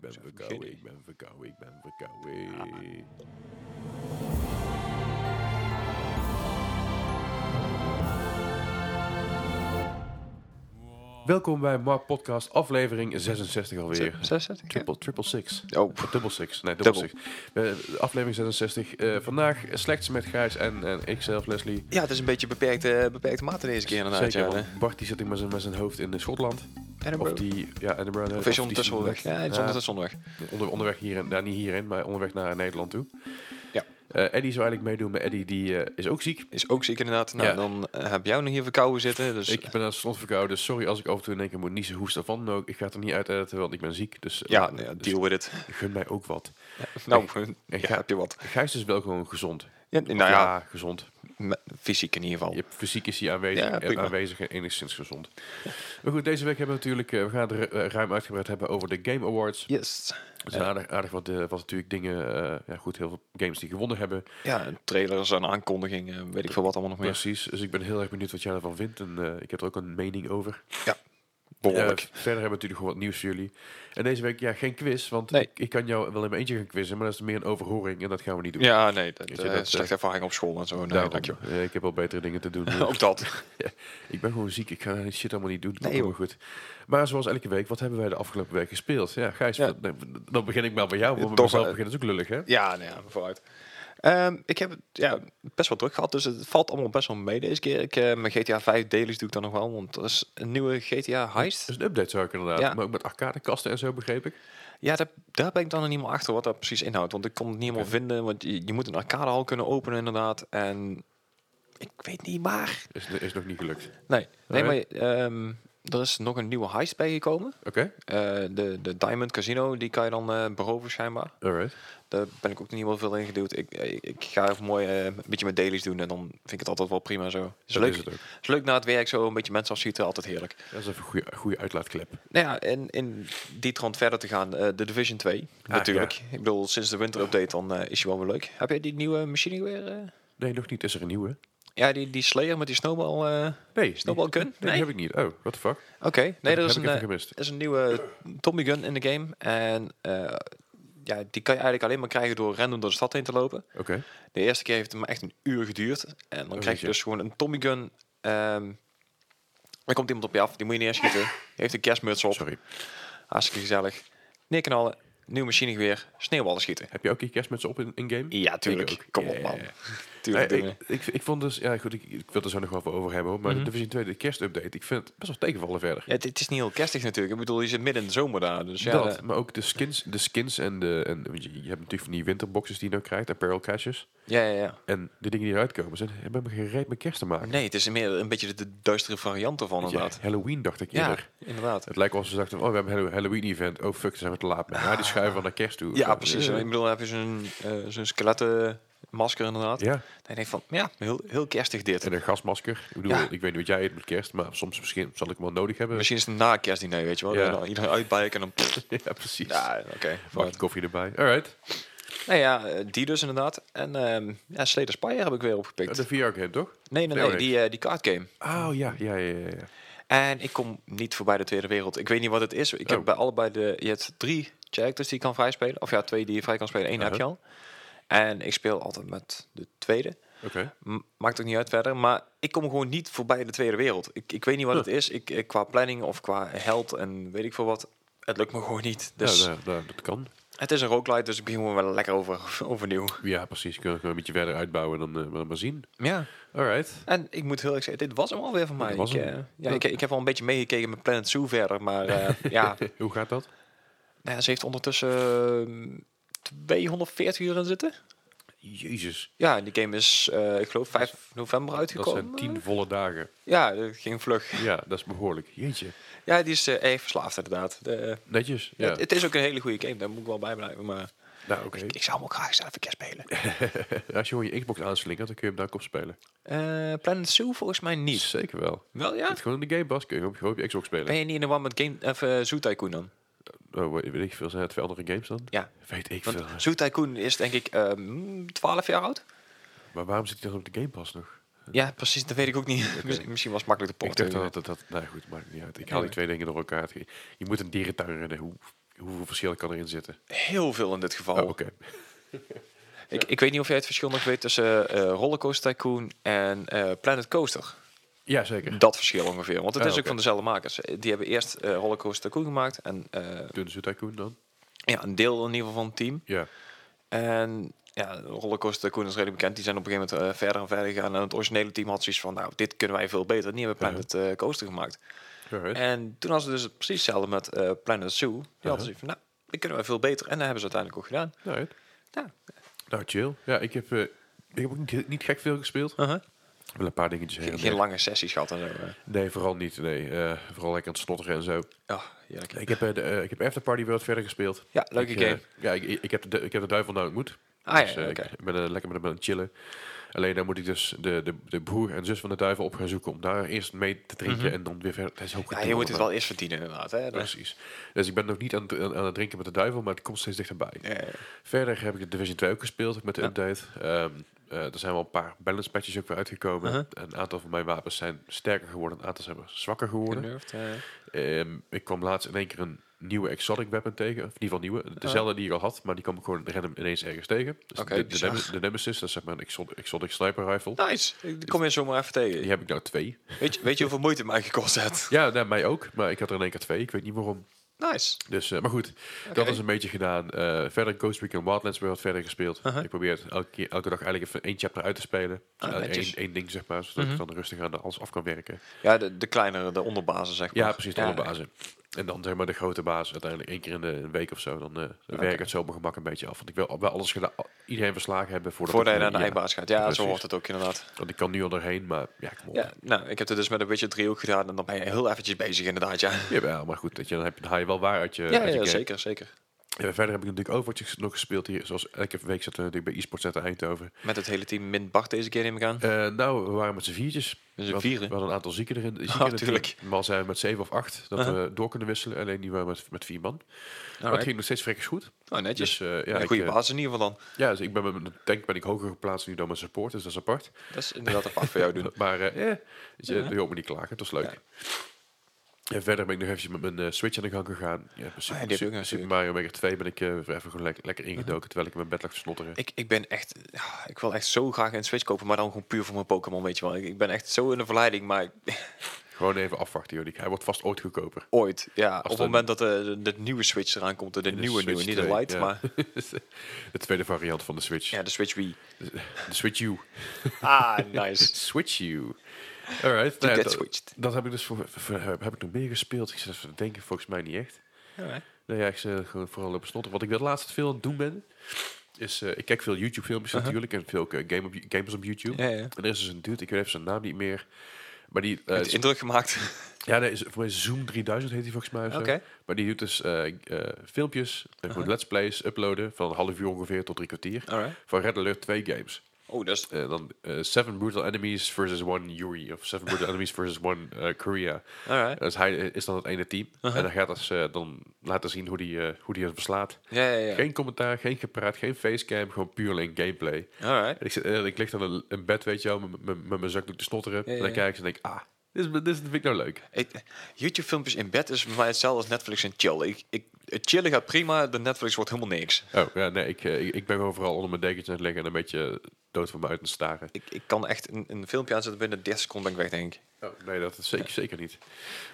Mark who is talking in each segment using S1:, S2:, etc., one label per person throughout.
S1: ben
S2: Zo,
S1: verkouden,
S2: geen
S1: ik ben verkouden, ik ben verkouden. Welkom bij MAP Podcast, aflevering 66 alweer.
S2: 66?
S1: Triple, triple six.
S2: Oh,
S1: Of Double six, nee, double,
S2: Double.
S1: six. Eh, aflevering 66. Eh, vandaag slechts met Gijs en, en ikzelf, Leslie.
S2: ja, het is een beetje beperkte, beperkte mate deze keer inderdaad.
S1: Zeker,
S2: ja,
S1: want Bart die zit ik met zijn- met zijn hoofd in Schotland.
S2: hè.
S1: Of die, ja, Edinburgh. nee,
S2: Of is
S1: die
S2: je ondertussen
S1: is-
S2: wel weg? Ja, hij is
S1: Ja,
S2: ondertussen onderweg.
S1: onder, onderweg hierin, nou niet hierin, maar onderweg naar Nederland toe.
S2: Ja.
S1: Eh, Eddie zou eigenlijk meedoen, maar Eddie die, eh, is ook ziek.
S2: Is ook ziek inderdaad. Nou,
S1: Ja.
S2: dan eh, heb jij nog hier verkouden zitten. Dus
S1: Ik ben aan het slot verkouden, dus sorry als ik af en toe in één keer moet niezen, hoest of wat dan ook. Nou, Ik ga het er niet uit editen, want ik ben ziek. Dus, eh,
S2: ja,
S1: laat-
S2: nou ja,
S1: dus
S2: deal with it.
S1: gun mij ook wat.
S2: Nou,
S1: ik
S2: ja,
S1: ga-
S2: heb je wat.
S1: Gijs is wel gewoon gezond.
S2: Ja, nou ja,
S1: ja gezond.
S2: me- fysiek in ieder geval.
S1: Je, fysiek is hij aanwezig,
S2: Ja,
S1: eh,
S2: prima.
S1: aanwezig en enigszins gezond. Maar goed, deze week hebben we natuurlijk, eh, we gaan het ru- eh, ruim uitgebreid hebben over de Game Awards.
S2: Yes.
S1: Er zijn aardig, aardig wat, eh, wat natuurlijk dingen, eh, ja goed, heel veel games die gewonnen hebben.
S2: Ja, trailers en aankondigingen, eh, weet ik veel wat allemaal nog meer.
S1: Precies, dus ik ben heel erg benieuwd wat jij daarvan vindt en eh, ik heb er ook een mening over.
S2: Behoorlijk.
S1: Eh, verder hebben we natuurlijk gewoon wat nieuws voor jullie. En deze week, ja, geen quiz, want
S2: Nee.
S1: ik, ik kan jou wel in mijn eentje gaan quizzen, maar dat is meer een overhoring en dat gaan we niet doen.
S2: Ja, nee, dat,
S1: Weet
S2: eh
S1: je, dat,
S2: slechte ervaring op school en zo. Nee,
S1: Daarom,
S2: dank je.
S1: eh, ik heb al betere dingen te doen.
S2: Ook dat.
S1: Ik ben gewoon ziek, ik ga die shit allemaal niet doen.
S2: Nee,
S1: Nee, maar goed. Maar zoals elke week, wat hebben wij de afgelopen week gespeeld? Ja, Gijs,
S2: Ja.
S1: wat- nee, dan begin ik maar bij jou. Want
S2: Toch,
S1: bij mezelf
S2: eh,
S1: begint het ook lullig, hè?
S2: Ja, nou ja, vooruit. Ehm, ik heb het, ja, best wel druk gehad, dus het valt allemaal best wel mee deze keer. Ik, eh, mijn GTA 5 dailies doe ik dan nog wel, want dat is een nieuwe GTA heist.
S1: Dus een update zou ik inderdaad.
S2: Ja.
S1: Maar ook met arcadekasten en zo, begreep ik.
S2: Ja, daar, daar ben ik dan nog niet meer achter wat dat precies inhoudt, want ik kon het niet helemaal vinden. Want je, je moet een arcadehal kunnen openen inderdaad, en ik weet niet waar.
S1: Is, is nog niet gelukt. Oké.
S2: Nee, nee maar
S1: Alright.
S2: ehm, er is nog een nieuwe heist bijgekomen. Eh, de, de Diamond Casino, die kan je dan eh, beroven schijnbaar.
S1: Alright.
S2: Daar ben ik ook niet heel veel in geduwd. Ik, ik, ik ga even mooi eh, een beetje mijn dailies doen en dan vind ik het altijd wel prima zo. Is
S1: Dat
S2: leuk,
S1: is het ook.
S2: is leuk na het werk zo een beetje mensen afschieten, altijd heerlijk.
S1: Dat is even een goede, goede uitlaatklep.
S2: Nou ja, en in die trant verder te gaan, eh, de Division 2 natuurlijk. Ik bedoel, sinds de winterupdate dan eh, is je wel weer leuk. Heb jij die nieuwe machine weer? eh?
S1: Nee, nog niet. Is er een nieuwe?
S2: Ja, die, die Slayer met die snowball. eh?
S1: Nee.
S2: Snowball
S1: die-
S2: gun?
S1: Nee, die
S2: Nee.
S1: heb ik niet. Oh, what the fuck?
S2: Oké, nee, er
S1: heb
S2: is
S1: ik
S2: een,
S1: even
S2: eh,
S1: gemist.
S2: er is een nieuwe Tommy Gun in de game. En eh, ja, die kan je eigenlijk alleen maar krijgen door random door de stad heen te lopen.
S1: Oké.
S2: De eerste keer heeft het me echt een uur geduurd. En dan krijg je
S1: jeetje.
S2: dus gewoon een Tommy Gun. ehm er komt iemand op je af, die moet je neerschieten. Die heeft een kerstmuts op,
S1: Sorry.
S2: hartstikke gezellig. Neerknallen, nieuw machinegeweer, sneeuwballen schieten.
S1: Heb je ook je kerstmuts op in, in game?
S2: Ja, tuurlijk.
S1: ook.
S2: Kom op,
S1: Ja,
S2: man.
S1: ja, ja.
S2: Tuurlijk
S1: Nee,
S2: doen we.
S1: ik, ik, ik vond dus, ja goed, ik, ik wil er zo nog wel even over hebben, hoor, maar
S2: Mhm.
S1: de Division 2, de kerstupdate, ik vind het best wel tegenvallen verder.
S2: Ja, het, het is niet heel kerstig natuurlijk. Ik bedoel, je zit midden in de zomer daar. Dus ja,
S1: dat,
S2: eh,
S1: maar ook de skins, de skins en de. En, want je je hebt natuurlijk van die winterboxes die je nou krijgt, apparel caches.
S2: ja, ja, ja.
S1: En de dingen die eruit komen, zijn, hebben me geen reet met kerst te maken.
S2: Nee, het is meer een beetje de, de duistere variant ervan
S1: Weet je,
S2: inderdaad.
S1: Halloween dacht ik
S2: Ja,
S1: eerder.
S2: inderdaad.
S1: Het lijkt wel alsof ze dachten, oh, we hebben een Halloween-event. Oh, fuck, daar zijn we te laat mee. Ja, die schuiven we naar kerst toe.
S2: Ja,
S1: Zo,
S2: precies.
S1: eh,
S2: Ik bedoel, dan heb je zo'n eh, zo'n skelettenmasker inderdaad.
S1: Ja,
S2: Dan denk ik van, ja, heel, heel kerstig dit.
S1: en een gasmasker. Ik bedoel,
S2: Ja.
S1: ik weet niet wat jij eet met kerst, maar soms misschien zal ik hem wel nodig hebben.
S2: Misschien is het na kerstdiner, weet je wel.
S1: Ja.
S2: Dan iedereen uitbijken en dan... pff,
S1: Ja, precies. Ja,
S2: ja, oké.
S1: Pak
S2: vooruit.
S1: je koffie erbij. Alright.
S2: nee, ja, eh, die dus inderdaad. En ehm ja, Slay the Spire heb ik weer opgepikt.
S1: De VR-game, toch?
S2: Nee, nee,
S1: Nee,
S2: nee,
S1: nee.
S2: die, eh die kaartgame.
S1: Oh, ja, ja, ja, ja. ja.
S2: En ik kom niet voorbij de Tweede Wereld. Ik weet niet wat het is. Ik heb
S1: Oh.
S2: bij allebei de... Je hebt drie characters die je kan vrijspelen. Of ja, twee die je vrij kan spelen. Eén
S1: Uh-huh.
S2: heb je al. En ik speel altijd met de tweede.
S1: Oké.
S2: M- Maakt ook niet uit verder. Maar ik kom gewoon niet voorbij de Tweede Wereld. Ik, ik weet niet wat het is. Ik, ik- qua planning of qua held en weet ik veel wat. Het lukt me gewoon niet. Dus
S1: Ja, nou, nou, dat kan.
S2: het is een roguelite, dus ik begin gewoon wel lekker over, overnieuw.
S1: Ja, precies. Kunnen we gewoon een beetje verder uitbouwen en dan eh, maar, maar zien.
S2: Ja.
S1: Alright.
S2: En ik moet heel erg zeggen, dit was hem alweer van mij.
S1: Dit was
S2: ik,
S1: hem.
S2: eh, ja,
S1: Ja.
S2: ik, ik heb al een beetje meegekeken met Planet Zoo verder. Maar eh, ja,
S1: Hoe gaat dat?
S2: nou, ze heeft ondertussen eh, 240 uur in zitten.
S1: Jezus,
S2: Ja, die game is, eh, ik geloof, 5 november
S1: dat
S2: uitgekomen.
S1: zijn tien volle dagen.
S2: Ja, dat ging vlug.
S1: Ja, dat is behoorlijk. Jeetje.
S2: Ja, die is eh erg verslaafd inderdaad. De, eh,
S1: Netjes. Ja.
S2: Het, het is ook een hele goede game, daar moet ik wel bij blijven. Maar
S1: Nou, oké.
S2: ik zou hem ook graag zelf een keer spelen.
S1: Als je gewoon je Xbox aanslingert, dan kun je hem daar op spelen.
S2: Eh, Planet Zoo volgens mij niet.
S1: Zeker wel.
S2: Wel ja?
S1: Het is gewoon in de Game Pass kun je hem gewoon op je Xbox spelen.
S2: Ben je niet in de war met Game, of, eh, Zoo Tycoon dan?
S1: Oh, weet weet ik veel. Zijn het twee andere games dan?
S2: Ja.
S1: Weet ik veel.
S2: Want Zoo Tycoon is denk ik ehm 12 jaar oud.
S1: Maar waarom zit hij dan op de Game Pass nog?
S2: Ja, precies, dat weet ik ook niet. Misschien- Misschien was het makkelijk te
S1: Ik dacht
S2: porten.
S1: dat dat... dat nou goed, maakt niet uit. Ik haal die twee dingen door elkaar. Je moet een dierentuin rennen. Hoe, Hoeveel verschil kan erin zitten?
S2: Heel veel in dit geval.
S1: Oh, oké.
S2: ik, ik weet niet of jij het verschil nog weet tussen eh Rollercoaster Tycoon en eh, Planet Coaster.
S1: Ja, zeker.
S2: Dat verschil ongeveer. Want het
S1: Ah,
S2: is ook
S1: oké.
S2: van dezelfde makers. Die hebben eerst eh Rollercoaster Tycoon gemaakt. En eh,
S1: Dunne Zoo Tycoon dan?
S2: ja, een deel in ieder geval van het team.
S1: Ja.
S2: En ja, Rollercoaster Tycoon is redelijk bekend. Die zijn op een gegeven moment eh, verder en verder gegaan. En het originele team had zoiets van, nou, dit kunnen wij veel beter. En die hebben Planet eh, Coaster gemaakt.
S1: Alright.
S2: En toen hadden ze dus precies hetzelfde met eh, Planet Zoo. Die
S1: Uh-huh.
S2: hadden zoiets van, nou, dit kunnen wij veel beter. En dat hebben ze uiteindelijk ook gedaan.
S1: Alright.
S2: Ja.
S1: Nou, chill. Ja, ik heb, eh, ik heb ook niet, niet gek veel gespeeld.
S2: Uh-huh.
S1: Wel een paar dingetjes heen. en
S2: Geen, geen
S1: weer.
S2: lange sessies gehad en zo. eh.
S1: Nee, vooral niet. Nee. Eh, vooral lekker aan het snotteren en zo.
S2: Ja, heerlijk.
S1: Ik heb, eh, de, eh, ik heb After Party weer wat verder gespeeld.
S2: Ja, leuke
S1: ik,
S2: game.
S1: eh, ja, ik, ik, heb de, du- ik heb de duivel nou ontmoet.
S2: Ah, ja,
S1: eh,
S2: oké.
S1: Ik ben eh, lekker met hem aan het chillen. Alleen dan moet ik dus de, de, de broer en zus van de duivel op gaan zoeken. Om daar eerst mee te drinken en dan weer verder. Dat is ook
S2: Mhm. ja,
S1: gedoe
S2: je moet het
S1: allemaal.
S2: wel eerst verdienen inderdaad. Hè? Dat-
S1: Precies. Dus ik ben nog niet aan, het- aan, aan het drinken met de duivel, maar het komt steeds dichterbij.
S2: Ja, ja.
S1: Verder heb ik de Division 2 ook gespeeld met de
S2: Ja.
S1: update. Ehm, eh, er zijn wel een paar balance patches ook weer uitgekomen.
S2: Uh-huh.
S1: Een aantal van mijn wapens zijn sterker geworden, een aantal zijn wat zwakker geworden.
S2: Genervd, eh.
S1: Ehm, ik kwam laatst in één keer een nieuwe exotic weapon tegen. Of in ieder geval nieuwe. Dezelfde die ik al had, maar die kwam ik gewoon random ineens ergens tegen. Dus
S2: Oh. Oké,
S1: de, de,
S2: bizar.
S1: Nemes- de Nemesis, dat is zeg maar een exotic, exotic sniper rifle.
S2: Nice. Ik kom je zomaar even tegen.
S1: Die heb ik nou twee.
S2: Weet, je, weet je hoeveel moeite het mij gekost heeft?
S1: Ja, nou, mij ook. Maar ik had er in één keer twee. Ik weet niet waarom.
S2: Nice.
S1: Dus, eh, maar goed, dat is een beetje gedaan. Eh, verder Ghost Recon Wildlands weer wat verder gespeeld. Ik probeer het elke, keer, elke dag eigenlijk even één chapter uit te spelen.
S2: Ah,
S1: Eén
S2: netjes. Mhm.
S1: één ding, zeg maar, zodat ik dan rustig aan de alles af kan werken.
S2: Ja, de, de kleinere, de onderbazen zeg maar.
S1: Ja, precies, de andere bazen. En dan zeg maar de grote baas uiteindelijk één keer in de een week of zo. Dan eh werk ik het zo op mijn gemak een beetje af. Want ik wil wel alles gedaan, iedereen verslagen hebben voordat,
S2: Voordat je
S1: ik,
S2: naar de
S1: ja,
S2: eindbaas gaat. Ja,
S1: Precies.
S2: zo hoort het ook inderdaad.
S1: Want ik kan nu al doorheen, maar ja, kom op.
S2: Ja, nou, ik heb het dus met een beetje driehoek gedaan en dan ben je heel eventjes bezig inderdaad, ja.
S1: Jawel, maar goed, dat je, dan, heb, je- dan haal je wel waar uit je,
S2: Ja,
S1: uit je
S2: ja,
S1: game.
S2: zeker, zeker.
S1: En verder heb ik natuurlijk Overwatch nog gespeeld hier. Zoals elke week zitten we natuurlijk bij eSports uit Eindhoven.
S2: Met het hele team min Bart deze keer neem ik aan.
S1: Eh, nou, we waren met z'n viertjes.
S2: Met z'n
S1: We-
S2: vieren?
S1: We hadden een aantal zieken erin. Zieken
S2: Ah,
S1: in het
S2: tuurlijk.
S1: team. Normaal zijn we met zeven of acht dat
S2: Uh-huh.
S1: we door kunnen wisselen. Alleen die waren met, met vier man. Maar het
S2: Alright.
S1: ging nog steeds vrekkers goed.
S2: Nou, netjes.
S1: Dus, eh, ja,
S2: een
S1: ik,
S2: goede
S1: eh,
S2: basis in ieder geval dan.
S1: Ja, dus ik ben met mijn tank ben ik hoger geplaatst nu dan mijn support. Dus dat is apart.
S2: Dat is inderdaad apart voor jou doen.
S1: Maar eh, eh, dus, eh, je hoort me niet klagen. Dat is leuk. En verder ben ik nog even met mijn eh, Switch aan de gang gegaan. Ja, bij Super,
S2: Ah, heb ik ook
S1: Super-
S2: natuurlijk. Mhm.
S1: Super Mario Maker 2 ben ik eh, even gewoon lekker- lekker ingedoken. Terwijl ik in mijn bed lag te snotteren.
S2: Ik, ik ben echt, ja, ik wil echt zo graag een Switch kopen, maar dan gewoon puur voor mijn Pokémon, weet je wel. Ik, ik ben echt zo in de verleiding, maar ik-
S1: Gewoon even afwachten, joh. Die- Hij wordt vast ooit goedkoper.
S2: ooit, ja, op
S1: Als
S2: het
S1: de-
S2: moment dat de, de, de nieuwe Switch eraan komt, de, nieuwe,
S1: eh, Switch
S2: nieuwe, niet de
S1: 2,
S2: Lite,
S1: ja.
S2: maar
S1: de tweede variant van de Switch.
S2: ja, de Switch Wii.
S1: De Switch U.
S2: Ah, nice.
S1: Switch you. Alright. nou ja,
S2: get
S1: dat,
S2: switched.
S1: dat heb ik dus voor, voor- heb ik nog meer gespeeld. Ik zat even te denken, volgens mij niet echt. Nou ja, ik zit gewoon vooral op snotten. Wat ik wel laatst veel aan het doen ben, is eh, ik kijk veel YouTube filmpjes natuurlijk en veel eh, game op, gamers op YouTube.
S2: Ja, ja.
S1: En er is dus een dude, ik weet even zijn naam niet meer, maar die eh,
S2: Het
S1: is-
S2: indruk gemaakt.
S1: ja, nee, is- voor mij Zoom 3000 heet hij volgens mij. of zo.
S2: Oké.
S1: Maar die doet dus eh, eh, filmpjes en gewoon let's plays uploaden van een half uur ongeveer tot drie kwartier
S2: Alright.
S1: van Red Alert 2 games.
S2: Oh, dat is...
S1: Eh, dan eh, Seven Brutal Enemies versus One Yuri. Of Seven Brutal Enemies versus One eh, Korea.
S2: Alright.
S1: Dus hij is dan het ene team. En dan gaat hij ze dan laten zien hoe die, eh, hoe die het beslaat.
S2: Ja, ja, ja.
S1: Geen commentaar, geen gepraat, geen facecam. Gewoon puur alleen gameplay.
S2: Alright.
S1: En ik, zit, eh, ik lig dan in- in bed, weet je wel, met- met met mijn zakdoek te snotteren.
S2: ja,
S1: En dan
S2: ja.
S1: kijk ik ze en denk ah, dit, is, dit vind ik nou leuk.
S2: Ik- YouTube-filmpjes in bed is voor mij hetzelfde als Netflix en chill. Ik, ik, het chillen gaat prima, de Netflix wordt helemaal niks.
S1: Oh, ja, nee, ik, eh, ik, ik ben gewoon vooral onder mijn dekentje aan het liggen en een beetje dood van me uit te staren.
S2: Ik, ik kan echt een, een filmpje aanzetten binnen 30 seconden ben ik weg, denk ik.
S1: Oh, nee, dat is zeker, zeker niet.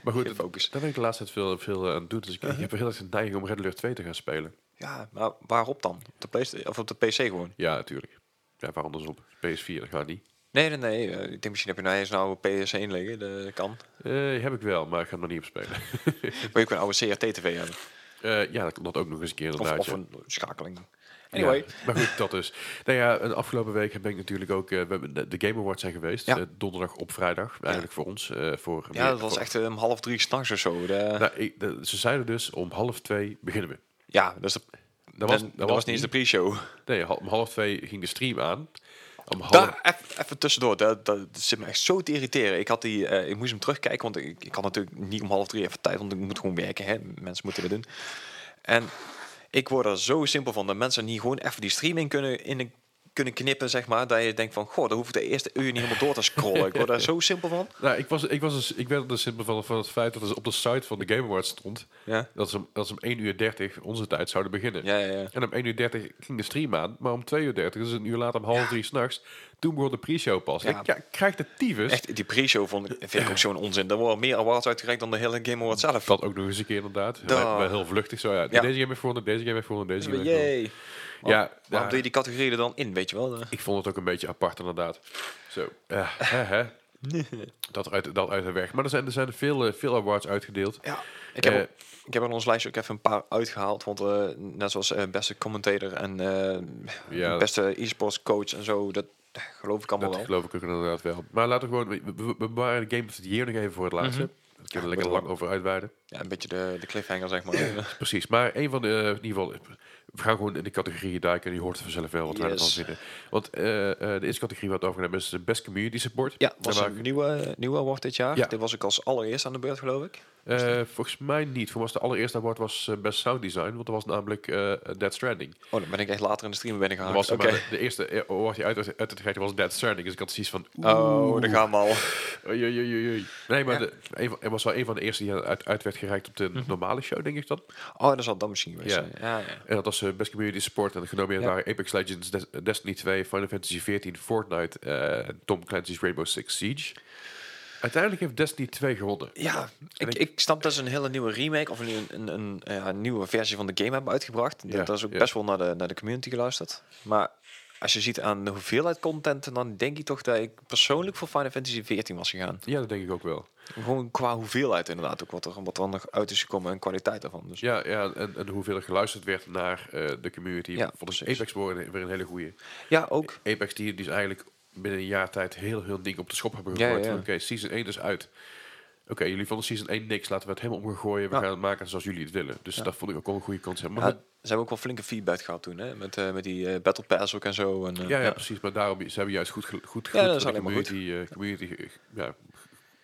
S1: Maar goed,
S2: Geen focus. Uh-huh.
S1: daar ben ik de laatste tijd veel, veel eh, aan het doen. Dus ik, ik heb heel erg de neiging om Red Alert 2 te gaan spelen.
S2: Ja, maar waarop dan? Op de, Playsta- of op de PC gewoon?
S1: Ja, natuurlijk. Ja, waar anders op? PS4, dat gaat niet.
S2: Nee, nee, nee. eh, ik denk misschien heb je nou eens nou een PS1 liggen. Dat kan.
S1: Eh, heb ik wel, maar ik ga er nog niet op spelen.
S2: Maar je kan een oude CRT-TV hebben.
S1: Eh, ja, dat klopt ook nog eens een keer
S2: Of,
S1: inderdaad.
S2: of
S1: ja.
S2: een schakeling. Anyway.
S1: Ja, maar goed, dat is. Nou ja, en afgelopen week heb ik natuurlijk ook... eh, we hebben de de Game Awards zijn geweest.
S2: Ja.
S1: eh, donderdag op vrijdag, eigenlijk voor ons. eh, voor
S2: Ja, dat was echt eh, om half drie s'nachts of zo. De-
S1: Nou, ik- de- ze zeiden dus, om half twee beginnen we.
S2: ja, dus de-
S1: Dat was,
S2: dat,
S1: dat
S2: was niet eens de pre-show.
S1: Nee, hal- om half twee ging de stream aan. Om half...
S2: Daar, eff- even tussendoor, dat, dat zit me echt zo te irriteren. Ik, had die, eh, ik moest hem terugkijken, want ik, ik had natuurlijk niet om half drie even tijd, want ik moet gewoon werken. Hè? Mensen moeten weer doen. En ik word er zo simpel van dat mensen niet gewoon even die streaming kunnen in een kunnen knippen, zeg maar. Dat je denkt van, goh, dan hoef ik de eerste uur niet helemaal door te scrollen. Ik word daar zo simpel van.
S1: Nou, ik, was, ik, was dus, ik werd er simpel van, van het feit dat het op de site van de Game Awards stond...
S2: Ja,
S1: dat ze, om- dat ze om 1 uur 30 onze tijd zouden beginnen.
S2: ja, ja. ja.
S1: En om 1 uur 30 ging de stream aan, maar om 2 uur 30, dus een uur later om half drie s'nachts, toen begon de pre-show pas.
S2: Ja.
S1: Ik ja, ik krijg de tyfus.
S2: Echt, die pre-show vond ik, vind ik ook zo'n onzin. Er worden meer awards uitgereikt dan de hele Game Awards zelf.
S1: Dat ook nog eens een keer inderdaad.
S2: Duh.
S1: Wel wel heel vluchtig zo. Ja.
S2: Ja.
S1: Deze game heeft gewonnen, deze game heeft gewonnen, deze game heeft gewonnen.
S2: Jee.
S1: Ja,
S2: Waarom
S1: ja,
S2: doe je die categorieën er dan in, weet je wel?
S1: ik vond het ook een beetje apart inderdaad. Zo, eh, hè, hè. Dat, uit, dat uit de weg. Maar er zijn er, zijn veel, eh, veel awards uitgedeeld.
S2: Ja. Ik
S1: Eh,
S2: heb, ik heb in ons lijstje ook even een paar uitgehaald. Want eh, net zoals eh, beste commentator en eh,
S1: Ja.
S2: beste e-sports coach en zo. Dat eh, geloof ik allemaal
S1: dat
S2: wel.
S1: geloof ik ook inderdaad wel. Maar laten we gewoon... we- We we bewaren de Game of the Year nog even voor het
S2: Mhm.
S1: laatste. Daar kunnen we lekker lang over uitweiden.
S2: Ja, een beetje de, de cliffhanger, zeg maar.
S1: Precies, maar een van de, eh, in ieder geval, we gaan gewoon in de categorieën duiken en je hoort vanzelf wel wat wij
S2: Yes.
S1: ervan vinden. Want eh, eh, de eerste categorie wat we over gaan hebben is de Best Community Support.
S2: ja, was
S1: Daar
S2: een nieuwe, eh, nieuwe award dit jaar.
S1: Ja.
S2: Dit was ik als allereerst aan de beurt, geloof ik.
S1: waren- eh, volgens mij niet. Voor mij was de allereerste award was eh, Best Sound Design, want dat was namelijk eh Dead Stranding.
S2: Oh, dan ben ik echt later in de stream binnengehaald.
S1: Dat was
S2: Ah, Oké.
S1: maar de, de eerste eh, award die uit uit uit te trekken was Dead Stranding, dus ik had zoiets van... ah,
S2: Oh, daar gaan we al.
S1: oei, oei, oei, oei. Nee, maar
S2: Ja. Mhm.
S1: de, een van- het was wel een van de eerste die uit, uit werd gereikt op de normale show, denk ik dan.
S2: Oh, dat zal dan misschien geweest
S1: Ja.
S2: zijn. Ja, ja.
S1: En dat was eh, Best Community Support. En genomineerd
S2: Ja.
S1: waren Apex Legends, Des- Destiny 2, Final Fantasy 14, Fortnite eh, en Tom Clancy's Rainbow Six Siege. Uiteindelijk heeft Destiny 2 gewonnen.
S2: Ja,
S1: En
S2: ik, ik snap dat ze een hele nieuwe remake of een, een, een, ja, een nieuwe versie van de game hebben uitgebracht.
S1: Ja,
S2: dat is ook
S1: ja.
S2: best wel naar de, naar de community geluisterd. Maar als je ziet aan de hoeveelheid content, dan denk ik toch dat ik persoonlijk voor Final Fantasy 14 was gegaan.
S1: Ja, dat denk ik ook wel.
S2: Gewoon qua hoeveelheid inderdaad ook wat er, wat er nog uit is gekomen en kwaliteit daarvan. Dus
S1: Ja, ja en, en hoeveel er geluisterd werd naar eh, de community.
S2: Ja,
S1: Volgens
S2: precies.
S1: Apex weer een, weer een hele goede.
S2: ja, ook.
S1: Apex die, die is eigenlijk binnen een jaar tijd heel heel ding op de schop hebben
S2: Ja,
S1: gegooid.
S2: ja.
S1: Van, Oké, season 1 is uit. Oké, jullie vonden season 1 niks. Laten we het helemaal omgooien. We
S2: Ja.
S1: gaan het maken zoals jullie het willen. Dus dat vond ik ook wel een goede concept. Maar
S2: Ja,
S1: goed,
S2: ze hebben ook wel flinke feedback gehad toen, hè? Met, eh, met die eh, Battle Pass ook en zo. En, eh,
S1: Ja, ja, precies. Maar daarom ze hebben juist goed, gel- goed, goed
S2: Ja, dat
S1: naar
S2: is
S1: de
S2: alleen maar goed.
S1: community, eh, community ge- ge- ja,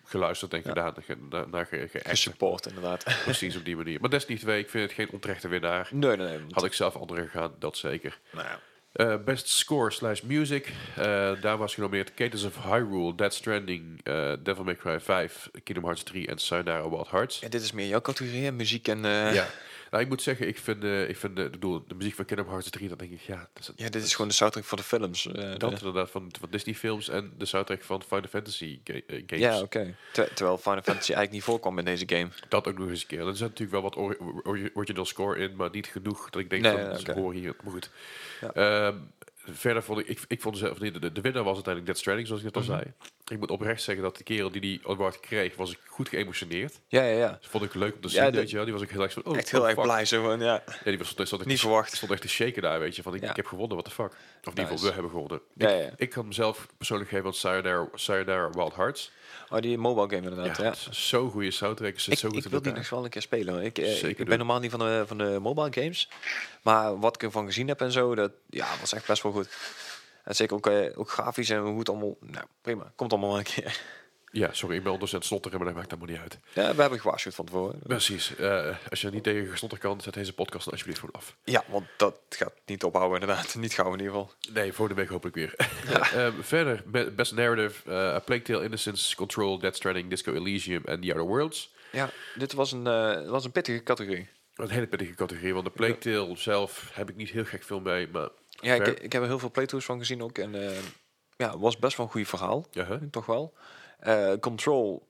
S1: geluisterd en gedaan. en ge- na- Naar ge- geact.
S2: Gesupport inderdaad.
S1: Precies op die manier. Maar Destiny 2, ik vind het geen onterechte winnaar.
S2: nee, nee, nee. want-
S1: Had ik zelf anderen gegaan, dat zeker.
S2: nou ja.
S1: Eh, best score slash music. Eh, daar was genomineerd Cadence of Hyrule, Dead Stranding, eh, Devil May Cry 5, Kingdom Hearts 3 en Sayonara Wild Hearts.
S2: Ja, dit is meer jouw categorie, hè, muziek en... eh,
S1: Ja. Nou, ik moet zeggen, ik vind, eh, ik vind eh, ik bedoel, de muziek van Kingdom Hearts 3, dan denk ik, ja, dat is een
S2: Ja, dit is gewoon de soundtrack voor de films. eh,
S1: Dat
S2: de-
S1: inderdaad van, van Disney films en de soundtrack van Final Fantasy ga- eh, games.
S2: Ja, oké. Ter- terwijl Final Fantasy eigenlijk niet voorkwam in deze game.
S1: Dat ook nog eens een keer. Er zit natuurlijk wel wat ori- ori- original score in, maar niet genoeg dat ik denk
S2: Nee,
S1: van,
S2: ja,
S1: ze
S2: oké.
S1: horen hier. Maar goed.
S2: Ja.
S1: Ehm, verder vond ik, ik, ik vond zelf, niet- de, de winnaar was uiteindelijk Dead Stranding, zoals ik net al
S2: Mhm.
S1: zei. Ik moet oprecht zeggen dat de kerel die die award kreeg, was ik goed geëmotioneerd.
S2: Ja, ja, ja.
S1: Dat vond ik leuk om te
S2: Ja,
S1: zien,
S2: dat-
S1: weet je wel. Die was ook heel erg van, oh,
S2: Echt heel
S1: oh,
S2: erg
S1: fuck.
S2: blij zo van, ja.
S1: Ja, die was, stond, stond echt
S2: Niet
S1: te-
S2: verwacht.
S1: stond echt te shaken daar, weet je. Van, ik,
S2: Ja.
S1: ik heb gewonnen, what the fuck. Of in ieder
S2: Nice.
S1: geval, we hebben gewonnen.
S2: Ja,
S1: ik,
S2: ja, ja.
S1: ik kan mezelf persoonlijk geven aan Sayonara, Sayonara Wild Hearts.
S2: Oh, die mobile game
S1: Ja,
S2: inderdaad, ja.
S1: het is Zo'n goede soundtrack. Zit
S2: Ik,
S1: zo goed
S2: ik
S1: in
S2: wil die
S1: elkaar.
S2: nog wel een keer spelen. hoor. Ik, eh,
S1: Zeker
S2: ik ben
S1: doen.
S2: normaal niet van de, van de mobile games. Maar wat ik ervan gezien heb en zo, dat ja, was echt best wel goed. En zeker ook, eh, ook grafisch en hoe het allemaal... Nou, prima. Komt allemaal wel een keer.
S1: Ja, sorry, ik ben ondertussen snotteren, maar dat maakt helemaal niet uit.
S2: Ja, we hebben gewaarschuwd van tevoren.
S1: Precies. eh, als je er niet tegen gesnotter kan, zet deze podcast dan alsjeblieft gewoon af.
S2: Ja, want dat gaat niet ophouden inderdaad. Niet gauw in ieder geval.
S1: Nee, volgende week hopelijk weer. Ehm, verder, be- Best Narrative, eh A Plague Tale, Innocence, Control, Dead Stranding, Disco Elysium en The Outer Worlds.
S2: Ja, dit was een, eh, was een pittige categorie.
S1: Een hele pittige categorie, want de Plague Tale zelf heb ik niet heel gek veel mee, maar...
S2: Ja, ik,
S1: ver-
S2: ik heb er heel veel playthroughs van gezien ook. En eh, ja, het was best wel een goed verhaal.
S1: Ja, hè?
S2: Toch wel. Eh, Control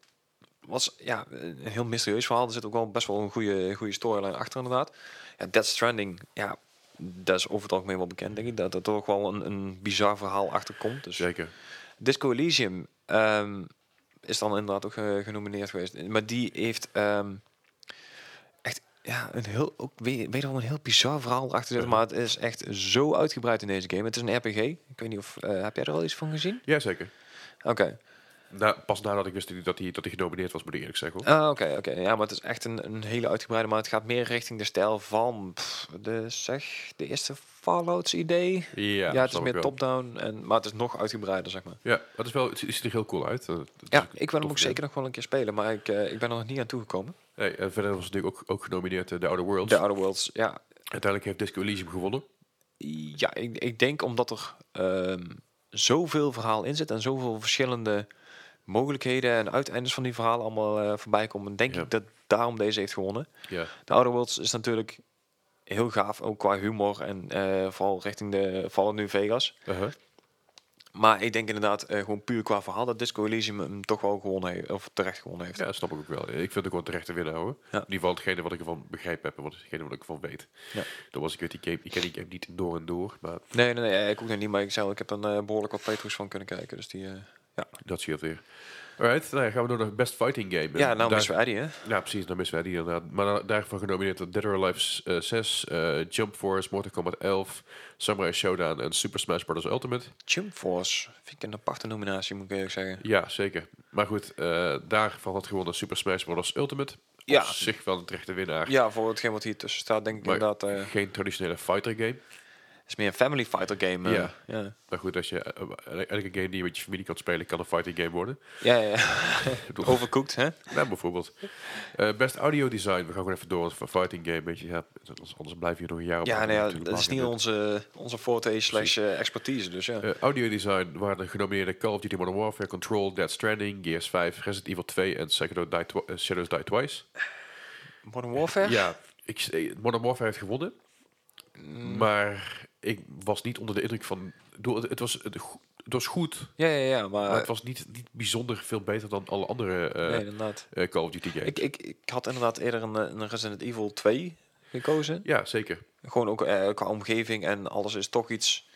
S2: was ja, een heel mysterieus verhaal. Er zit ook wel best wel een goede, goede storyline achter inderdaad. Ja, Death Stranding, ja, dat is over het algemeen wel bekend denk ik. Dat er toch wel een, een bizar verhaal achter komt. Dus
S1: Zeker.
S2: Disco Elysium ehm, is dan inderdaad ook eh, genomineerd geweest. Maar die heeft ehm, echt ja, een heel, ook weer, wederom een heel bizar verhaal achter zitten. Maar het is echt zo uitgebreid in deze game. Het is een RPG. Ik weet niet of eh, heb jij er al iets van gezien?
S1: Ja, zeker.
S2: Oké,
S1: Na, pas nadat ik wist dat hij dat die, dat die genomineerd was, moet ik eerlijk zeggen. Hoor.
S2: Ah, oké, oké. Ja, maar het is echt een, een hele uitgebreide. Maar het gaat meer richting de stijl van pff, de zeg de eerste Fallout's idee.
S1: Ja,
S2: Eh, Ja, het is
S1: snap ik
S2: meer
S1: wel.
S2: top-down, en maar het is nog uitgebreider, zeg maar.
S1: Ja, dat is wel, het ziet er heel cool uit. Eh, het is
S2: Ja,
S1: een
S2: ik wil hem ook
S1: toffe game.
S2: zeker nog wel een keer spelen, maar ik, eh, ik ben er nog niet aan toegekomen.
S1: Nee, en verder was natuurlijk ook, ook genomineerd eh, The Outer Worlds.
S2: De Outer Worlds, ja,
S1: Uiteindelijk heeft Disco Elysium gewonnen.
S2: Ja, ik, ik denk omdat er ehm, zoveel verhaal in zit en zoveel verschillende mogelijkheden en uiteindes van die verhalen allemaal eh, voorbij komen, denk
S1: Ja.
S2: ik dat daarom deze heeft gewonnen.
S1: Ja,
S2: De Outer Worlds is natuurlijk heel gaaf, ook qua humor en eh, vooral richting de Fallen New Vegas.
S1: uh-huh.
S2: Maar ik denk inderdaad eh, gewoon puur qua verhaal dat Disco Elysium hem toch wel gewonnen heeft, of terecht gewonnen heeft.
S1: ja dat snap ik ook wel. Ik vind het ook wel terecht te winnen, hoor.
S2: Ja.
S1: In ieder geval hetgene wat ik ervan begrijp heb en wat, hetgene wat ik ervan weet.
S2: Ja.
S1: Dat was, ik weet die game, ik ken die game niet door en door, maar
S2: Nee, nee, nee, ik ook nog niet, maar ik, zei, al, ik heb dan eh, behoorlijk wat Petrus van kunnen kijken. Dus die, eh, ja.
S1: dat scheelt weer. Alright, nou ja, gaan we door naar Best Fighting Game. En
S2: ja, nou
S1: daar-
S2: missen we Eddie, hè?
S1: Ja, precies, dan missen wij die inderdaad. Maar da- daarvoor genomineerd door Dead or Alive s- eh, 6, eh, Jump Force, Mortal Kombat 11, Samurai Showdown en Super Smash Bros. Ultimate.
S2: Jump Force vind ik een aparte nominatie, moet ik eerlijk zeggen.
S1: Ja, zeker. Maar goed, eh, daarvan had gewonnen Super Smash Bros. Ultimate.
S2: Ja.
S1: Op zich wel een terechte winnaar.
S2: Ja, voor hetgeen wat hier tussen staat, denk ik
S1: Maar-
S2: inderdaad. eh,
S1: Geen traditionele fighter game.
S2: het is meer een family fighter game. eh.
S1: Ja.
S2: ja.
S1: Maar goed, als je eh, eh, elke game die je met je familie kan spelen, kan een fighting game worden.
S2: Ja, ja, ja.
S1: Ik bedoel,
S2: Overcooked, hè?
S1: nou, bijvoorbeeld. Eh, best audio design. We gaan gewoon even door. Een fighting game, weet je. Ja, anders- anders blijf je hier nog een jaar op.
S2: Ja,
S1: hangen
S2: nou ja,
S1: natuurlijk.
S2: dat is
S1: Maar
S2: niet
S1: goed,
S2: onze, eh, onze forte slash eh, expertise, dus ja.
S1: Eh, audiodesign waren de genomineerde Call of Duty Modern Warfare, Control, Dead Stranding, Gears 5, Resident Evil 2 en Sekiro Die Twi- eh, Shadows Die Twice.
S2: Modern Warfare?
S1: Ja, ik, eh, Modern Warfare heeft gewonnen,
S2: Mm.
S1: maar ik was niet onder de indruk van... ik bedoel, Het, het was, het, go- het was goed,
S2: Ja, ja, ja, maar...
S1: maar het was niet, niet bijzonder veel beter dan alle andere eh,
S2: Eh, nee, inderdaad.
S1: eh, Call of Duty games.
S2: Ik, ik, ik had inderdaad eerder een, eh, een Resident Evil 2 gekozen.
S1: ja, zeker.
S2: Gewoon ook eh, qua omgeving en alles is toch iets,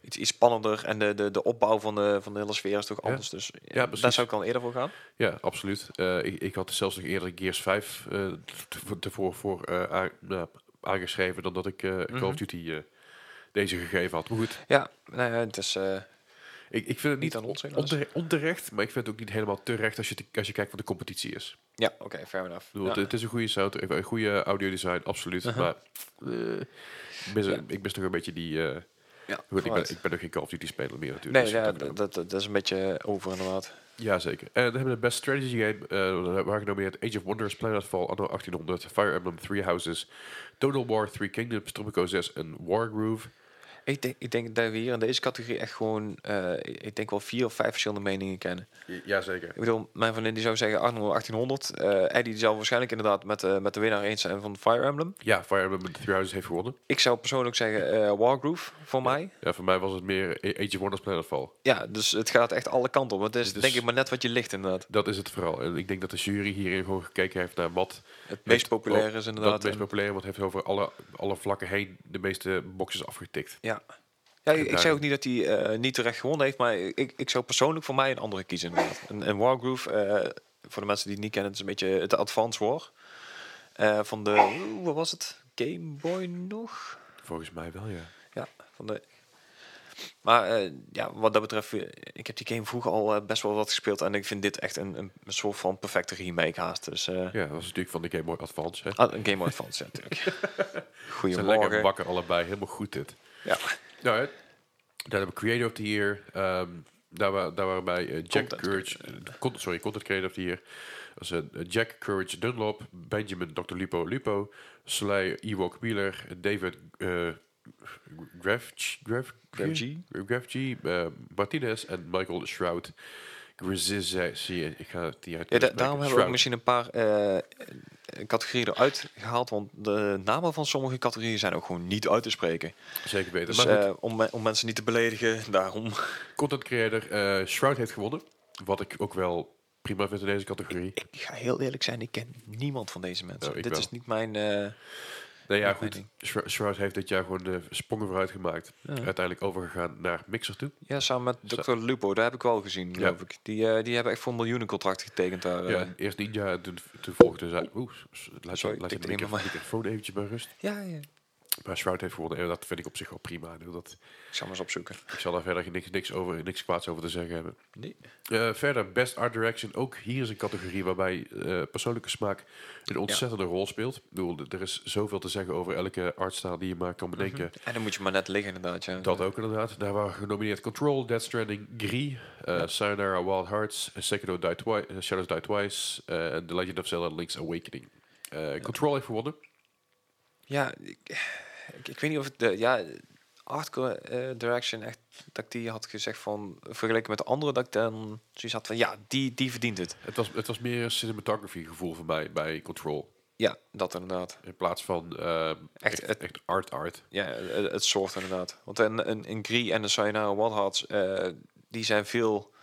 S2: iets, iets spannender. En de, de, de opbouw van de, van de hele sfeer is toch anders. Dus eh,
S1: precies.
S2: daar zou ik dan eerder voor gaan.
S1: Ja, absoluut. Eh, ik, ik had zelfs nog eerder Gears 5 eh, tevo- tevoren voor eh, a- nou, aangeschreven dan dat ik eh, Call of
S2: Mhm.
S1: Duty eh, deze gegeven had. Maar goed,
S2: Ja, nou ja, het is... eh,
S1: Ik, ik vind het niet
S2: Niet aan ons,
S1: on-
S2: helaas.
S1: ontere- onterecht, maar ik vind het ook niet helemaal terecht als je, te- als je kijkt wat de competitie is. Ik
S2: ja, oké, fair enough.
S1: bedoel,
S2: Ja. Uh-huh.
S1: het, het is een goede sound, een goede audiodesign, absoluut. Maar eh, ik mis-
S2: Ja.
S1: ik mis toch een beetje die... eh,
S2: Ja,
S1: goed, ik, ben,
S2: vooruit.
S1: ik ben nog geen Call of Duty speler meer natuurlijk. dus
S2: Nee, ja,
S1: dat-
S2: dat, dat, dat is een beetje over inderdaad.
S1: Jazeker. En dan hebben we de Best Strategy Game. eh waar genomineerd Age of Wonders, Planetfall, Anno 1800, Fire Emblem Three Houses, Total War, Three Kingdoms, Tropico 6 en Wargroove.
S2: Ik denk, ik denk dat we hier in deze categorie echt gewoon, eh, ik ik denk wel vier of vijf verschillende meningen kennen.
S1: Jazeker.
S2: Ik bedoel, mijn vriendin die zou zeggen Arno 1800. eh Eddie die zou waarschijnlijk inderdaad met, eh, met de winnaar eens zijn van Fire Emblem.
S1: Ja, Fire Emblem Three Houses heeft gewonnen.
S2: Ik zou persoonlijk zeggen eh Wargroove voor mij.
S1: Ja, voor mij was het meer E- Age of Wonders, Planetfall.
S2: Ja, dus het gaat echt alle kanten op. Het is
S1: Dit is-
S2: denk ik maar net wat je ligt inderdaad.
S1: Dat is het vooral. En ik denk dat de jury hierin gewoon gekeken heeft naar wat
S2: Het
S1: heeft-
S2: meest populaire is
S1: dat
S2: inderdaad. eh,
S1: het meest
S2: een-
S1: populair wat heeft over alle, alle vlakken heen de meeste boxes afgetikt.
S2: ja. Ja, ik, ik
S1: Duidelijk.
S2: zei ook niet dat hij eh, niet terecht gewonnen heeft, maar ik, ik zou persoonlijk voor mij een andere kiezen inderdaad. En, en Wargroove, eh, voor de mensen die het niet kennen, het is een beetje het Advance War. Eh, van de, oeh, wat was het? Game Boy nog?
S1: Volgens mij wel, ja.
S2: Ja, van de. Maar eh, ja, wat dat betreft, eh, ik heb die game vroeger al eh, best wel wat gespeeld. En ik vind dit echt een, een, een soort van perfecte remake haast. Dus eh,
S1: Ja, dat was natuurlijk van de Game Boy Advance. Hè.
S2: ah, een Game Boy Advance, ja, natuurlijk.
S1: Ze zijn lekker
S2: Goedemorgen.
S1: wakker allebei. Helemaal goed dit.
S2: Ja,
S1: Nou, hè. dan hebben we Creator of the Year. ehm, daar, wa daar waren bij eh, Jack
S2: Content
S1: Courage... eh, con- sorry, Content Creator of the Year. Dat is, eh, Jack Courage Dunlop, Benjamin Dr. Lupo Lupo, Soleil Ewok Wheeler, David eh Graf, Graf,
S2: Grafg.
S1: Graf G, eh, Martinez en Michael Shroud. Grizzize, zie je, ik ga het niet uit.
S2: ja da- daarom hebben we ook misschien een paar eh, categorieën eruit gehaald. Want de namen van sommige categorieën zijn ook gewoon niet uit te spreken.
S1: Zeker weten.
S2: Dus
S1: maar goed,
S2: eh, om, me- om mensen niet te beledigen, daarom.
S1: Content Creator, eh Shroud heeft gewonnen. Wat ik ook wel prima vind in deze categorie.
S2: Ik ga heel eerlijk zijn, ik ken niemand van deze mensen.
S1: Nou, ik
S2: Dit
S1: wel.
S2: is niet mijn... eh,
S1: Nou ja,
S2: Met
S1: goed.
S2: mening.
S1: Shro- Shroud heeft dit jaar gewoon de sprongen vooruit gemaakt.
S2: Ja.
S1: Uiteindelijk overgegaan naar Mixer toe.
S2: Ja, samen met
S1: Zo.
S2: Dr. Lupo, daar heb ik wel gezien, geloof ik. Die, eh, die hebben echt voor miljoenen contracten getekend daar. eh.
S1: Ja. eerst Ninja, en toen, toen volgde zij... Oeh, s- laat,
S2: Sorry,
S1: laat je
S2: ik
S1: de
S2: neem
S1: micro-
S2: hem maar.
S1: microfoon eventjes bij rust.
S2: ja, ja.
S1: Maar Shroud heeft gewonnen en dat vind ik op zich wel prima. Ik bedoel, Dat,
S2: Ik zal maar eens opzoeken.
S1: ik zal daar verder niks, niks, over, niks kwaads over te zeggen hebben.
S2: Nee.
S1: Eh, verder, Best Art Direction. Ook hier is een categorie waarbij eh, persoonlijke smaak een ontzettende rol speelt. Ik bedoel, d- er is zoveel te zeggen over elke artstijl die je maar kan bedenken.
S2: En dan moet je maar net liggen, inderdaad. Ja.
S1: Dat ook inderdaad. Daar waren genomineerd Control, Dead Stranding, Gris, eh Sayonara Wild Hearts, Sekiro Die Twi- eh, Shadows Die Twice eh, en The Legend of Zelda Link's Awakening. Eh, Control heeft gewonnen.
S2: ja ik, ik, ik weet niet of het. eh, ja, art eh, direction echt dat ik die had gezegd van vergeleken met de andere dat ik dan zoiets had van ja die die verdient het
S1: Het was, het was meer een cinematography gevoel voor mij bij Control.
S2: ja dat inderdaad
S1: In plaats van ehm, echt,
S2: het-
S1: echt, art art.
S2: ja eh, het, het soort inderdaad want een een, een Gree en een Sayonara One Hearts eh, die zijn veel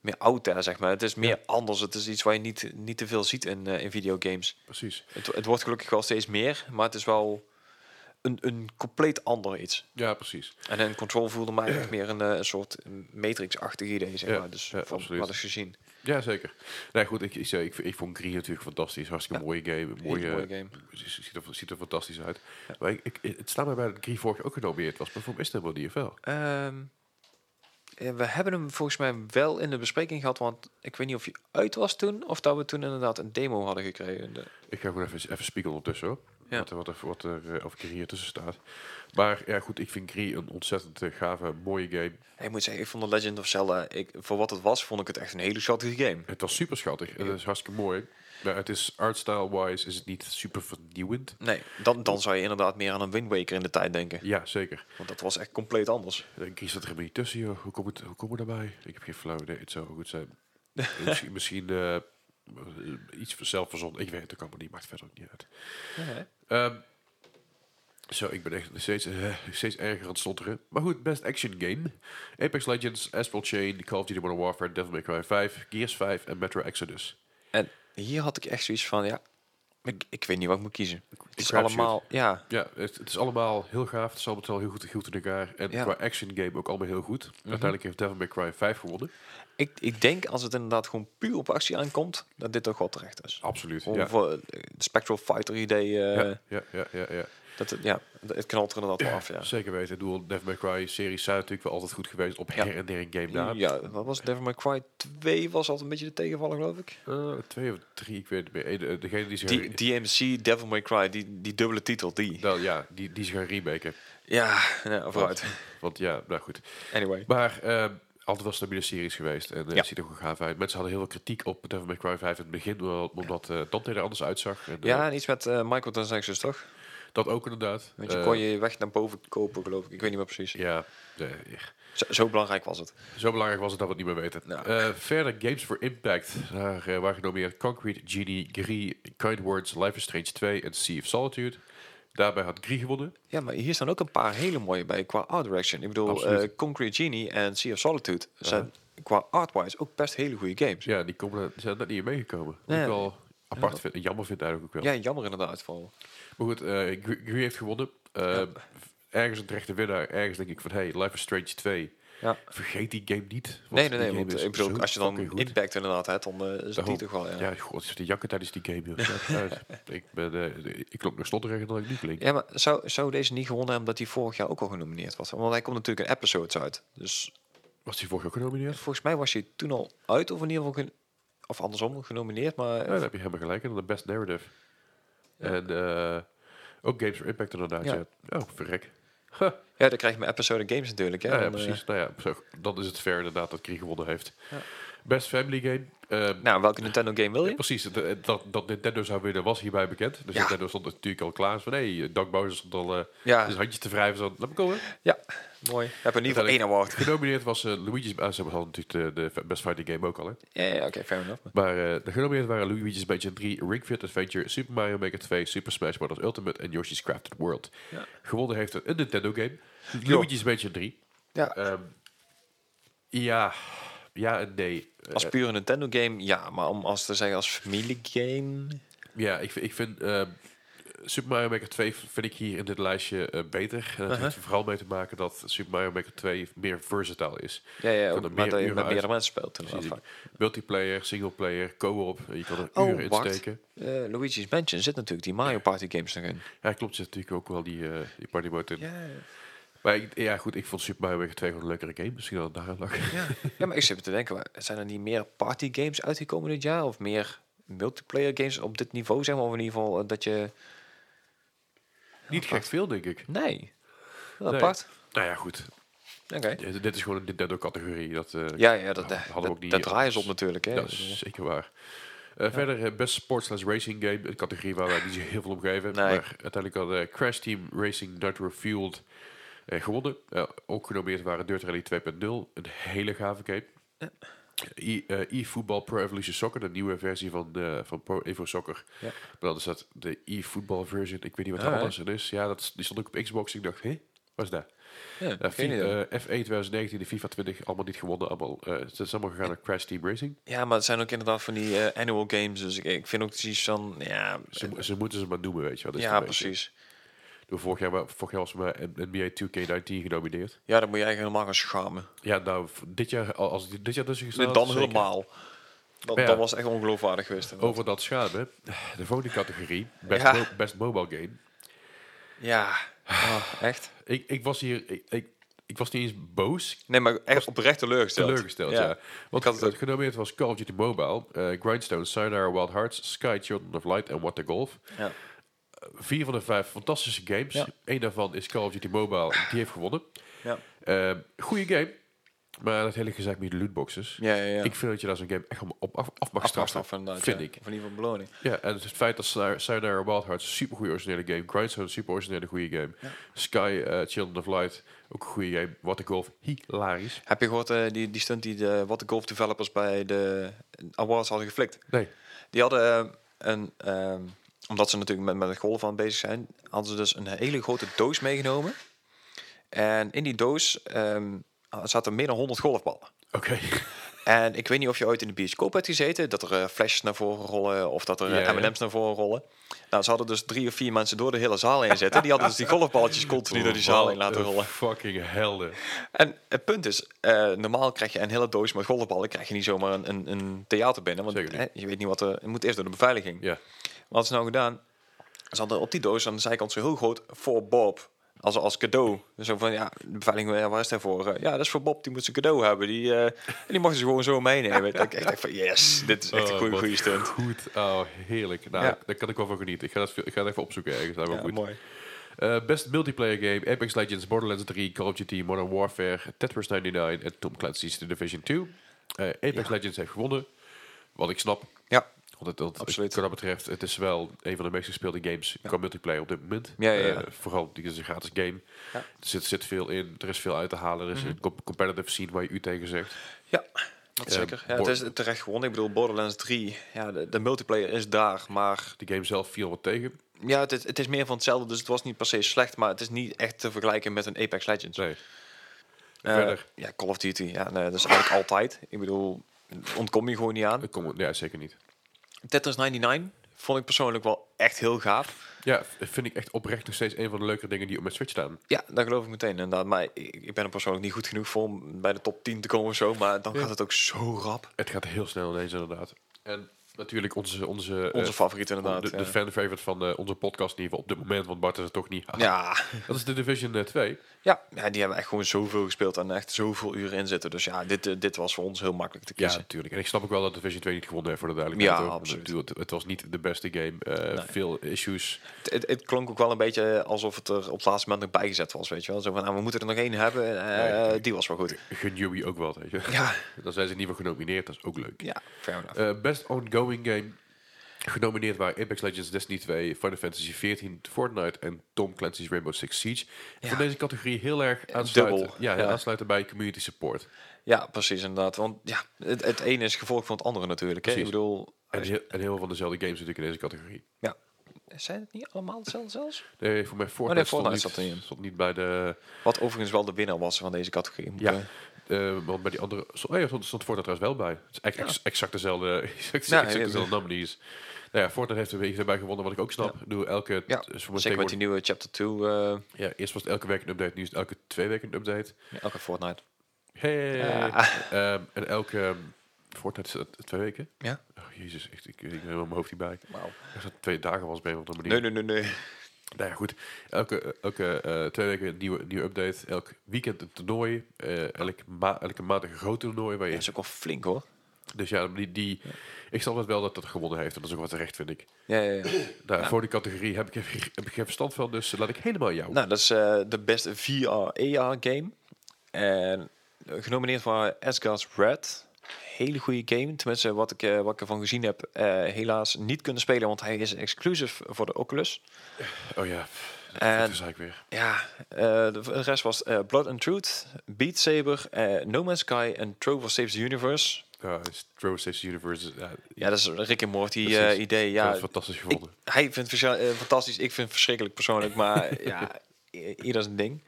S2: meer oud daar zeg maar het is meer anders het is iets waar je niet niet te veel ziet in eh, in videogames
S1: Precies.
S2: het, het wordt gelukkig wel steeds meer maar het is wel een, een compleet ander iets
S1: Ja, precies.
S2: En een control voelde mij echt meer een, eh, een soort Matrix-achtig idee, zeg
S1: Ja,
S2: maar. Dus
S1: ja,
S2: van
S1: absoluut.
S2: wat is gezien.
S1: Ja, zeker. Nee, goed, ik, ik, zei, ik, ik vond Green natuurlijk fantastisch. Hartstikke
S2: Ja.
S1: mooie game. Mooie,
S2: Hele mooie game.
S1: Ziet er, ziet er fantastisch uit. Maar ik, ik, het staat mij bij dat Green vorig jaar ook genomineerd was. Maar voor mij is dat wel DFL.
S2: Ehm, eh, we hebben hem volgens mij wel in de bespreking gehad, want ik weet niet of hij uit was toen, of dat we toen inderdaad een demo hadden gekregen. De-
S1: Ik ga gewoon even, even spiegelen ondertussen hoor.
S2: Ja.
S1: Wat, er- wat, er- wat er eh, of Green hier tussen staat. Maar ja, goed, ik vind Green een ontzettend eh, gave, mooie game.
S2: Ik moet zeggen, ik vond The Legend of Zelda, ik, voor wat het was, vond ik het echt een hele schattige game.
S1: Het was super schattig. en Het is hartstikke mooi. Maar het is artstyle-wise is het niet super vernieuwend.
S2: Nee, dan, dan zou je inderdaad meer aan een Wind Waker in de tijd denken.
S1: Ja, zeker.
S2: Want dat was echt compleet anders.
S1: En Green staat er helemaal niet tussen, joh. Hoe kom, het, hoe kom ik daarbij? Ik heb geen flauw idee. Het zou wel goed zijn. misschien misschien eh, iets zelf verzonnen. Ik weet het ook allemaal niet. Maakt verder ook niet uit. Ehm, zo, ik ben echt nog steeds, eh, steeds erger aan het stotteren. Maar goed, best action game. Apex Legends, Astral Chain, Call of Duty Modern Warfare, Devil May Cry 5, Gears 5 en Metro Exodus.
S2: En hier had ik echt zoiets van, ja, ik, ik weet niet wat ik moet kiezen. Het is
S1: crapshoot.
S2: allemaal, ja,
S1: Ja, het, het is allemaal heel gaaf. Het is allemaal wel heel goed, goed in elkaar. En
S2: Ja. Mhm.
S1: qua action game ook allemaal heel goed. Uiteindelijk heeft Devil May Cry 5 gewonnen.
S2: Ik, ik denk als het inderdaad gewoon puur op actie aankomt, dat dit toch wel terecht is.
S1: Absoluut.
S2: Gewoon
S1: Ja.
S2: voor eh, het Spectral Fighter idee, eh,
S1: Ja, ja, ja, ja, ja.
S2: dat het, ja, het het knalt er inderdaad wel af, ja.
S1: Zeker weten. Ik bedoel, Devil May Cry series zijn natuurlijk wel altijd goed geweest op
S2: Ja.
S1: her en der een game na.
S2: Ja, wat was het? Devil May Cry 2 was altijd een beetje de tegenvaller, geloof ik.
S1: Eh, twee of drie, ik weet het niet meer. Eh, de- Degene die zich...
S2: Die, DMC, Devil May Cry, die, die dubbele titel, die.
S1: Nou, ja, die, die zich gaan remaken.
S2: Ja, nou, vooruit.
S1: Want ja, nou goed.
S2: Anyway.
S1: Maar eh, altijd wel stabiele series geweest. En eh
S2: Ja.
S1: ziet er gewoon gaaf uit. Mensen hadden heel veel kritiek op Devil May Cry 5 in het begin. wel, Omdat eh Dante er anders uitzag. En, eh,
S2: Ja, en iets met eh microtransactions, toch?
S1: dat ook inderdaad.
S2: Want je
S1: Eh,
S2: kon je weg naar boven kopen, geloof ik. Ik weet niet meer precies.
S1: Ja, nee, eh,
S2: Zo, zo belangrijk was het.
S1: zo belangrijk was het dat we het niet meer weten.
S2: Nou.
S1: Eh, verder Games for Impact. Daar eh, waren genomineerd Concrete, Genie, Gris, Kind Words, Life is Strange 2 en Sea of Solitude. Daarbij had Gris gewonnen.
S2: Ja, maar hier staan ook een paar hele mooie bij qua art direction. Ik bedoel,
S1: Absoluut.
S2: eh, Concrete Genie en Sea of Solitude zijn qua artwise ook best hele goede games. Ja,
S1: Ja, die, komen, die zijn net niet meegekomen. Wat
S2: Nee.
S1: ik wel apart vind. en Jammer vind eigenlijk ook wel.
S2: jammer inderdaad. Vooral.
S1: Maar goed, eh Gru Gru heeft gewonnen. Eh,
S2: Ja.
S1: Ergens een terechte winnaar. Ergens denk ik van, hey, Life is Strange 2.
S2: Ja.
S1: Vergeet die game niet. want
S2: Nee,
S1: die
S2: nee, nee.
S1: game
S2: Want eh,
S1: is
S2: ik bedoel,
S1: zo
S2: als je dan
S1: fucking goed.
S2: impact inderdaad hebt, dan eh, is het
S1: Daarom.
S2: die toch wel. Ja. Ja.
S1: Ja, god, zit de jakken tijdens die game. joh. Zet het uit. ik, ben, eh, ik klonk nog stotteriger dan ik nu klink.
S2: maar zou, zou deze niet gewonnen hebben dat hij vorig jaar ook al genomineerd was? Want hij komt natuurlijk in episodes uit. Dus
S1: Was die vorig jaar ook genomineerd?
S2: volgens mij was hij toen al uit, of in ieder geval, gen- of andersom, genomineerd. Maar
S1: Ja, dan heb je helemaal gelijk. En dan de best narrative. En eh, ook Games for Impact inderdaad.
S2: Ja.
S1: Ja. Oh, verrek. Huh.
S2: ja, dan krijg je mijn episode games natuurlijk. Hè,
S1: Ja, ja,
S2: dan, eh,
S1: precies. Nou ja, zo, dan is het fair inderdaad dat Kree gewonnen heeft. Best Family Game. ehm,
S2: nou, welke Nintendo game wil
S1: Ja,
S2: je?
S1: precies, dat, dat, dat Nintendo zou winnen was hierbij bekend. Dus
S2: Ja.
S1: Nintendo stond natuurlijk al klaar. Van, hey, Doug Bowser stond al eh,
S2: Ja.
S1: zijn handjes te wrijven. Zo, laat me komen.
S2: Ja, mooi. Heb in ieder geval één award.
S1: Genomineerd was eh, Luigi's... Ah, ze hadden natuurlijk de, de Best Fighting Game ook al. Hè.
S2: Ja, ja oké, fair enough.
S1: Maar eh, de genomineerd waren Luigi's Mansion 3, Ring Fit Adventure, Super Mario Maker 2, Super Smash Bros. Ultimate en Yoshi's Crafted World.
S2: Ja.
S1: Gewonnen heeft een Nintendo game.
S2: Jo.
S1: Luigi's Mansion 3.
S2: Ja,
S1: Ehm, ja, ja en nee. Eh,
S2: als pure Nintendo game, ja. Maar om als te zeggen als familiegame...
S1: Ja, ik, vind- ik vind ehm, Super Mario Maker 2 vind ik hier in dit lijstje eh, beter. En dat
S2: Uh-huh.
S1: heeft er vooral mee te maken dat Super Mario Maker 2 meer versatile is.
S2: Ja, ja,
S1: Van
S2: ook,
S1: de
S2: maar
S1: meer
S2: dat je
S1: uren
S2: met
S1: uit-
S2: meerdere mensen speelt.
S1: Precies.
S2: Inderdaad, vaak.
S1: Multiplayer, singleplayer, co-op. en Je kan er
S2: Oh,
S1: uren in
S2: wacht.
S1: steken.
S2: Eh, Luigi's Mansion zit natuurlijk die Mario Party games nog in.
S1: Ja, klopt. Er zit natuurlijk ook wel die, eh die party mode in.
S2: Ja,
S1: Maar ik- ja, goed. Ik vond Super Mario Maker 2 gewoon een leukere game. Misschien dat het daar lag.
S2: ja. ja, maar ik zit te denken, maar zijn er niet meer party games uitgekomen dit jaar? Of meer multiplayer games op dit niveau, zeg maar? Of in ieder geval eh, dat je...
S1: Niet gek veel, denk ik.
S2: Nee. Wel
S1: Nee.
S2: Apart.
S1: Nou ja, goed.
S2: Oké.
S1: Dit dit is gewoon een Nintendo-categorie. Dat, eh,
S2: Ja, ja, dat,
S1: hadden
S2: eh,
S1: we
S2: dat,
S1: ook niet,
S2: dat
S1: eh,
S2: draaien ze op natuurlijk. Hè.
S1: Dat is zeker waar. Eh, Verder eh, best sport slash racing game. Een categorie waar wij niet zo heel veel om geven.
S2: Nee.
S1: eh, Maar uiteindelijk hadden Crash Team Racing Nitro Fueled Eh, gewonnen. Eh, ook genomineerd waren Dirt Rally 2.0. Een hele gave game. E- eh, E-Football Pro Evolution Soccer. De nieuwe versie van, eh, van Pro Evo Soccer.
S2: Ja.
S1: Maar dan is dat de E-Football version. Ik weet niet wat
S2: Ah,
S1: er anders in is. Ja, dat, is- die stond ook op Xbox. Ik dacht, hé, wat is dat?
S2: Ja,
S1: Ja,
S2: geen
S1: fi-
S2: idee.
S1: eh, F1 2019 en FIFA 20 allemaal niet gewonnen. Allemaal, eh, het is allemaal gegaan naar Crash Team Racing.
S2: ja, maar het zijn ook inderdaad van die eh, annual games. Dus ik, ik vind ook precies van, ja,
S1: Ze, mo- ze moeten ze maar noemen, weet je wel. dat is
S2: ja
S1: een beetje-
S2: precies.
S1: Door Vorig jaar, wa- vorig jaar was maar NBA 2K19 genomineerd.
S2: Ja, dan moet je eigenlijk helemaal gaan schamen.
S1: Ja, nou, v- dit jaar, al- als dit dit jaar tussen gestaan
S2: dan
S1: zeker.
S2: helemaal. Dan,
S1: Ja. Oh.
S2: dan was het echt ongeloofwaardig geweest. inderdaad.
S1: Over dat schamen, de volgende categorie, best,
S2: Ja.
S1: mo- best mobile game.
S2: Ja, Ah, echt.
S1: Ik, ik was hier, ik, ik, ik was niet eens boos,
S2: Nee, maar echt oprecht teleurgesteld.
S1: teleurgesteld. Ja. Want
S2: Ik had het ook.
S1: genomineerd was Call of Duty Mobile, eh, Grindstone, Sayonara Wild Hearts, Sky Children of Light en What the Golf.
S2: Ja.
S1: Vier van de vijf fantastische games.
S2: Ja.
S1: Eén daarvan is Call of Duty Mobile, die heeft gewonnen.
S2: Ja.
S1: Ehm goede game, maar dat hele gezegd met de lootboxes.
S2: Ja, ja, ja.
S1: Ik vind dat je daar zo'n game echt om- op af, af mag
S2: Af-
S1: straffen.
S2: afstraffen, inderdaad,
S1: vind
S2: ja.
S1: ik.
S2: Of in ieder geval beloning.
S1: Ja, en het feit dat Say- Sayonara Wild Hearts een supergoeie originele game, Grindstone een super originele goede game, Sky eh, Children of Light ook een goede game, What the Golf hilarisch.
S2: Heb je gehoord, eh, die, die stunt die de What the Golf developers bij de awards hadden geflikt?
S1: Nee,
S2: Die hadden eh, een, eh, omdat ze natuurlijk met, met het golven aan het bezig zijn, hadden ze dus een hele grote doos meegenomen. En in die doos ehm, zaten meer dan 100 golfballen.
S1: oké.
S2: En ik weet niet of je ooit in de bioscoop hebt gezeten, dat er eh, flesjes naar voren rollen of dat er eh,
S1: Ja, ja.
S2: M&M's naar voren rollen. Nou, ze hadden dus drie of vier mensen door de hele zaal heen zitten. Die hadden dus die golfballetjes continu door die zaal heen laten
S1: Oh, Wat een
S2: rollen.
S1: Fucking helden.
S2: En het punt is, eh, normaal krijg je een hele doos met golfballen, krijg je niet zomaar een, een, een theater binnen. Want
S1: Zeker niet.
S2: hè, je weet niet wat er, het moet eerst door de beveiliging.
S1: Ja.
S2: Wat is nou gedaan? Ze hadden op die doos aan de zijkant zo heel groot voor Bob. Als, als cadeau. Zo van, ja, de beveiliging, ja, waar is hij voor? Eh, Ja, dat is voor Bob, die moet zijn cadeau hebben. Die, eh, en die mochten ze gewoon zo meenemen. Dat ik echt dacht van, yes, dit is echt een
S1: Oh,
S2: goede,
S1: wat
S2: goede stunt.
S1: Goed, oh, heerlijk. Nou,
S2: Ja.
S1: daar kan ik wel van genieten. Ik ga dat, ik ga dat even opzoeken ergens. Dat is wel
S2: Ja,
S1: goed.
S2: mooi.
S1: Eh, best multiplayer game, Apex Legends, Borderlands 3, Call of Duty, Modern Warfare, Tetris 99 en Tom Clancy's The Division 2. Eh, Apex Legends heeft gewonnen, wat ik snap.
S2: Ja,
S1: Want het, dat,
S2: Absoluut.
S1: Wat dat betreft, het is wel een van de meest gespeelde games qua multiplayer op dit moment.
S2: Ja, ja, ja.
S1: Eh, vooral, dit is een gratis game.
S2: Ja. Mhm.
S1: Er zit, zit veel in, er is veel uit te halen. Er is een comp- competitive scene waar je u tegen zegt.
S2: ja. Dat
S1: Eh,
S2: zeker. Ja, het
S1: Bor-
S2: is terecht gewonnen. Ik bedoel, Borderlands 3, ja, de, de multiplayer is daar. Maar
S1: De game zelf viel wat tegen.
S2: ja, het, is- het is meer van hetzelfde. Dus het was niet per se slecht. Maar het is niet echt te vergelijken met een Apex Legends.
S1: Nee.
S2: Eh,
S1: Verder.
S2: Ja, Call of Duty. Ja, nee, dat is eigenlijk altijd. Ik bedoel, ontkom je gewoon niet aan.
S1: Dat komt, ja, zeker niet.
S2: Tetris 99 vond ik persoonlijk wel echt heel gaaf.
S1: Ja, v- vind ik echt oprecht nog steeds een van de leukere dingen die op mijn Switch staan.
S2: Ja, dat geloof ik meteen inderdaad. Maar ik, ik ben er persoonlijk niet goed genoeg voor om bij de top 10 te komen of zo. Maar dan gaat het ook zo rap.
S1: Het gaat heel snel ineens, inderdaad. En natuurlijk onze... Onze,
S2: Onze
S1: eh,
S2: favoriet inderdaad.
S1: De, de
S2: ja.
S1: fan-favorite van eh, onze podcast in ieder geval op dit moment, want Bart is er toch niet.
S2: ja.
S1: Dat is de Division eh, 2.
S2: Ja, ja, die hebben echt gewoon zoveel gespeeld en echt zoveel uren in zitten. Dus ja, dit, eh, dit was voor ons heel makkelijk te
S1: Ja,
S2: kiezen.
S1: natuurlijk. En ik snap ook wel dat Division 2 niet gewonnen heeft voor de duidelijkheid.
S2: Ja,
S1: hoor.
S2: absoluut.
S1: Ik bedoel, Het, het was niet de beste game. eh,
S2: Nee.
S1: Veel issues.
S2: Het, het, het klonk ook wel een beetje alsof het er op het laatste moment nog bijgezet was, weet je wel. Zo van, nou, we moeten er nog één hebben. eh,
S1: Nee.
S2: die was wel goed.
S1: Genuwi ook wel, weet je.
S2: Ja,
S1: Dan zijn ze in ieder geval genomineerd. Dat is ook leuk.
S2: ja fair enough.
S1: Eh, best ongoing game. Genomineerd waren Apex Legends, Destiny 2, Final Fantasy 14, Fortnite en Tom Clancy's Rainbow Six Siege.
S2: Ja. Eh,
S1: Van deze categorie heel erg aansluiten,
S2: dubbel.
S1: Ja,
S2: Ja.
S1: aansluiten bij community support.
S2: Ja, precies inderdaad. Want ja, het, het ene is gevolg van het andere natuurlijk. Hè? Ik
S1: Precies.
S2: bedoel,
S1: En heel, en heel veel van dezelfde games natuurlijk in deze categorie.
S2: ja. Zijn het niet allemaal hetzelfde zelfs?
S1: Nee, voor mij Fortnite,
S2: Oh nee,
S1: stond,
S2: Fortnite
S1: niet,
S2: zat er niet in.
S1: stond niet bij de...
S2: Wat overigens wel de winnaar was van deze categorie. moet,
S1: Ja.
S2: eh,
S1: eh, want bij die andere... Stond, oh ja, stond, stond Fortnite trouwens wel bij. Het is ex- ex- exact dezelfde, exact,
S2: Ja,
S1: exact
S2: ja,
S1: dezelfde nominees. Nou ja, Fortnite heeft er weer iets bij gewonnen, wat ik ook snap. Doe elke...
S2: Ja,
S1: t- is voor mij
S2: zeker
S1: tegenwoordig-
S2: met die nieuwe Chapter 2, eh,
S1: ja, eerst was het elke week een update, nu is het elke twee weken een update.
S2: elke Fortnite.
S1: Hey.
S2: Ja.
S1: Ehm, en elke... ehm, Fortnite is dat twee weken?
S2: Ja.
S1: Oh, jezus, echt, ik, ik, ben helemaal mijn hoofd niet bij.
S2: Wauw.
S1: Als dat twee dagen was, ben je op een manier.
S2: Nee, nee, nee, nee.
S1: Nou ja, goed. Elke, elke eh, twee weken een nieuwe, nieuwe update. Elk weekend een toernooi. eh elke, ma elke maand een groot toernooi. Waar je
S2: Dat is ook wel flink hoor.
S1: Dus ja, die, die, ik snap het wel dat dat gewonnen heeft. En dat is ook wat terecht, vind ik.
S2: Ja, ja, ja.
S1: Nou, Voor die categorie heb ik, geen- heb ik geen verstand van, dus eh, laat ik helemaal jou.
S2: nou, dat is eh, de beste VR-AR game. En eh, genomineerd voor Asgard's Red. Hele goede game. Tenminste, wat ik, eh, wat ik ervan gezien heb, eh, helaas niet kunnen spelen, want hij is exclusief voor de Oculus.
S1: Oh ja, pff,
S2: En
S1: dat zei ik weer.
S2: ja, eh, de de rest was eh, Blood and Truth, Beat Saber, eh, No Man's Sky en Trover Saves the Universe.
S1: Ja, is Trover Saves the Universe. is- Ja,
S2: Ja, dat is een Rick en Morty eh,
S1: Precies.
S2: idee.
S1: ja,
S2: Ja,
S1: dat is fantastisch gevonden.
S2: Ik- hij vindt het verscha- eh, fantastisch, ik vind het verschrikkelijk persoonlijk, maar ja, i- ieder zijn ding.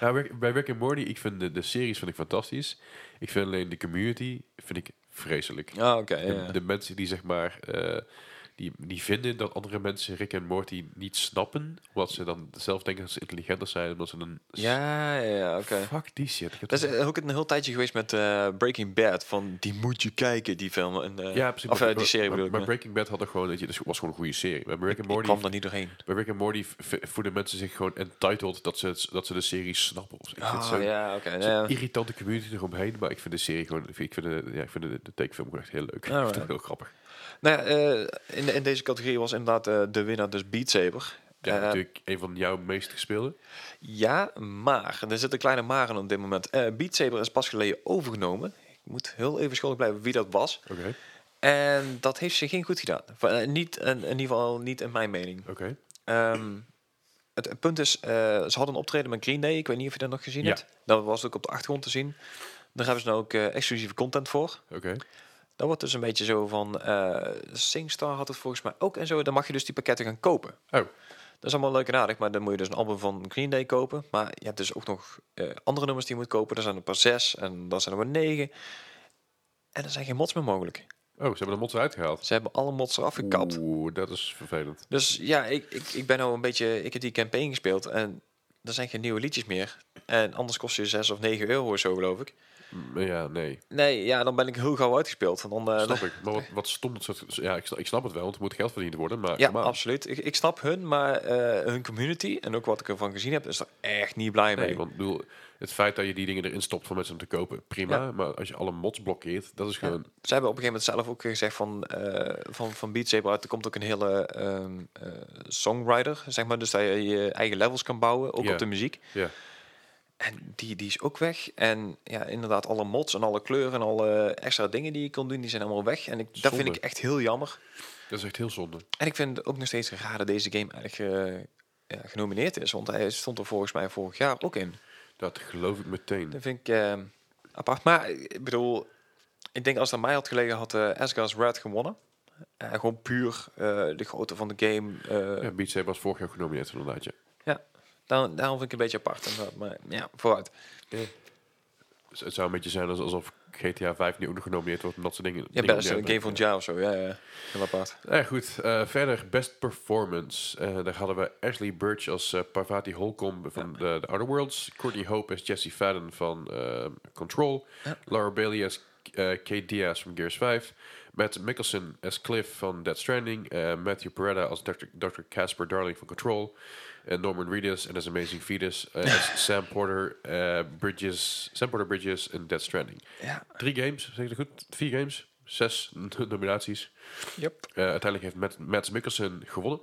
S1: Nou, Rick- bij Rick and Morty, ik vind de, de series vind ik fantastisch. Ik vind alleen de community vind ik vreselijk.
S2: Ah, oké. ja.
S1: De, de mensen die zeg maar, eh, die, die vinden dat andere mensen Rick en Morty niet snappen, omdat ze dan zelf denken dat ze intelligenter zijn, omdat ze dan...
S2: Ja, ja, ja, oké.
S1: Fuck die shit. Ik heb
S2: Dat is eh, ook een heel tijdje geweest met eh, Breaking Bad, van die moet je kijken, die film. En, eh,
S1: ja, precies.
S2: Of
S1: maar-
S2: eh, die serie
S1: maar,
S2: bedoel ik.
S1: maar
S2: ja.
S1: Breaking Bad had er gewoon, weet je, dus was gewoon een goede serie. Bij Rick and
S2: Ik
S1: Morty,
S2: kwam er niet doorheen.
S1: bij Rick and Morty v- voelen mensen zich gewoon entitled dat ze, het- dat ze de serie snappen. Of zo. Ik vind het
S2: Ah,
S1: zo-
S2: ja, oké.
S1: Zo'n
S2: ja.
S1: irritante community eromheen. Maar ik vind de serie gewoon... Ik vind de, ja, ik vind de, de tekenfilm gewoon echt heel leuk. Ik vind het
S2: Alright.
S1: heel grappig.
S2: Nou ja, eh, in, in deze categorie was inderdaad eh, de winnaar dus Beat Saber.
S1: Ja,
S2: Eh,
S1: natuurlijk een van jouw meest gespeelde.
S2: ja, maar. Er zit een kleine maar in op dit moment. Eh Beat Saber is pas geleden overgenomen. Ik moet heel even schuldig blijven wie dat was.
S1: Oké,
S2: En dat heeft ze geen goed gedaan. Van, eh, niet, in, in ieder geval niet in mijn mening.
S1: oké.
S2: Ehm, het, het punt is, eh, ze hadden een optreden met Green Day. Ik weet niet of je dat nog gezien
S1: Ja.
S2: hebt. Dat was ook op de achtergrond te zien. Daar hebben ze nou ook eh, exclusieve content voor.
S1: Oké.
S2: Dat wordt dus een beetje zo van... eh, Singstar had het volgens mij ook en zo. Dan mag je dus die pakketten gaan kopen.
S1: Oh,
S2: Dat is allemaal leuk en aardig, maar dan moet je dus een album van Green Day kopen. Maar je hebt dus ook nog eh, andere nummers die je moet kopen. Er zijn er een paar zes en dan zijn er maar negen. En er zijn geen mods meer mogelijk.
S1: oh, ze hebben de mods uitgehaald.
S2: Ze hebben alle mods eraf gekapt.
S1: Oeh, dat is vervelend.
S2: Dus ja, ik, ik, ik ben nou een beetje... Ik heb die campaign gespeeld en er zijn geen nieuwe liedjes meer. En anders kost je 6 of 9 euro of zo, geloof ik.
S1: Mm, Ja, nee.
S2: Nee, ja, dan ben ik heel gauw uitgespeeld. Want dan, Hmm. eh,
S1: Snap ik. Maar wat, wat stom dat ze... Ja, ik, sna- ik snap het wel, want er moet geld verdiend worden. Maar
S2: Ja,
S1: come on.
S2: absoluut. Ik, ik snap hun, maar eh, hun community en ook wat ik ervan gezien heb, is er echt niet blij mee.
S1: Nee, want ik bedoel, het feit dat je die dingen erin stopt voor mensen om te kopen, prima.
S2: Ja.
S1: Maar als je alle mods blokkeert, dat is
S2: Ja.
S1: gewoon...
S2: Ze hebben op een gegeven moment zelf ook gezegd van, eh, van, van Beat Saber uit, er komt ook een hele ehm, eh, songwriter, zeg maar. Dus dat je je eigen levels kan bouwen, ook
S1: Ja.
S2: op de muziek.
S1: Ja.
S2: En die, die is ook weg. En ja, inderdaad, alle mods en alle kleuren en alle extra dingen die je kon doen, die zijn allemaal weg. En ik, dat
S1: Zonde.
S2: vind ik echt heel jammer.
S1: Dat is echt heel zonde.
S2: En ik vind het ook nog steeds raar dat deze game eigenlijk eh, ja, genomineerd is. Want hij stond er volgens mij vorig jaar ook in.
S1: Dat geloof ik meteen.
S2: Dat vind ik eh, apart. Maar eh, ik bedoel, ik denk als het aan mij had gelegen, had eh Asgard's Red gewonnen. Eh, gewoon puur eh, de grootte van de game. eh,
S1: Ja, Beat Saber was vorig jaar genomineerd inderdaad, ja.
S2: ja. Daarom, daarom vind ik het een beetje apart. inderdaad. Maar ja, vooruit.
S1: Dus het zou een beetje zijn als- alsof GTA 5 nu ook nog genomineerd wordt omdat ze dingen.
S2: Ja,
S1: dingen
S2: best een
S1: doen.
S2: game van het jaar of zo. Ja, ja. Heel apart.
S1: Nou ja, goed. eh, verder, best performance. Eh, daar hadden we Ashley Birch als eh, Parvati Holcomb van de, de Outer Worlds. Courtney Hope als Jessie Fadden van eh, Control. Laura Bailey als eh, Kate Diaz van Gears 5. Matt Mickelson als Cliff van Dead Stranding. Eh, Matthew Peretta als Dr. Dr. Casper Darling van Control. En Norman Reedus en His Amazing Fetus eh, als Sam Porter, eh, Bridges, Sam Porter Bridges in Dead Stranding.
S2: Ja,
S1: Drie games, zeg ik dat goed? Vier games, zes nominaties.
S2: yep.
S1: Eh, uiteindelijk heeft Matt, Mads Mikkelsen gewonnen.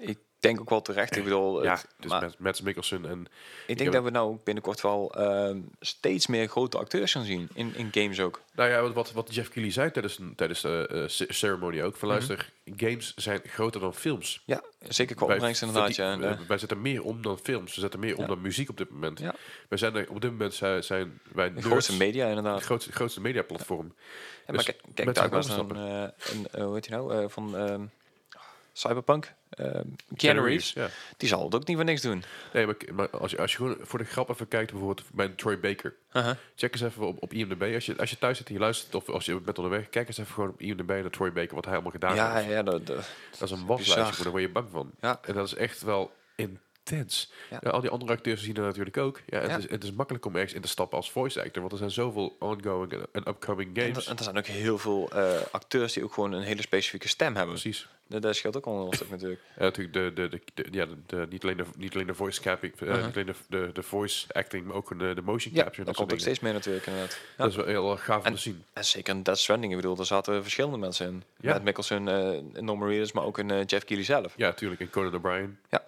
S2: ik denk ook wel terecht. Ik bedoel,
S1: ja,
S2: het-
S1: dus
S2: maar
S1: Mads, Mads Mikkelsen en...
S2: ik
S1: heb-
S2: denk dat we nou ook binnenkort wel ehm, steeds meer grote acteurs gaan zien in, in games ook.
S1: Nou ja, wat- wat, wat Jeff Keighley zei tijdens, tijdens de eh, ce- ceremonie ook. Van luister, games zijn groter dan films.
S2: Ja, zeker qua Mhm. opbrengst
S1: verdien-
S2: inderdaad. Ja, en, eh,
S1: eh, wij zetten meer om dan films. We zetten meer om dan muziek op dit moment.
S2: Ja.
S1: Wij zijn er- op dit moment zijn, zijn wij
S2: de
S1: nerds,
S2: grootste media inderdaad.
S1: het grootste, grootste mediaplatform.
S2: Ja, maar
S1: Dus
S2: kijk, kijk
S1: mensen
S2: daar was
S1: gaan
S2: een, eh, een eh, hoe heet hij nou, eh, van ehm, Cyberpunk, ehm Keanu, Reeves.
S1: Ja.
S2: Die zal het ook niet voor niks doen.
S1: Nee, maar, maar als, je, als je gewoon voor de grap even kijkt, bijvoorbeeld bij Troy Baker. Check eens even op, op IMDb. Als je, als je thuis zit en je luistert of als je bent onderweg, kijk eens even gewoon op IMDb naar Troy Baker, wat hij allemaal gedaan
S2: Ja,
S1: heeft.
S2: ja, dat, dat-
S1: Dat is een waslijstje,
S2: Bizar.
S1: maar daar word je bang van.
S2: Ja.
S1: En dat is echt wel intens.
S2: Ja.
S1: Ja, al die andere acteurs zien dat natuurlijk ook. Ja, het,
S2: Ja.
S1: Is, het is makkelijk om ergens in te stappen als voice actor, want er zijn zoveel ongoing en- en upcoming
S2: en,
S1: games.
S2: dat- en er zijn ook heel veel eh, acteurs die ook gewoon een hele specifieke stem hebben.
S1: Precies.
S2: Dat, dat scheelt ook al een heel stuk natuurlijk.
S1: En natuurlijk de, de, de, de- ja, de, de- niet, alleen de, niet alleen de voice capping, eh, niet alleen de, de, de voice acting, maar ook eh, de, de motion
S2: Uh-huh. Ja,
S1: capture. en soort
S2: dat komt ook
S1: dingen.
S2: steeds meer natuurlijk inderdaad. Ja.
S1: Dat is wel heel gaaf om te zien.
S2: En zeker in Death Stranding, ik bedoel, er zaten verschillende mensen in.
S1: Ja.
S2: Met Mickelson, eh Norman Reedus, maar ook in eh, Jeff Keighley zelf.
S1: Ja, natuurlijk. En Conan O'Brien.
S2: Ja,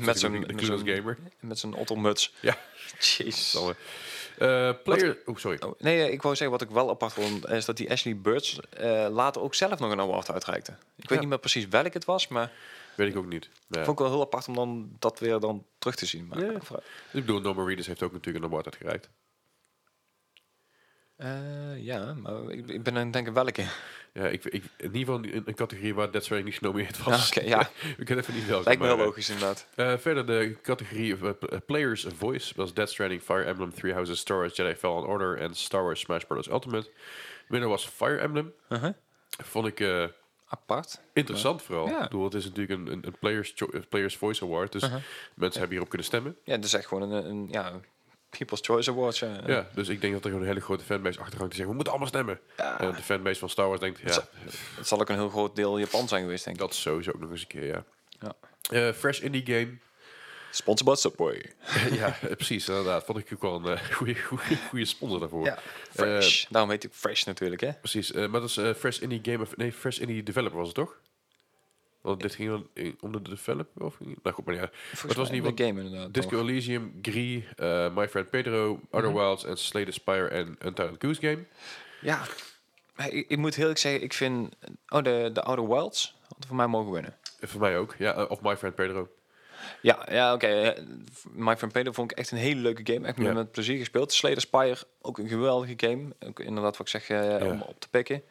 S2: met zijn-
S1: De
S2: met
S1: Clueless
S2: zijn-
S1: Gamer.
S2: met zijn ottermuts.
S1: Ja,
S2: Jezus.
S1: zal eh player... Oh, sorry.
S2: Oh, nee, eh, ik wou zeggen wat ik wel apart vond, is dat die Ashley Birch eh, later ook zelf nog een award uitreikte. Ik weet
S1: Ja.
S2: niet meer precies welk het was, maar
S1: Weet ik ook niet. Nee.
S2: Vond ik wel heel apart om dan dat weer dan terug te zien. Maar
S1: Ja.
S2: vooruit.
S1: Ik bedoel, Norman Reedus heeft ook natuurlijk een award uitgereikt.
S2: Eh, ja, maar ik, ik ben aan het denken welke.
S1: Ja, ik, ik, in ieder geval een, een categorie waar Dead Stranding niet genomineerd was.
S2: Ja, oké, ja.
S1: Ik ken even niet welke.
S2: Lijkt me heel
S1: maar,
S2: logisch inderdaad.
S1: eh, eh, verder de categorie eh, p- eh, Players Voice was Dead Stranding, Fire Emblem, Three Houses, Star Wars Jedi Fallen Order en Star Wars Smash Bros. Ultimate. Winnaar was Fire Emblem.
S2: Uh-huh.
S1: Vond ik... eh,
S2: Apart.
S1: Interessant vooral.
S2: Ja. Uh-huh.
S1: Ik bedoel, het is natuurlijk een, een, een players, cho- eh, players Voice Award, dus mensen hebben hierop kunnen stemmen.
S2: Ja, dus echt gewoon een, een ja, People's Choice Awards. Ja.
S1: Ja. dus ik denk dat er gewoon een hele grote fanbase achter hangt die zegt, we moeten allemaal stemmen. En dat de fanbase van Star Wars denkt, ja,
S2: Het zal ook een heel groot deel Japan zijn geweest, denk ik.
S1: dat is sowieso ook nog eens een keer, ja.
S2: Ja.
S1: Eh, fresh Indie Game.
S2: Sponsored by Subway.
S1: ja, eh, precies, inderdaad. Vond ik ook wel een eh, goede goede sponsor daarvoor.
S2: Ja, Fresh. Daarom heet ik Fresh natuurlijk, hè?
S1: Precies, eh, maar dat is eh, Fresh Indie Game, of, nee, Fresh Indie Developer was het toch? Want dit ging dan in- om de developer? Of, ging- nou goed, maar ja. Maar het was niet wat
S2: een game inderdaad.
S1: Disco Elysium, Gree, eh, My Friend Pedro, Other
S2: Mhm.
S1: Wilds en Slay the Spire en Untitled Goose Game.
S2: Ja, Hey, ik, ik moet heel eerlijk zeggen, ik vind... Oh, de, de Outer Wilds hadden voor mij mogen winnen.
S1: Eh, Voor mij ook, ja. eh, Of My Friend Pedro.
S2: Ja, ja oké. eh, My Friend Pedro vond ik echt een hele leuke game. Echt met,
S1: Ja.
S2: met plezier gespeeld. Slayer Spire, ook een geweldige game. Ook inderdaad wat ik zeg, eh, om op te pikken.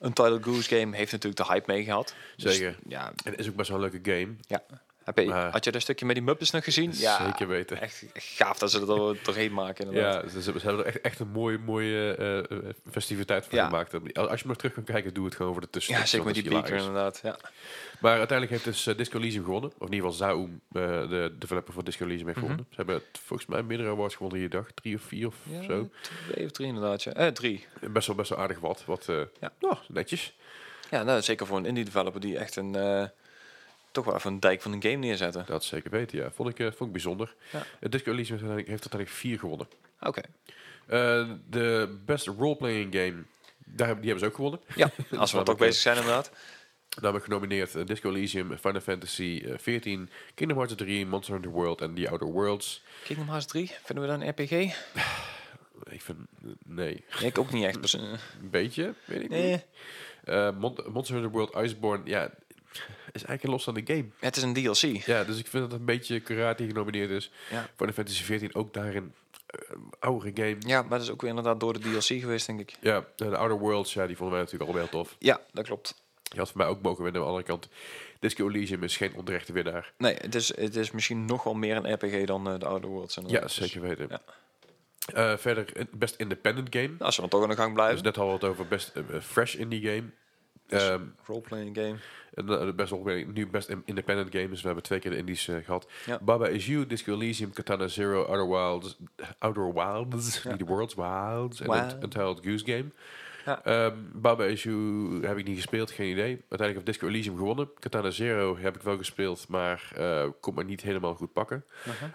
S2: Een Title Goose game heeft natuurlijk de hype meegehad. Dus,
S1: Zeker.
S2: ja,
S1: En het is ook best wel een leuke game.
S2: ja. Heb je,
S1: Maar-
S2: had je dat stukje met die Muppets nog gezien? Ja,
S1: Zeker weten.
S2: Echt gaaf dat ze er door- doorheen maken inderdaad.
S1: Ja, ze, ze hebben er echt, echt een mooie, mooie eh, eh, festiviteit van
S2: Ja.
S1: gemaakt. Als als je maar terug kan kijken, doe het gewoon voor de tussen.
S2: Ja, zeker met die beaker inderdaad. Ja.
S1: Maar uiteindelijk heeft dus eh, Disco Elysium gewonnen. Of in ieder geval Zaum, eh, de developer van Disco Elysium, heeft gewonnen. Ze hebben het volgens mij meerdere awards gewonnen die dag. Drie of vier of
S2: Mhm. Ja,
S1: zo.
S2: Twee of drie inderdaad. Ja. Eh, drie.
S1: Best wel, best wel aardig wat. wat eh,
S2: Ja.
S1: nou, netjes.
S2: Ja, nou, zeker voor een indie developer die echt een... eh, toch wel even een dijk van een game neerzetten.
S1: Dat zeker weten, ja. Vond ik, eh, vond ik bijzonder.
S2: Ja.
S1: Eh, Disco Elysium heeft uiteindelijk- heeft uiteindelijk vier gewonnen.
S2: Oké.
S1: Eh, de best roleplaying game, daar hebben, die hebben ze ook gewonnen.
S2: Ja, als we dan toch
S1: Namelijk,
S2: bezig zijn inderdaad.
S1: Namelijk genomineerd eh, Disco Elysium, Final Fantasy eh, 14, Kingdom Hearts 3, Monster Hunter World en The Outer Worlds.
S2: Kingdom Hearts 3, vinden we dan een RPG? Nee,
S1: Ik vind, eh, nee,
S2: ik ook niet echt. persoon-
S1: een beetje, weet ik niet.
S2: Nee.
S1: Eh, Mon- Monster Hunter World Iceborne, ja, is eigenlijk een los aan de game.
S2: Het is een DLC.
S1: Ja, dus ik vind dat het een beetje karate die genomineerd is.
S2: Ja.
S1: Final Fantasy 14 ook daarin eh, een oudere game.
S2: Ja, maar dat is ook weer inderdaad door de DLC geweest, denk ik.
S1: Ja, en de Outer Worlds, ja, die vonden wij natuurlijk allemaal heel tof.
S2: Ja, dat klopt.
S1: Je had voor mij ook mogen winnen. Aan de andere kant, Disco Elysium is geen onterechte winnaar.
S2: Nee, het is, het is misschien nog wel meer een RPG dan eh, de Outer Worlds.
S1: Ja,
S2: inderdaad. Dus
S1: zeker weten.
S2: ja.
S1: Eh, verder, een best independent game.
S2: Nou, Als we dan toch aan de gang blijven.
S1: Dus net hadden we het over best eh, eh, fresh indie game. Ehm,
S2: Roleplaying game.
S1: en, eh, best wel, nu best in- independent game, dus we hebben twee keer de indies eh, gehad.
S2: Ja.
S1: Baba Is You, Disco Elysium, Katana Zero, Outer Wilds, Outer Wilds, niet The Worlds, Wilds, en
S2: Wild.
S1: Unt- Untitled Goose Game.
S2: Ja.
S1: Ehm, Baba Is You heb ik niet gespeeld, geen idee. Uiteindelijk heeft Disco Elysium gewonnen. Katana Zero heb ik wel gespeeld, maar eh kon me niet helemaal goed pakken.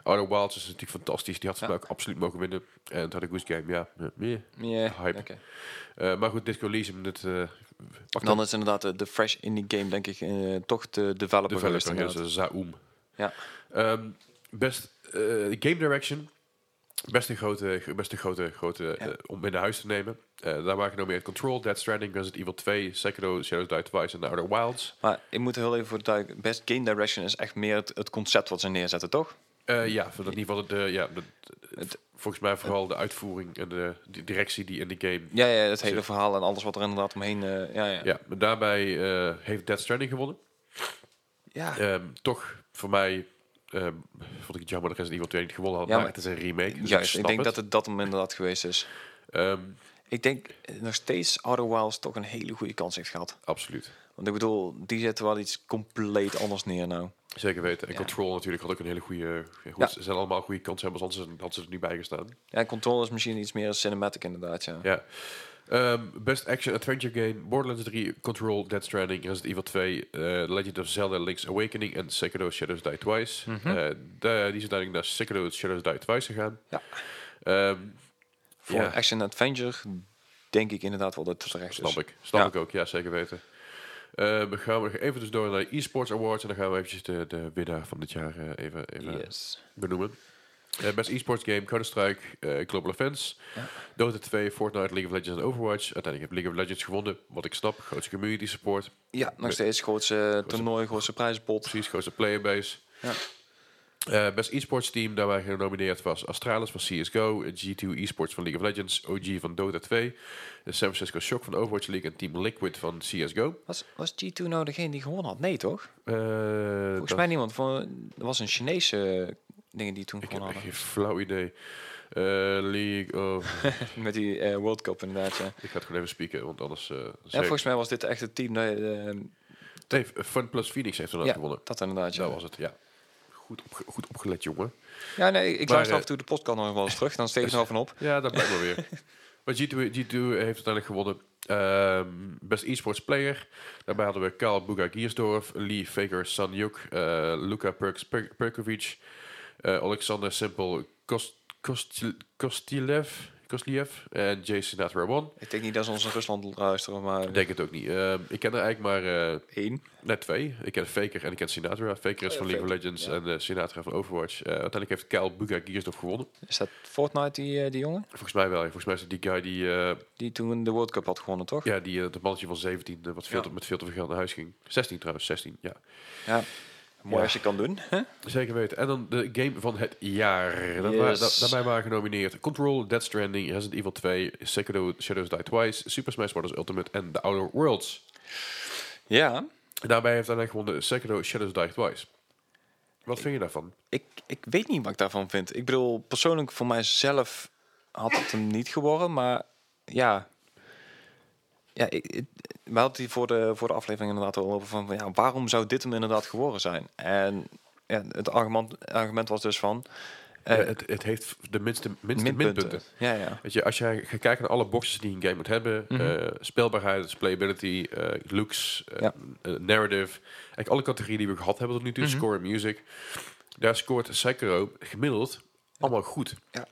S1: Outer Wilds is natuurlijk fantastisch, die had ze
S2: Ja.
S1: mij ook absoluut mogen winnen. En Untitled Goose Game, ja. eh, eh.
S2: Ja,
S1: Hype.
S2: oké.
S1: Eh, maar goed, Disco Elysium, dat eh pakt
S2: Dan is inderdaad eh, de, de fresh indie game, denk ik, eh, toch de developer,
S1: de
S2: geweest.
S1: developer, ja, dat is Zaoom.
S2: inderdaad. Ja.
S1: Ehm, best eh, game direction. Best een grote, best een grote, grote eh, om mee naar huis te nemen. Eh, daar waren genomineerd Control, Dead Stranding, Resident Evil 2, Sekiro, Shadows Die Twice en The Outer Wilds.
S2: Maar ik moet er heel even voor duiken. Best game direction is echt meer het, het concept wat ze neerzetten, toch?
S1: Eh, ja, voor dat in ieder geval de, ja, de-
S2: Het-
S1: volgens mij vooral de uitvoering en de, de directie die in de game.
S2: Ja, ja het hele
S1: Zeker.
S2: verhaal en alles wat er inderdaad omheen... eh, ja, ja.
S1: Ja, maar daarbij eh, heeft Dead Stranding gewonnen.
S2: ja.
S1: Ehm, toch voor mij ehm, vond ik het jammer dat Resident Evil 2 niet gewonnen had.
S2: Ja,
S1: maar,
S2: maar-
S1: het is een remake. Dus
S2: Juist, ik
S1: snap
S2: denk
S1: het.
S2: dat het dat hem inderdaad geweest is.
S1: Ehm,
S2: Ik denk eh, nog steeds Outer Wilds toch een hele goede kans heeft gehad.
S1: absoluut.
S2: Want ik bedoel, die zetten wel iets compleet anders neer nou.
S1: Zeker weten. En
S2: Ja.
S1: Control natuurlijk had ook een hele goede... Goed,
S2: Ja.
S1: Ze zijn allemaal goede kanshebbers, anders hadden ze er niet bij gestaan.
S2: Ja, Control is misschien iets meer cinematic inderdaad, ja.
S1: Ja. Ehm, best Action Adventure Game, Borderlands 3, Control, Dead Stranding, Resident Evil 2, eh, Legend of Zelda Link's Awakening en Sekiro Shadows Die Twice.
S2: Mhm.
S1: Eh, da- die zijn uiteindelijk naar Sekiro Shadows Die Twice gegaan.
S2: Ja.
S1: Ehm,
S2: Voor
S1: ja,
S2: Action Adventure denk ik inderdaad wel dat het terecht is.
S1: snap ik. Snap
S2: Dus Ja.
S1: ik ook, ja, zeker weten. Ehm, dan gaan we nog even dus door naar de eSports Awards en dan gaan we eventjes de, de winnaar van dit jaar eh, even, even
S2: Yes.
S1: benoemen. Eh, best e-sports game, Counter-Strike, eh, Global Offense,
S2: Ja.
S1: Dota 2, Fortnite, League of Legends en Overwatch. Uiteindelijk heeft League of Legends gewonnen, wat ik snap. Grootste community support,
S2: Ja, nog steeds grootste toernooi, grootste prijzenpot.
S1: precies, grootste playerbase.
S2: Ja.
S1: Eh, best e-sports team, daarbij genomineerd was Astralis van CSGO, G2 e-sports van League of Legends, OG van Dota 2, de San Francisco Shock van Overwatch League en Team Liquid van CSGO.
S2: Was, was G2 nou degene die gewonnen had? Nee, toch?
S1: Eh, dat-
S2: Volgens mij niemand. Voor, er was een Chinese eh, dingen die toen
S1: Ik heb
S2: gewonnen
S1: echt
S2: hadden.
S1: geen flauw idee. Eh, League of...
S2: Met die eh, World Cup inderdaad, ja.
S1: ik ga het gewoon even spieken, want anders... eh
S2: Ja, volgens mij was dit echt het team dat... eh,
S1: Nee, Fun eh, Plus Phoenix heeft inderdaad
S2: ja,
S1: gewonnen.
S2: dat inderdaad, ja.
S1: Dat was het, ja. Goed, opge- goed opgelet, jongen.
S2: Ja, nee, ik
S1: Maar,
S2: luister
S1: eh, dus-
S2: af en toe de podcast nog wel eens terug. Dan steek ik er wel van op.
S1: Ja, dat blijkt wel weer. Maar G2, G2 heeft uiteindelijk gewonnen. Ehm, best e-sports player. Daarbij hadden we Karl Buga Giersdorf, Lee Faker Sanyuk, eh Luka Perks Per- Perkovic, eh, Alexander Simpel Kost, Kost, Kostilev, Kosliev en Jason Natrawan.
S2: Ik denk niet dat ze ons in Rusland luisteren, maar
S1: Ik denk het ook niet. Ehm, ik ken er eigenlijk maar eh,
S2: één.
S1: Net twee. Ik ken Faker en ik ken Sinatra. Faker is
S2: Oh ja,
S1: van League of
S2: Faker,
S1: Legends
S2: ja.
S1: en eh, Sinatra van Overwatch. Eh, uiteindelijk heeft Kyle Buga Gearsdorf gewonnen.
S2: Is dat Fortnite, die, eh, die jongen?
S1: Volgens mij wel. Volgens mij is het die guy die, eh,
S2: Die toen de World Cup had gewonnen, toch?
S1: ja, die eh, dat mannetje van 17, eh, wat veel
S2: Ja.
S1: te, met veel te veel geld naar huis ging. 16 trouwens, 16, ja.
S2: Ja. Mooi
S1: Ja.
S2: als je kan doen. Hè?
S1: Zeker weten. En dan de game van het jaar. Dat
S2: Yes.
S1: wa- da- daarbij waren genomineerd Control, Dead Stranding, Resident Evil 2, Sekiro Shadows Die Twice, Super Smash Bros. Ultimate en The Outer Worlds.
S2: Ja.
S1: En daarbij heeft uiteindelijk gewonnen Sekiro Shadows Die Twice. Wat vind je daarvan?
S2: Ik, ik weet niet wat ik daarvan vind. Ik bedoel, persoonlijk voor mijzelf had het hem niet geworden, maar ja. Ja, ik, ik- we hadden het hier voor de, voor de aflevering inderdaad al over van, van, ja, waarom zou dit hem inderdaad geworden zijn? En ja, het argument, argument was dus van eh,
S1: Ja, het, het heeft de minste, minste minpunten.
S2: Ja, ja.
S1: Weet je, als je gaat kijken naar alle boxes die een game moet hebben,
S2: Mhm.
S1: eh, speelbaarheid, playability, eh, looks, eh,
S2: Ja.
S1: eh, narrative, eigenlijk alle categorieën die we gehad hebben tot nu toe,
S2: Mhm.
S1: score en music, daar scoort Sekiro gemiddeld allemaal goed.
S2: Ja.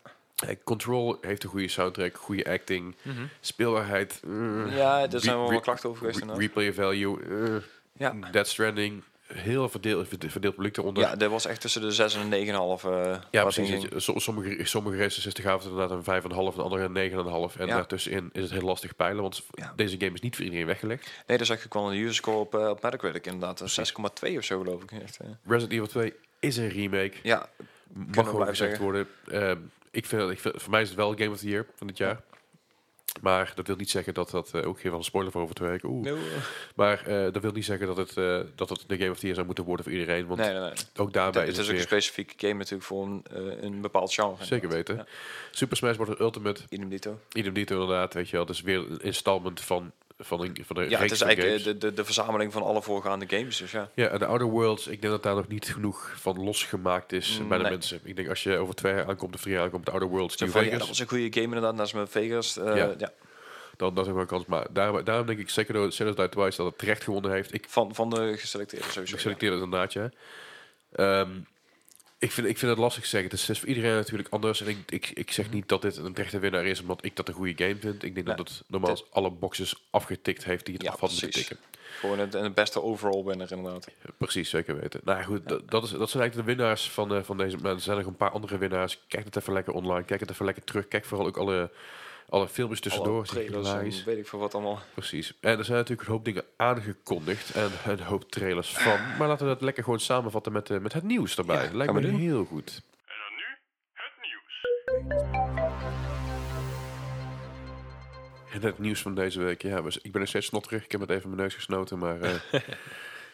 S1: Eh, Control heeft een goede soundtrack, goede acting, speelbaarheid. eh,
S2: Mhm. Ja, daar
S1: re-
S2: zijn wel
S1: re-
S2: wat klachten over geweest
S1: re-
S2: inderdaad.
S1: replay value, eh,
S2: Ja.
S1: Death Stranding, heel verdeeld, verdeeld publiek eronder.
S2: ja, dat was echt tussen de 6 en de 9,5. eh,
S1: Ja,
S2: wat
S1: precies.
S2: inging.
S1: dat je- som- sommige, sommige races is de gaven inderdaad een 5,5 en andere een 9,5. En
S2: Ja.
S1: daartussenin is het heel lastig peilen, want
S2: Ja.
S1: deze game is niet voor iedereen weggelegd.
S2: Nee, dat zag ik wel in de user score op, eh, op Metacritic inderdaad. Een 6,2 of zo geloof ik. Echt, eh.
S1: Resident Evil 2 is een remake.
S2: Ja,
S1: mag
S2: blijven
S1: gewoon gezegd
S2: zeggen.
S1: worden. Ehm, ik vind, ik vind, voor mij is het wel Game of the Year van dit jaar. Maar dat wil niet zeggen dat dat eh, ook geen van een spoiler voor over te werken. Oeh.
S2: nee, eh,
S1: Maar eh, dat wil niet zeggen dat het, eh, dat het de Game of the Year zou moeten worden voor iedereen. Want
S2: nee, nee. nee.
S1: ook daarbij
S2: Het
S1: is
S2: is
S1: het
S2: ook een
S1: weer-
S2: specifieke game natuurlijk voor een, eh, een bepaald genre.
S1: Zeker Eh, weten.
S2: Ja.
S1: Super Smash Bros. Ultimate,
S2: Idem dito.
S1: idem dito inderdaad, weet je wel. Dus weer een installment van, van, een, van de
S2: Ja, het
S1: reeks
S2: is
S1: van
S2: eigenlijk
S1: games.
S2: eh, de, de, de verzameling van alle voorgaande games. Dus ja.
S1: Ja, en de Outer Worlds, ik denk dat daar nog niet genoeg van losgemaakt is
S2: Mm,
S1: bij de
S2: nee.
S1: mensen. Ik denk als je over twee jaar aankomt of drie jaar aankomt, de Outer Worlds,
S2: Zo
S1: New
S2: van, ja,
S1: Vegas,
S2: dat was een goede game inderdaad, naast mijn Vegas. eh,
S1: Ja.
S2: ja.
S1: dan dat is ook wel een kans. Maar daarom, daarom denk ik Sekiro, Shadows Die Twice, dat het terecht gewonnen heeft. Ik,
S2: Van, van de geselecteerde sowieso.
S1: ik
S2: ja.
S1: selecteer het inderdaad, ja. Ehm, ik, vind, ik vind het lastig te zeggen. Het is, het is voor iedereen natuurlijk anders. En ik, ik, ik zeg niet dat dit een terechte winnaar is, omdat ik dat een goede game vind. Ik denk
S2: Nee,
S1: dat het normaal alle boxes afgetikt heeft die het
S2: Ja,
S1: af had moeten
S2: precies.
S1: tikken.
S2: Gewoon het, en het beste overall winner inderdaad.
S1: Precies, zeker weten. Nou ja, goed, dat, dat, is, dat zijn eigenlijk de winnaars van, eh, van deze. Maar er zijn nog een paar andere winnaars. Kijk het even lekker online. Kijk het even lekker terug. Kijk vooral ook alle, alle filmpjes
S2: Alle
S1: tussendoor. Zie je
S2: trailers en
S1: lies.
S2: weet ik veel wat allemaal.
S1: Precies. En er zijn natuurlijk een hoop dingen aangekondigd en een hoop trailers van. Maar laten we dat lekker gewoon samenvatten met, eh, met het nieuws erbij. Lijkt me
S2: gaan we doen.
S1: heel goed.
S3: En dan nu het nieuws.
S1: En het nieuws van deze week. Ja, was- ik ben nog steeds snotterig. Ik heb het even in mijn neus gesnoten, maar eh,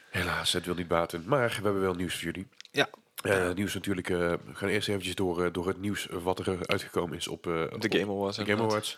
S1: helaas, het wil niet baten. Maar we hebben wel nieuws voor jullie.
S2: Ja,
S1: Eh, nieuws natuurlijk. eh, we gaan eerst eventjes door, eh, door het nieuws wat er eh, uitgekomen is op eh, op
S2: de Game Awards.
S1: Game
S2: inderdaad.
S1: Awards.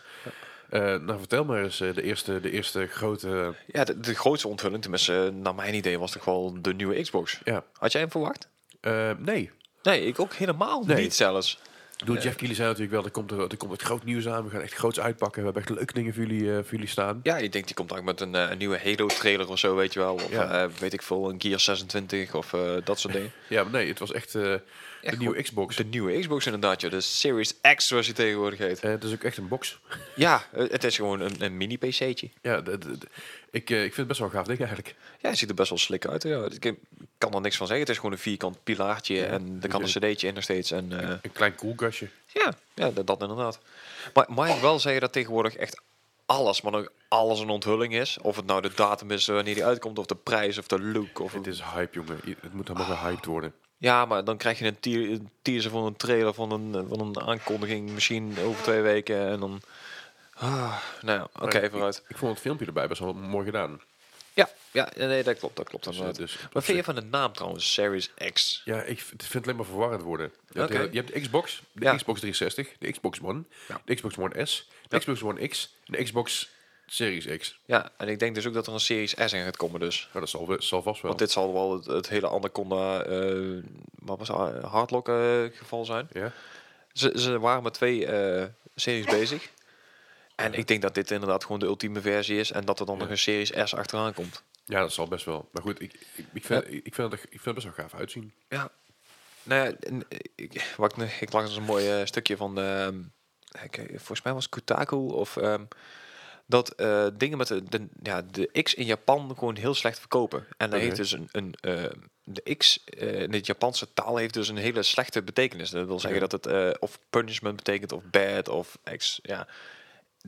S1: Eh, nou, vertel maar eens eh, de, eerste, de eerste grote...
S2: Ja, de, de grootste onthulling, tenminste, eh, naar mijn idee, was toch wel de nieuwe Xbox.
S1: ja.
S2: Had jij hem verwacht?
S1: Eh, nee.
S2: Nee, ik ook helemaal
S1: Nee.
S2: niet zelfs.
S1: Ik bedoel, Jeff Keighley zei natuurlijk wel, er komt, er, er komt het groot nieuws aan. We gaan echt groots uitpakken. We hebben echt leuke dingen voor jullie, eh, voor jullie staan.
S2: Ja, ik denk die komt ook met een, eh, een nieuwe Halo-trailer of zo, weet je wel. Of
S1: Ja.
S2: eh, weet ik veel, een Gear 26 of eh, dat soort dingen.
S1: Ja, maar nee, het was echt eh de
S2: Echt
S1: nieuwe Xbox.
S2: De nieuwe Xbox inderdaad, joh. de Series X zoals je tegenwoordig heet.
S1: Eh, het is ook echt een box.
S2: Ja, eh, het is gewoon een, een mini-PC'tje.
S1: Ja, de- de- de- Ik, eh, ik vind het best wel een gaaf ding eigenlijk.
S2: Ja, het ziet er best wel slik uit. Ja. Ik kan er niks van zeggen. Het is gewoon een vierkant pilaartje en er kan een cd'tje in nog steeds. En, eh,
S1: Een klein koelkastje.
S2: ja, ja dat, dat inderdaad. Maar mag ik wel zeggen dat tegenwoordig echt alles, maar ook alles een onthulling is. Of het nou de datum is wanneer die uitkomt, of de prijs, of de look. Of
S1: Het is hype, jongen. I- Het moet
S2: Ah.
S1: allemaal gehyped worden.
S2: Ja, maar dan krijg je een, tier, een teaser van een trailer, van een, eh, van een aankondiging, misschien over twee weken. En dan... Ah, nou ja, oké,
S1: Maar ik-
S2: vooruit.
S1: Ik, vond het filmpje erbij best wel mooi gedaan.
S2: Ja, ja, nee, dat klopt, dat klopt.
S1: Dus, eh,
S2: inderdaad.
S1: dus-
S2: Wat vind je van de naam trouwens, Series X?
S1: Ja, ik v- het vind het alleen maar verwarrend worden. Je, hebt
S2: Oké.
S1: de, je hebt de Xbox, de
S2: Ja.
S1: Xbox 360, de Xbox One,
S2: Ja.
S1: de Xbox One S, de Xbox One X en de Xbox Series X.
S2: Ja, en ik denk dus ook dat er een Series S in gaat komen dus.
S1: Nou, dat zal, we- zal vast wel.
S2: Want dit zal wel het, het hele Anaconda, eh wat was het, Hardlock eh, geval zijn.
S1: Ja?
S2: Ze, ze waren met twee eh, series bezig. En ik denk dat dit inderdaad gewoon de ultieme versie is. En dat er dan nog een Series S achteraan komt.
S1: ja, dat zal best wel. Maar goed, ik, ik, ik, vind, ik, ik vind, het, ik vind het best wel gaaf uitzien.
S2: Ja. Nou ja, en, eh, ik, wat ik, nu- ik las dus een mooi eh, stukje van, ehm, ik, eh, volgens mij was Kotaku of ehm, dat eh, dingen met de, de- ja, de X in Japan gewoon heel slecht verkopen. En dat
S1: Oké.
S2: heeft dus een, een eh, de X eh, in het Japanse taal heeft dus een hele slechte betekenis. Dat wil zeggen
S1: Ja.
S2: dat het eh, of punishment betekent of bad of X, ja,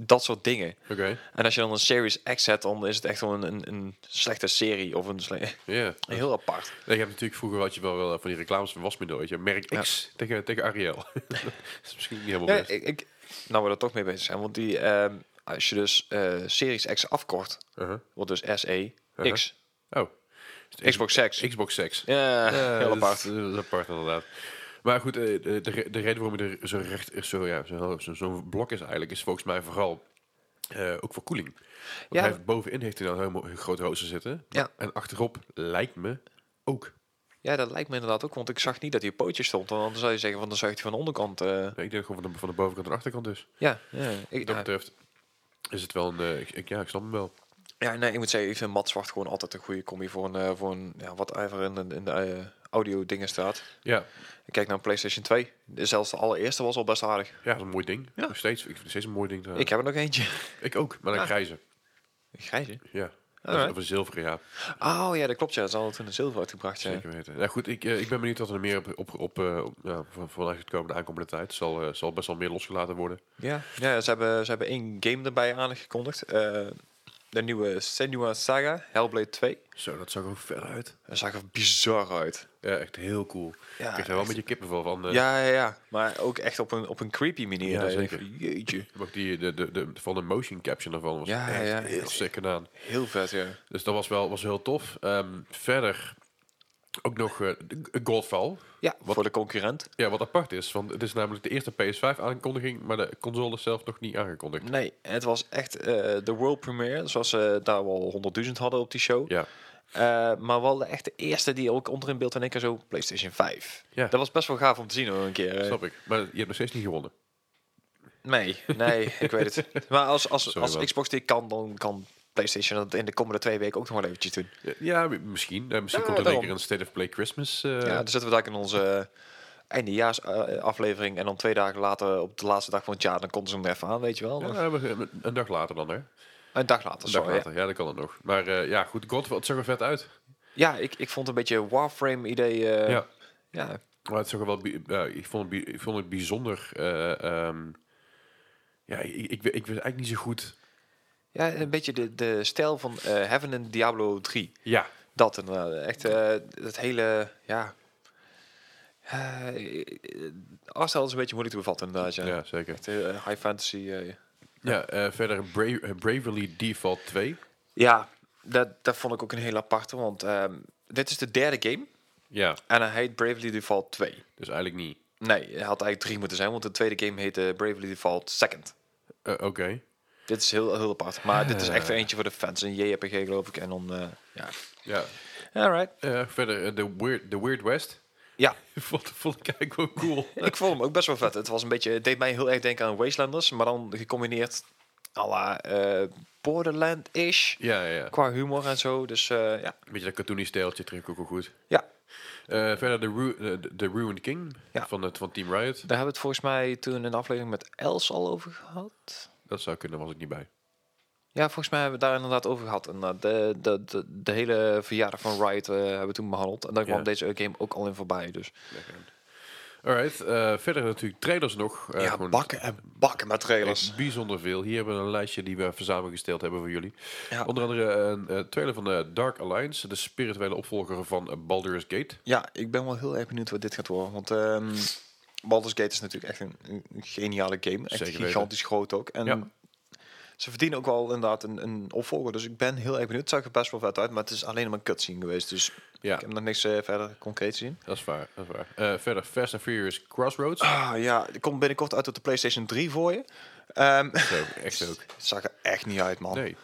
S2: dat soort dingen.
S1: Oké.
S2: En als je dan een Series X hebt, dan is het echt gewoon een, een slechte serie of een sle-
S1: Ja.
S2: heel apart.
S1: Nee, je hebt natuurlijk vroeger had je wel wel van die reclames van wasmiddel, weet je, merk X tegen, tegen Ariel. dat is misschien niet helemaal
S2: Ja,
S1: best.
S2: ik, ik, nou, we er toch mee bezig zijn. Want die, ehm, als je dus eh, Series X afkort,
S1: Uh-huh.
S2: wordt dus SE,
S1: Uh-huh.
S2: X,
S1: Oh.
S2: Xbox 6.
S1: Xbox 6.
S2: ja, heel
S1: Eh, dat
S2: apart.
S1: is- Dat is apart inderdaad. Maar goed, eh, de, de, re- de reden waarom je er zo recht, zo, ja, zo, zo- zo'n blok is eigenlijk, is volgens mij vooral eh, ook voor koeling. Want
S2: Ja.
S1: hij heeft, bovenin heeft hij dan helemaal een groot rooster zitten.
S2: Ja.
S1: En achterop lijkt me ook.
S2: Ja, dat lijkt me inderdaad ook, want ik zag niet dat hij op pootjes stond. Want anders zou je zeggen, van dan zag je van de onderkant. eh,
S1: Nee, ik denk gewoon van de, van de bovenkant en de achterkant dus.
S2: ja, ja, ik,
S1: Wat dat
S2: ja,
S1: betreft is het wel een... eh, ik, ik- ja, ik snap hem wel.
S2: ja, nee, ik moet zeggen, ik vind Matt Zwart gewoon altijd een goede combi voor een, eh, voor een ja, wat ijver in, de- in de eh, audio dingen staat.
S1: Ja,
S2: Ik kijk naar een PlayStation 2. Zelfs de allereerste was al best aardig.
S1: ja dat is een mooi ding.
S2: Ja.
S1: Nog steeds. Ik vind het steeds een mooi ding. te-
S2: Ik heb er nog eentje.
S1: ik ook, maar dan
S2: Ah.
S1: grijze.
S2: Grijze.
S1: Ja.
S2: Alright.
S1: Of een zilveren, ja.
S2: Oh ja, dat klopt. Ja, dat is al toen in zilver uitgebracht. Ja.
S1: Zeker weten. Ja, goed, ik, eh, ik ben benieuwd wat er meer op, op, op, eh, op ja, van- vanuit het komende aankomende tijd zal, eh, zal best wel meer losgelaten worden.
S2: Ja, ja ze, hebben, ze hebben één game erbij aangekondigd. Eh, de nieuwe Senua Saga, Hellblade 2.
S1: Zo, dat zag er ook ver uit.
S2: Dat zag er bizar uit.
S1: Ja, echt heel cool.
S2: Ja,
S1: ik kreeg er wel een beetje kippenvel van. eh,
S2: Ja, ja, ja. Maar ook echt op een, op een creepy manier.
S1: Ja,
S2: Dat je
S1: zeker.
S2: denkt van, Jeetje.
S1: Ook die, de, de, de, van de motion caption daarvan was
S2: Ja,
S1: echt
S2: ja,
S1: heel
S2: echt.
S1: sick gedaan.
S2: Heel vet, ja.
S1: Dus dat was wel was heel tof. Ehm, verder ook nog eh, de- Godfall.
S2: Ja, voor de concurrent.
S1: Ja, wat apart is, want het is namelijk de eerste PS5-aankondiging, maar de console is zelf nog niet aangekondigd.
S2: Nee, het was echt eh, de world premiere. Zoals ze daar wel 100.000 hadden op die show.
S1: Ja,
S2: Eh, maar wel de echte eerste die ook onder in beeld en ik en zo. PlayStation 5.
S1: Ja.
S2: Dat was best wel gaaf om te zien hoor, een keer. eh.
S1: snap ik. Maar je hebt nog steeds niet gewonnen.
S2: Nee, nee, ik weet het. Maar als, als,
S1: Sorry,
S2: als
S1: man.
S2: Xbox dit kan, dan kan PlayStation dat in de komende twee weken ook nog wel eventjes doen.
S1: Ja, Ja, mi- misschien. Eh, misschien komt
S2: Ja,
S1: er een
S2: daarom.
S1: keer een State of Play Christmas. eh,
S2: ja, dan zetten we daar in onze eh, eindejaarsaflevering. En dan twee dagen later, op de laatste dag van het jaar, dan konden ze hem er even aan, weet je wel.
S1: ja, we- een dag later dan, hè? Een
S2: Een dag later,
S1: dag
S2: sorry.
S1: later, ja. dat kan het nog. Maar eh, ja, goed, God, het zag er vet uit.
S2: Ja, ik, ik vond een beetje Warframe-idee. eh, ja.
S1: ja, maar het zag er wel... bi- ja, ik, vond het, bi- ik vond het bijzonder... eh, ehm, ja, ik, ik, we- ik weet eigenlijk niet zo goed...
S2: Ja, een beetje de, de stijl van eh, Heaven en Diablo 3.
S1: Ja,
S2: Dat inderdaad. Echt eh het hele, ja... eh artstijl is een beetje moeilijk te bevatten inderdaad, ja.
S1: ja, zeker.
S2: Echt eh, high fantasy... eh,
S1: Ja, eh, verder Bra eh, Bravely Default 2.
S2: Ja, dat, dat vond ik ook een heel aparte, want ehm, dit is de derde game
S1: Ja,
S2: en hij heet Bravely Default 2.
S1: dus eigenlijk niet.
S2: Nee, hij had eigenlijk drie moeten zijn, want de tweede game heette Bravely Default Second.
S1: Eh, Oké.
S2: Dit is heel, heel apart, maar dit is echt eentje voor de fans, een JRPG geloof ik, en dan, eh, ja.
S1: Ja.
S2: Alright.
S1: Eh, verder eh, de Weird, de Weird West.
S2: Ja,
S1: vond, vond ik eigenlijk wel cool.
S2: ik vond hem ook best wel vet. Het was een beetje, het deed mij heel erg denken aan Wastelanders, maar dan gecombineerd à la eh, Borderland-ish,
S1: ja, ja, ja.
S2: qua humor en zo, dus eh, ja.
S1: Beetje dat cartoony stijltje terug ook wel goed.
S2: Ja,
S1: Eh, verder de, Ru eh, de- de Ruined King
S2: Ja.
S1: van, het, van Team Riot.
S2: daar hebben we het volgens mij toen in de aflevering met Els al over gehad.
S1: Dat zou kunnen, was ik niet bij.
S2: Ja, volgens mij hebben we het daar inderdaad over gehad. En eh, de, de, de, de hele verjaardag van Riot eh, hebben we toen behandeld. En daar kwam
S1: Ja.
S2: deze game ook al in voorbij. Dus
S1: Alright, eh, verder natuurlijk trailers nog. eh,
S2: ja,
S1: gewoon
S2: bakken en bakken met trailers.
S1: echt bijzonder veel. Hier hebben we een lijstje die we samengesteld hebben voor jullie.
S2: Ja.
S1: Onder andere een eh, trailer van eh, Dark Alliance, de spirituele opvolger van eh, Baldur's Gate.
S2: Ja, ik ben wel heel erg benieuwd wat dit gaat worden. Want ehm Baldur's Gate is natuurlijk echt een, een geniale game. Echt
S1: Zeker weten.
S2: gigantisch groot ook. En
S1: Ja.
S2: ze verdienen ook wel inderdaad een, een opvolger. Dus ik ben heel erg benieuwd. Het zag er best wel vet uit, maar het is alleen maar een cutscene geweest. Dus
S1: Ja,
S2: ik heb nog niks eh, verder concreet zien.
S1: dat is waar. Dat is waar. Eh, verder Fast and Furious Crossroads.
S2: Ah ja, die komt binnenkort uit op de PlayStation 3 voor je. Ehm
S1: Zo, echt ook.
S2: het zag er echt niet uit, man.
S1: Nee.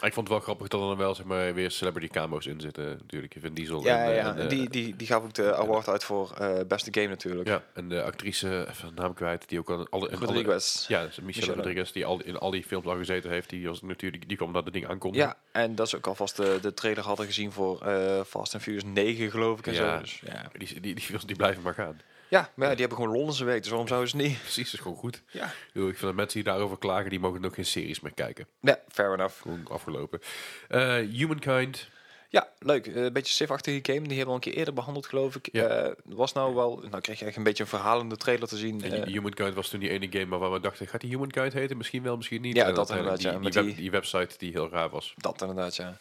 S1: Ik vond het wel grappig dat er dan wel zeg maar, weer celebrity camo's in zitten. Natuurlijk, Vin Diesel en,
S2: Ja, ja,
S1: eh,
S2: ja.
S1: en, eh,
S2: die, die, die gaf ook de award uit voor eh, beste game natuurlijk.
S1: ja, en de actrice, even de naam kwijt, die ook al... Alle, in alle-
S2: Rodriguez.
S1: ja, dus Michelle,
S2: Michelle.
S1: Rodriguez, die al, in al die films al gezeten heeft. Die, was, natuurlijk, die kwam naar de ding aankondigen.
S2: Ja, en dat is ook alvast de, de trailer hadden gezien voor eh, Fast and Furious 9, geloof ik. En
S1: Ja.
S2: zo. Dus, ja.
S1: Die, die, die, films die blijven maar gaan.
S2: ja, maar ja, die hebben gewoon Londense week, dus waarom zouden ze het niet?
S1: Precies, dat is gewoon goed.
S2: Ja.
S1: Ik bedoel, Ik vind dat mensen die daarover klagen, die mogen nog geen series meer kijken.
S2: Nee, fair enough.
S1: Gewoon afgelopen. Eh, Humankind.
S2: Ja, leuk. Eh, Een beetje Civ-achtige game, die hebben we al een keer eerder behandeld, geloof ik.
S1: Ja.
S2: Eh, was nou wel, nou kreeg je echt een beetje een verhalende trailer te zien.
S1: En
S2: eh,
S1: Humankind was toen die ene game waarvan we dachten, gaat die Humankind heten? Misschien wel, misschien niet.
S2: Ja,
S1: En
S2: dat
S1: uiteindelijk
S2: inderdaad,
S1: die,
S2: ja,
S1: die,
S2: met
S1: web- die website die heel raar was.
S2: dat inderdaad, ja.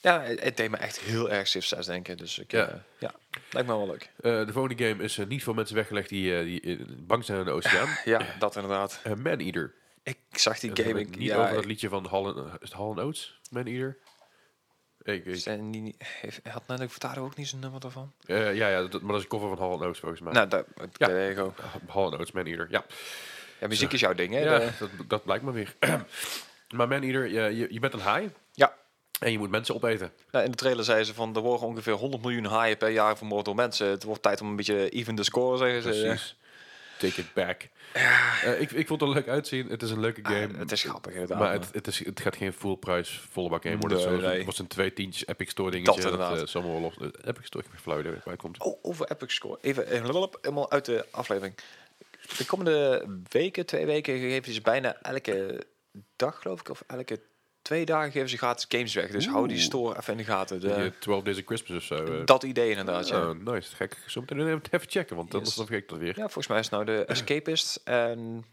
S2: Ja, het het deed me echt heel erg Civ 6 denken, dus ik,
S1: Ja.
S2: ja. ja, lijkt me wel leuk.
S1: Eh, de volgende game is eh, niet voor mensen weggelegd die, eh, die eh, bang zijn aan de oceaan.
S2: Ja, dat inderdaad.
S1: Eh, Man-Eater.
S2: Ik zag die
S1: Dat heb
S2: game,
S1: ik
S2: ik,
S1: niet
S2: ja,
S1: over dat
S2: ik-
S1: liedje van Hall, is het Hall Oates, Man-Eater. Ik, ik-
S2: zijn die niet- heeft- had Nelly Furtado ook niet zijn nummer daarvan?
S1: eh, ja, ja dat, maar dat is een cover van Hall Oates volgens mij.
S2: Nou, daar
S1: Ja.
S2: ja. ben ik ook.
S1: Hall Oates, Man-Eater, ja.
S2: Ja, muziek is jouw ding, hè?
S1: ja
S2: De-
S1: dat, dat blijkt maar weer. maar Man-Eater, je, je, je bent een haai
S2: ja.
S1: en je moet mensen opeten.
S2: Nou, in de trailer zeiden ze van, er worden ongeveer 100 miljoen haaien per jaar vermoord door mensen. Het wordt tijd om een beetje even de score, zeggen ze.
S1: Precies. Take it back. Eh, ik, ik vond het er leuk uitzien. Het is een leuke game.
S2: Ah, Het is grappig, inderdaad.
S1: maar het, het, is, het gaat geen full price volle bak game worden.
S2: Nee,
S1: Zo- Het
S2: nee.
S1: was een twee tientjes Epic Store dingetje.
S2: Dat
S1: Dat, eh,
S2: inderdaad.
S1: Summer War Lost- eh, Epic Store, ik heb flauw idee waar het komt.
S2: Oh, over Epic Score. Even, even lulp, helemaal uit de aflevering. De komende weken, twee weken, geven ze bijna elke dag, geloof ik, of elke twee dagen geven ze gratis games weg. Dus hou die store even in de gaten. De-
S1: Die, eh, 12 Days of Christmas of zo. eh.
S2: dat idee inderdaad, ja.
S1: Oh, nice. Ga ik zo meteen even checken, want anders
S2: Yes.
S1: dan vergeet ik dat weer.
S2: Ja, volgens mij is het nou
S1: eh.
S2: de Escapist en...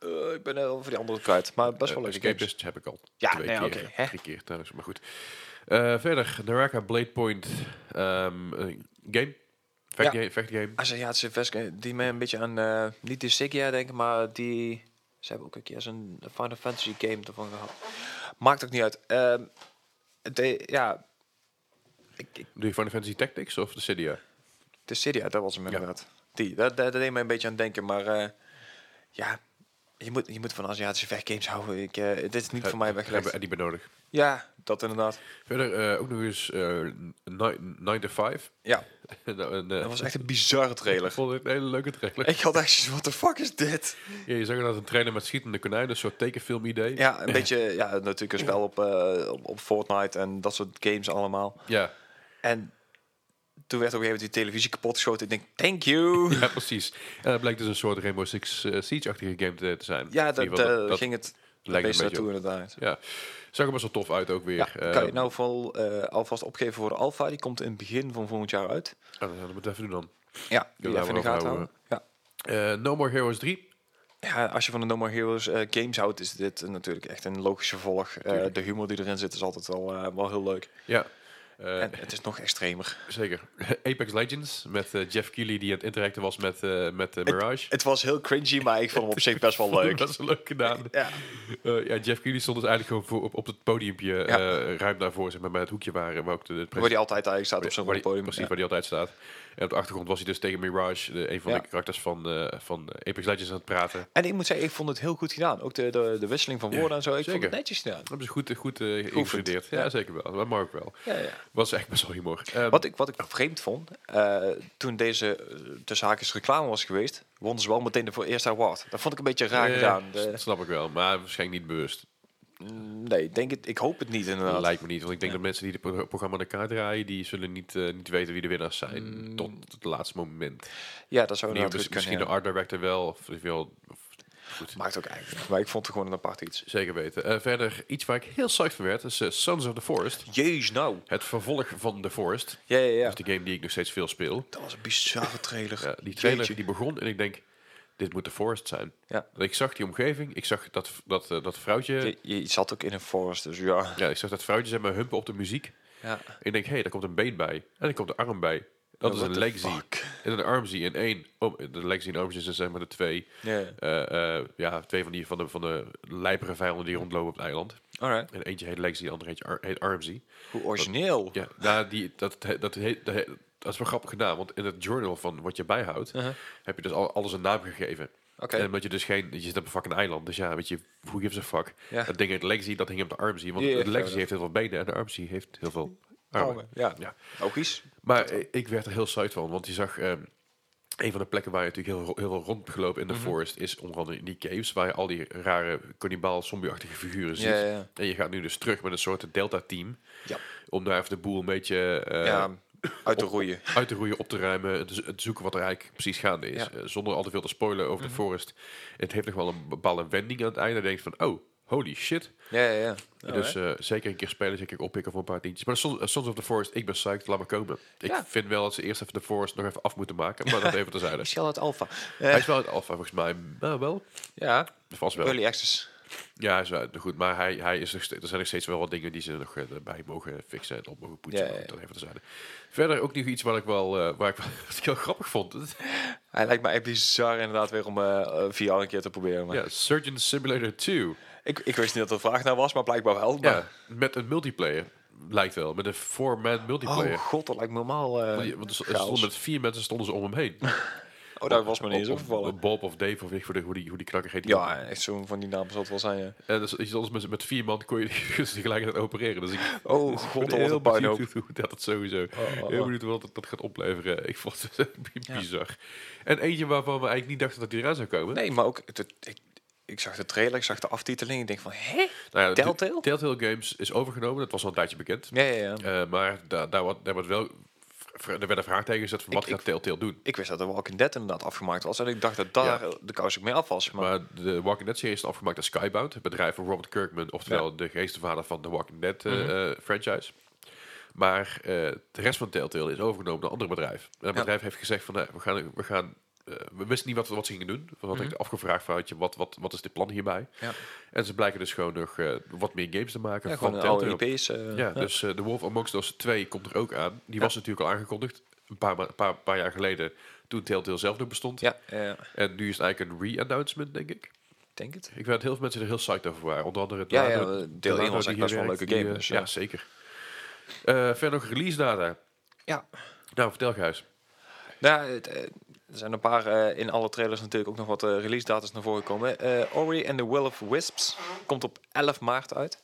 S2: eh, ik ben over die andere kwijt, maar best wel
S1: Eh,
S2: leuke games.
S1: Escapist heb ik al
S2: Ja,
S1: twee
S2: nee,
S1: keer,
S2: oké, hè?
S1: drie keer trouwens, maar goed. Eh, verder, Naraka Blade Point ehm, eh, game.
S2: Ja.
S1: Vecht game, vechtgame.
S2: Aziatische vesten die me een beetje aan eh, niet de Sigya denken, maar die ze hebben ook een keer zo'n Final Fantasy game ervan gehad. Maakt ook niet uit. Ehm, de, ja, ik, ik,
S1: De Final Fantasy Tactics of de Cydia?
S2: de Sigya, dat was hem inderdaad. Die, dat, dat, dat deed me een beetje aan denken, maar eh, ja, je moet, je moet van Aziatische vechtgames houden. Ik, eh, dit is niet voor mij
S1: Hebben
S2: weggelegd.
S1: we Eddie benodigd.
S2: Ja, dat inderdaad.
S1: Verder eh, ook nog eens eh, ni- 9 to 5.
S2: Ja,
S1: nou, een,
S2: dat was echt een bizarre
S1: Ik
S2: trailer.
S1: vond het een hele leuke trailer.
S2: Ik had echt zoiets, what the fuck is dit?
S1: Ja, je zag inderdaad een trainer met schietende konijnen, een soort tekenfilm idee.
S2: Ja, een beetje, ja, natuurlijk een spel op, eh, op, op Fortnite en dat soort games allemaal.
S1: Ja,
S2: En toen werd op een gegeven moment die televisie kapot geschoten. Ik denk, thank you.
S1: ja, precies. En dat blijkt dus een soort Rainbow Six eh, Siege-achtige game te, te zijn.
S2: Ja,
S1: In
S2: dat,
S1: ieder geval,
S2: eh,
S1: dat-
S2: ging het
S1: een
S2: lekker
S1: beetje
S2: naartoe inderdaad.
S1: Ja, zag er best wel tof uit ook weer.
S2: Ja,
S1: Eh,
S2: kan je nou vooral eh, alvast opgeven voor de Alpha. Die komt in het begin van volgend jaar uit.
S1: ah, dan gaan we het even doen dan.
S2: Ja, die
S1: laten
S2: even in
S1: we
S2: de gaten
S1: overhouden.
S2: houden. Ja.
S1: Eh, no More Heroes 3.
S2: ja, als je van de No More Heroes eh, games houdt, is dit natuurlijk echt een logische volg. Eh,
S1: Tuurlijk.
S2: de humor die erin zit is altijd wel, eh, wel heel leuk.
S1: Ja, eh,
S2: En het is nog extremer.
S1: zeker. Apex Legends met eh, Jeff Keighley die aan het interacten was met, eh, met eh, Mirage.
S2: Het was heel cringy, maar ik vond hem op zich best wel leuk.
S1: Dat is leuk gedaan.
S2: Ja.
S1: Eh, ja, Jeff Keighley stond dus eigenlijk gewoon voor, op, op het podiumpje
S2: Ja.
S1: eh, ruim daarvoor, zeg maar, bij het hoekje waar, waar ook de, de pres-
S2: Waar die altijd eigenlijk staat op zo'n
S1: waar
S2: rond
S1: die-
S2: podium.
S1: Precies,
S2: Ja.
S1: waar die altijd staat. En op de achtergrond was hij dus tegen Mirage, de, een van
S2: Ja.
S1: de karakters van, eh, van Apex Legends, aan het praten.
S2: En ik moet zeggen, ik vond het heel goed gedaan. Ook de, de, de wisseling van woorden en zo. Ik vond
S1: zeker.
S2: het netjes gedaan.
S1: Dat hebben ze goed, goed eh, ingestudeerd. Ja,
S2: Ja.
S1: zeker wel. Dat mag ook wel.
S2: Ja, ja.
S1: Was echt best wel humor. Eh,
S2: Wat ik, wat ik vreemd vond, eh, toen deze eh, tussen haakjes reclame was geweest, wonnen ze wel meteen de voor eerste award. Dat vond ik een beetje raar
S1: eh,
S2: gedaan.
S1: s-
S2: De-
S1: snap ik wel, maar waarschijnlijk niet bewust.
S2: nee, ik denk het, ik hoop het niet inderdaad.
S1: Lijkt me niet, want ik denk dat mensen die het pro- programma aan elkaar draaien, die zullen niet, eh, niet weten wie de winnaars zijn
S2: Mm.
S1: tot het laatste moment.
S2: ja, dat zou
S1: Nee,
S2: inderdaad
S1: dus
S2: goed
S1: misschien
S2: kunnen.
S1: de
S2: ja.
S1: art director wel, of, of, of goed.
S2: Maakt ook eigenlijk. Maar ik vond het gewoon een apart iets.
S1: Zeker weten. Eh, verder iets waar ik heel psyched van werd, is eh, Sons of the Forest.
S2: Jeez, nou.
S1: Het vervolg van The Forest.
S2: Ja, ja, ja.
S1: Dat is de game die ik nog steeds veel speel.
S2: Dat was een bizarre trailer.
S1: Ja, die trailer
S2: Jeetje.
S1: die begon en ik denk, dit moet The Forest zijn.
S2: Ja.
S1: Want Ik zag die omgeving, ik zag dat, dat, eh, dat vrouwtje...
S2: Je, je zat ook in een forest, dus ja.
S1: Ja, ik zag dat vrouwtje zeg maar humpen op de muziek.
S2: ja.
S1: En ik denk, hé, hey, daar komt een been bij. En er komt een arm bij. Dat is
S2: what
S1: een
S2: the
S1: leg
S2: fuck?
S1: En een arm zie en één. Oh, de leg en arm zijn zeg maar de twee.
S2: Ja.
S1: Eh, eh, ja, twee van die van de, van de lijpere vijanden die rondlopen op het eiland.
S2: Alright.
S1: En eentje heet Lexi, de andere heet, Ar- heet Armsy.
S2: Hoe origineel.
S1: Ja, nou, die, dat, dat, dat, heet- dat, heet- dat is wel grappig gedaan, want in het journal van wat je bijhoudt,
S2: Uh-huh.
S1: heb je dus al, alles een naam gegeven.
S2: Oké.
S1: En omdat je dus geen, je zit op een fucking eiland, dus ja, weet je, who gives a fuck.
S2: Ja.
S1: Dat ding heet Lexi, dat hing op de Armsy, want
S2: Ja, ja,
S1: het Lexi
S2: ja.
S1: heeft heel veel benen en de Armsy heeft heel veel armen.
S2: Armen, Ja.
S1: Oh, Ja.
S2: Logisch.
S1: Maar eh, ik werd er heel zuid van, want je zag... ehm, een van de plekken waar je natuurlijk heel, heel veel rond hebt gelopen in
S2: Mhm.
S1: de forest... is onder andere in die caves, waar je al die rare kannibaal zombieachtige figuren ziet.
S2: Ja, ja, ja.
S1: En je gaat nu dus terug met een soort delta-team...
S2: Ja.
S1: om daar even de boel een beetje eh,
S2: ja. Uit de roeien.
S1: uit te roeien, op te ruimen... en te, zo- te zoeken wat er eigenlijk precies gaande is.
S2: Ja. Mhm.
S1: Eh, zonder al te veel te spoilen over de forest. Het heeft nog wel een bepaalde wending aan het einde. Dan denk je van, oh, holy shit.
S2: Ja, ja, ja.
S1: dus eh, zeker een keer spelen, zeker een keer oppikken voor een paar tientjes. Maar Sons, eh, Sons of the Forest, ik ben psyched, laat maar komen. Ik
S2: Ja.
S1: vind wel dat ze eerst even de Forest nog even af moeten maken, maar dat even terzijde.
S2: Michel uit Alpha. Eh,
S1: Hij is wel het alfa volgens mij, nou wel,
S2: ja.
S1: vast wel.
S2: Early access.
S1: Ja, hij is wel goed, maar hij, hij is nog steeds, er zijn nog steeds wel wat dingen die ze nog eh, bij mogen fixen en op mogen poetsen.
S2: Ja, ja,
S1: maar
S2: ja.
S1: Dat even terzijde. Verder ook nog iets wat ik wel, eh, waar ik, wel- wat ik heel grappig vond.
S2: Hij lijkt mij echt bizar inderdaad weer om eh, eh, VR een keer te proberen. Maar
S1: ja, Surgeon Simulator 2.
S2: ik, ik wist niet dat er vraag naar was, maar blijkbaar wel. Maar...
S1: Ja, met een multiplayer, lijkt wel. Met een four-man multiplayer.
S2: Oh god, dat lijkt me normaal. eh,
S1: Want dus- er
S2: chaos.
S1: stonden met vier mensen stonden ze om hem heen.
S2: Oh, daar was me niet eens
S1: Of- of
S2: opgevallen.
S1: Bob of Dave of ik voor de, hoe die, hoe die knakker heet.
S2: Ja, echt zo'n van die namen zal het wel zijn. ja.
S1: En dus, je zat met, met vier man kon je die dus tegelijkertijd opereren. Dus ik
S2: Oh god,
S1: ben
S2: dat wordt een puinhoop.
S1: benieuwd hoe dat het sowieso.
S2: oh,
S1: Heel
S2: oh.
S1: benieuwd wat dat, dat gaat opleveren. Ik vond het echt bizar. En eentje waarvan we eigenlijk niet dachten dat die eraan zou komen.
S2: Nee, maar ook... het- ik, ik zag de trailer, ik zag de aftiteling. Ik denk van, hè?
S1: Nou ja,
S2: Telltale?
S1: Telltale Games is overgenomen. Dat was al een tijdje bekend.
S2: Ja, ja, ja.
S1: Eh, maar da, daar, wat, daar, wordt wel, vra- er werden vraagtekens gezet van wat
S2: ik-
S1: gaat Telltale doen.
S2: Ik wist dat de Walking Dead inderdaad afgemaakt was. En ik dacht dat daar
S1: Ja.
S2: de kous ook mee af was. Maar,
S1: Maar de Walking Dead serie is afgemaakt door Skybound, het bedrijf van Robert Kirkman, oftewel de geestenvader van de Walking Dead eh,
S2: Mhm.
S1: eh, franchise. Maar eh, de rest van Telltale is overgenomen door een ander bedrijf. En dat
S2: Ja.
S1: bedrijf heeft gezegd van, nou, we gaan, we gaan eh, we wisten niet wat, wat ze gingen doen. We hadden afgevraagd van, weet je, wat, wat, wat is dit plan hierbij?
S2: Mhm. Ja.
S1: En ze blijken dus gewoon nog eh, wat meer games te maken
S2: ja,
S1: van
S2: gewoon alle
S1: Telltale.
S2: IP's. eh,
S1: Ja, dus eh The Wolf Amongst Us 2 komt er ook aan. Die was natuurlijk al aangekondigd, een paar, ma- paar, paar jaar geleden, toen Telltale zelf nog bestond.
S2: ja, eh,
S1: En nu is het eigenlijk een re-announcement, denk ik.
S2: ik denk het.
S1: Ik weet dat heel veel mensen er heel psyched over waren. Onder andere het
S2: Ja,
S1: Lado-
S2: ja, deel
S1: het
S2: één
S1: Lado
S2: was
S1: die
S2: echt
S1: hier
S2: best wel een
S1: werkt,
S2: leuke
S1: die,
S2: game,
S1: eh,
S2: dus
S1: ja,
S2: ja.
S1: zeker. Eh, verder nog release data.
S2: Ja.
S1: Nou, vertel Gijs.
S2: Nou, het, eh, er zijn een paar eh, in alle trailers natuurlijk ook nog wat eh, release datas naar voren gekomen. Eh, Ori and the Will of Wisps komt op 11 maart uit.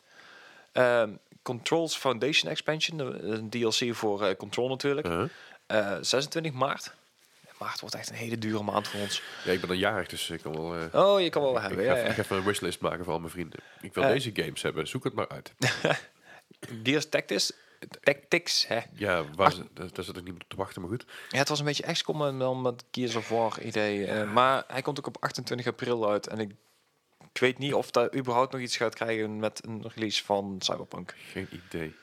S2: Ehm, Controls Foundation Expansion, eh, een DLC voor eh, Control natuurlijk.
S1: Uh-huh.
S2: Eh, 26 maart. Maart wordt echt een hele dure maand voor ons.
S1: Ja, ik ben al jarig, dus ik kan wel... eh,
S2: Oh, je kan wel
S1: ik,
S2: hebben.
S1: ga
S2: Ja,
S1: even,
S2: ja.
S1: ik ga even een wishlist maken voor al mijn vrienden. Ik wil
S2: Eh.
S1: deze games hebben, zoek het maar uit.
S2: Gears Tactics. Tactics, hè?
S1: Ja, waar ze, daar, daar zit ik niet op te wachten, maar goed.
S2: Ja, het was een beetje XCOM en dan met Gears of War idee. eh, maar hij komt ook op 28 april uit. En ik, ik weet niet of daar überhaupt nog iets gaat krijgen met een release van Cyberpunk.
S1: Geen idee.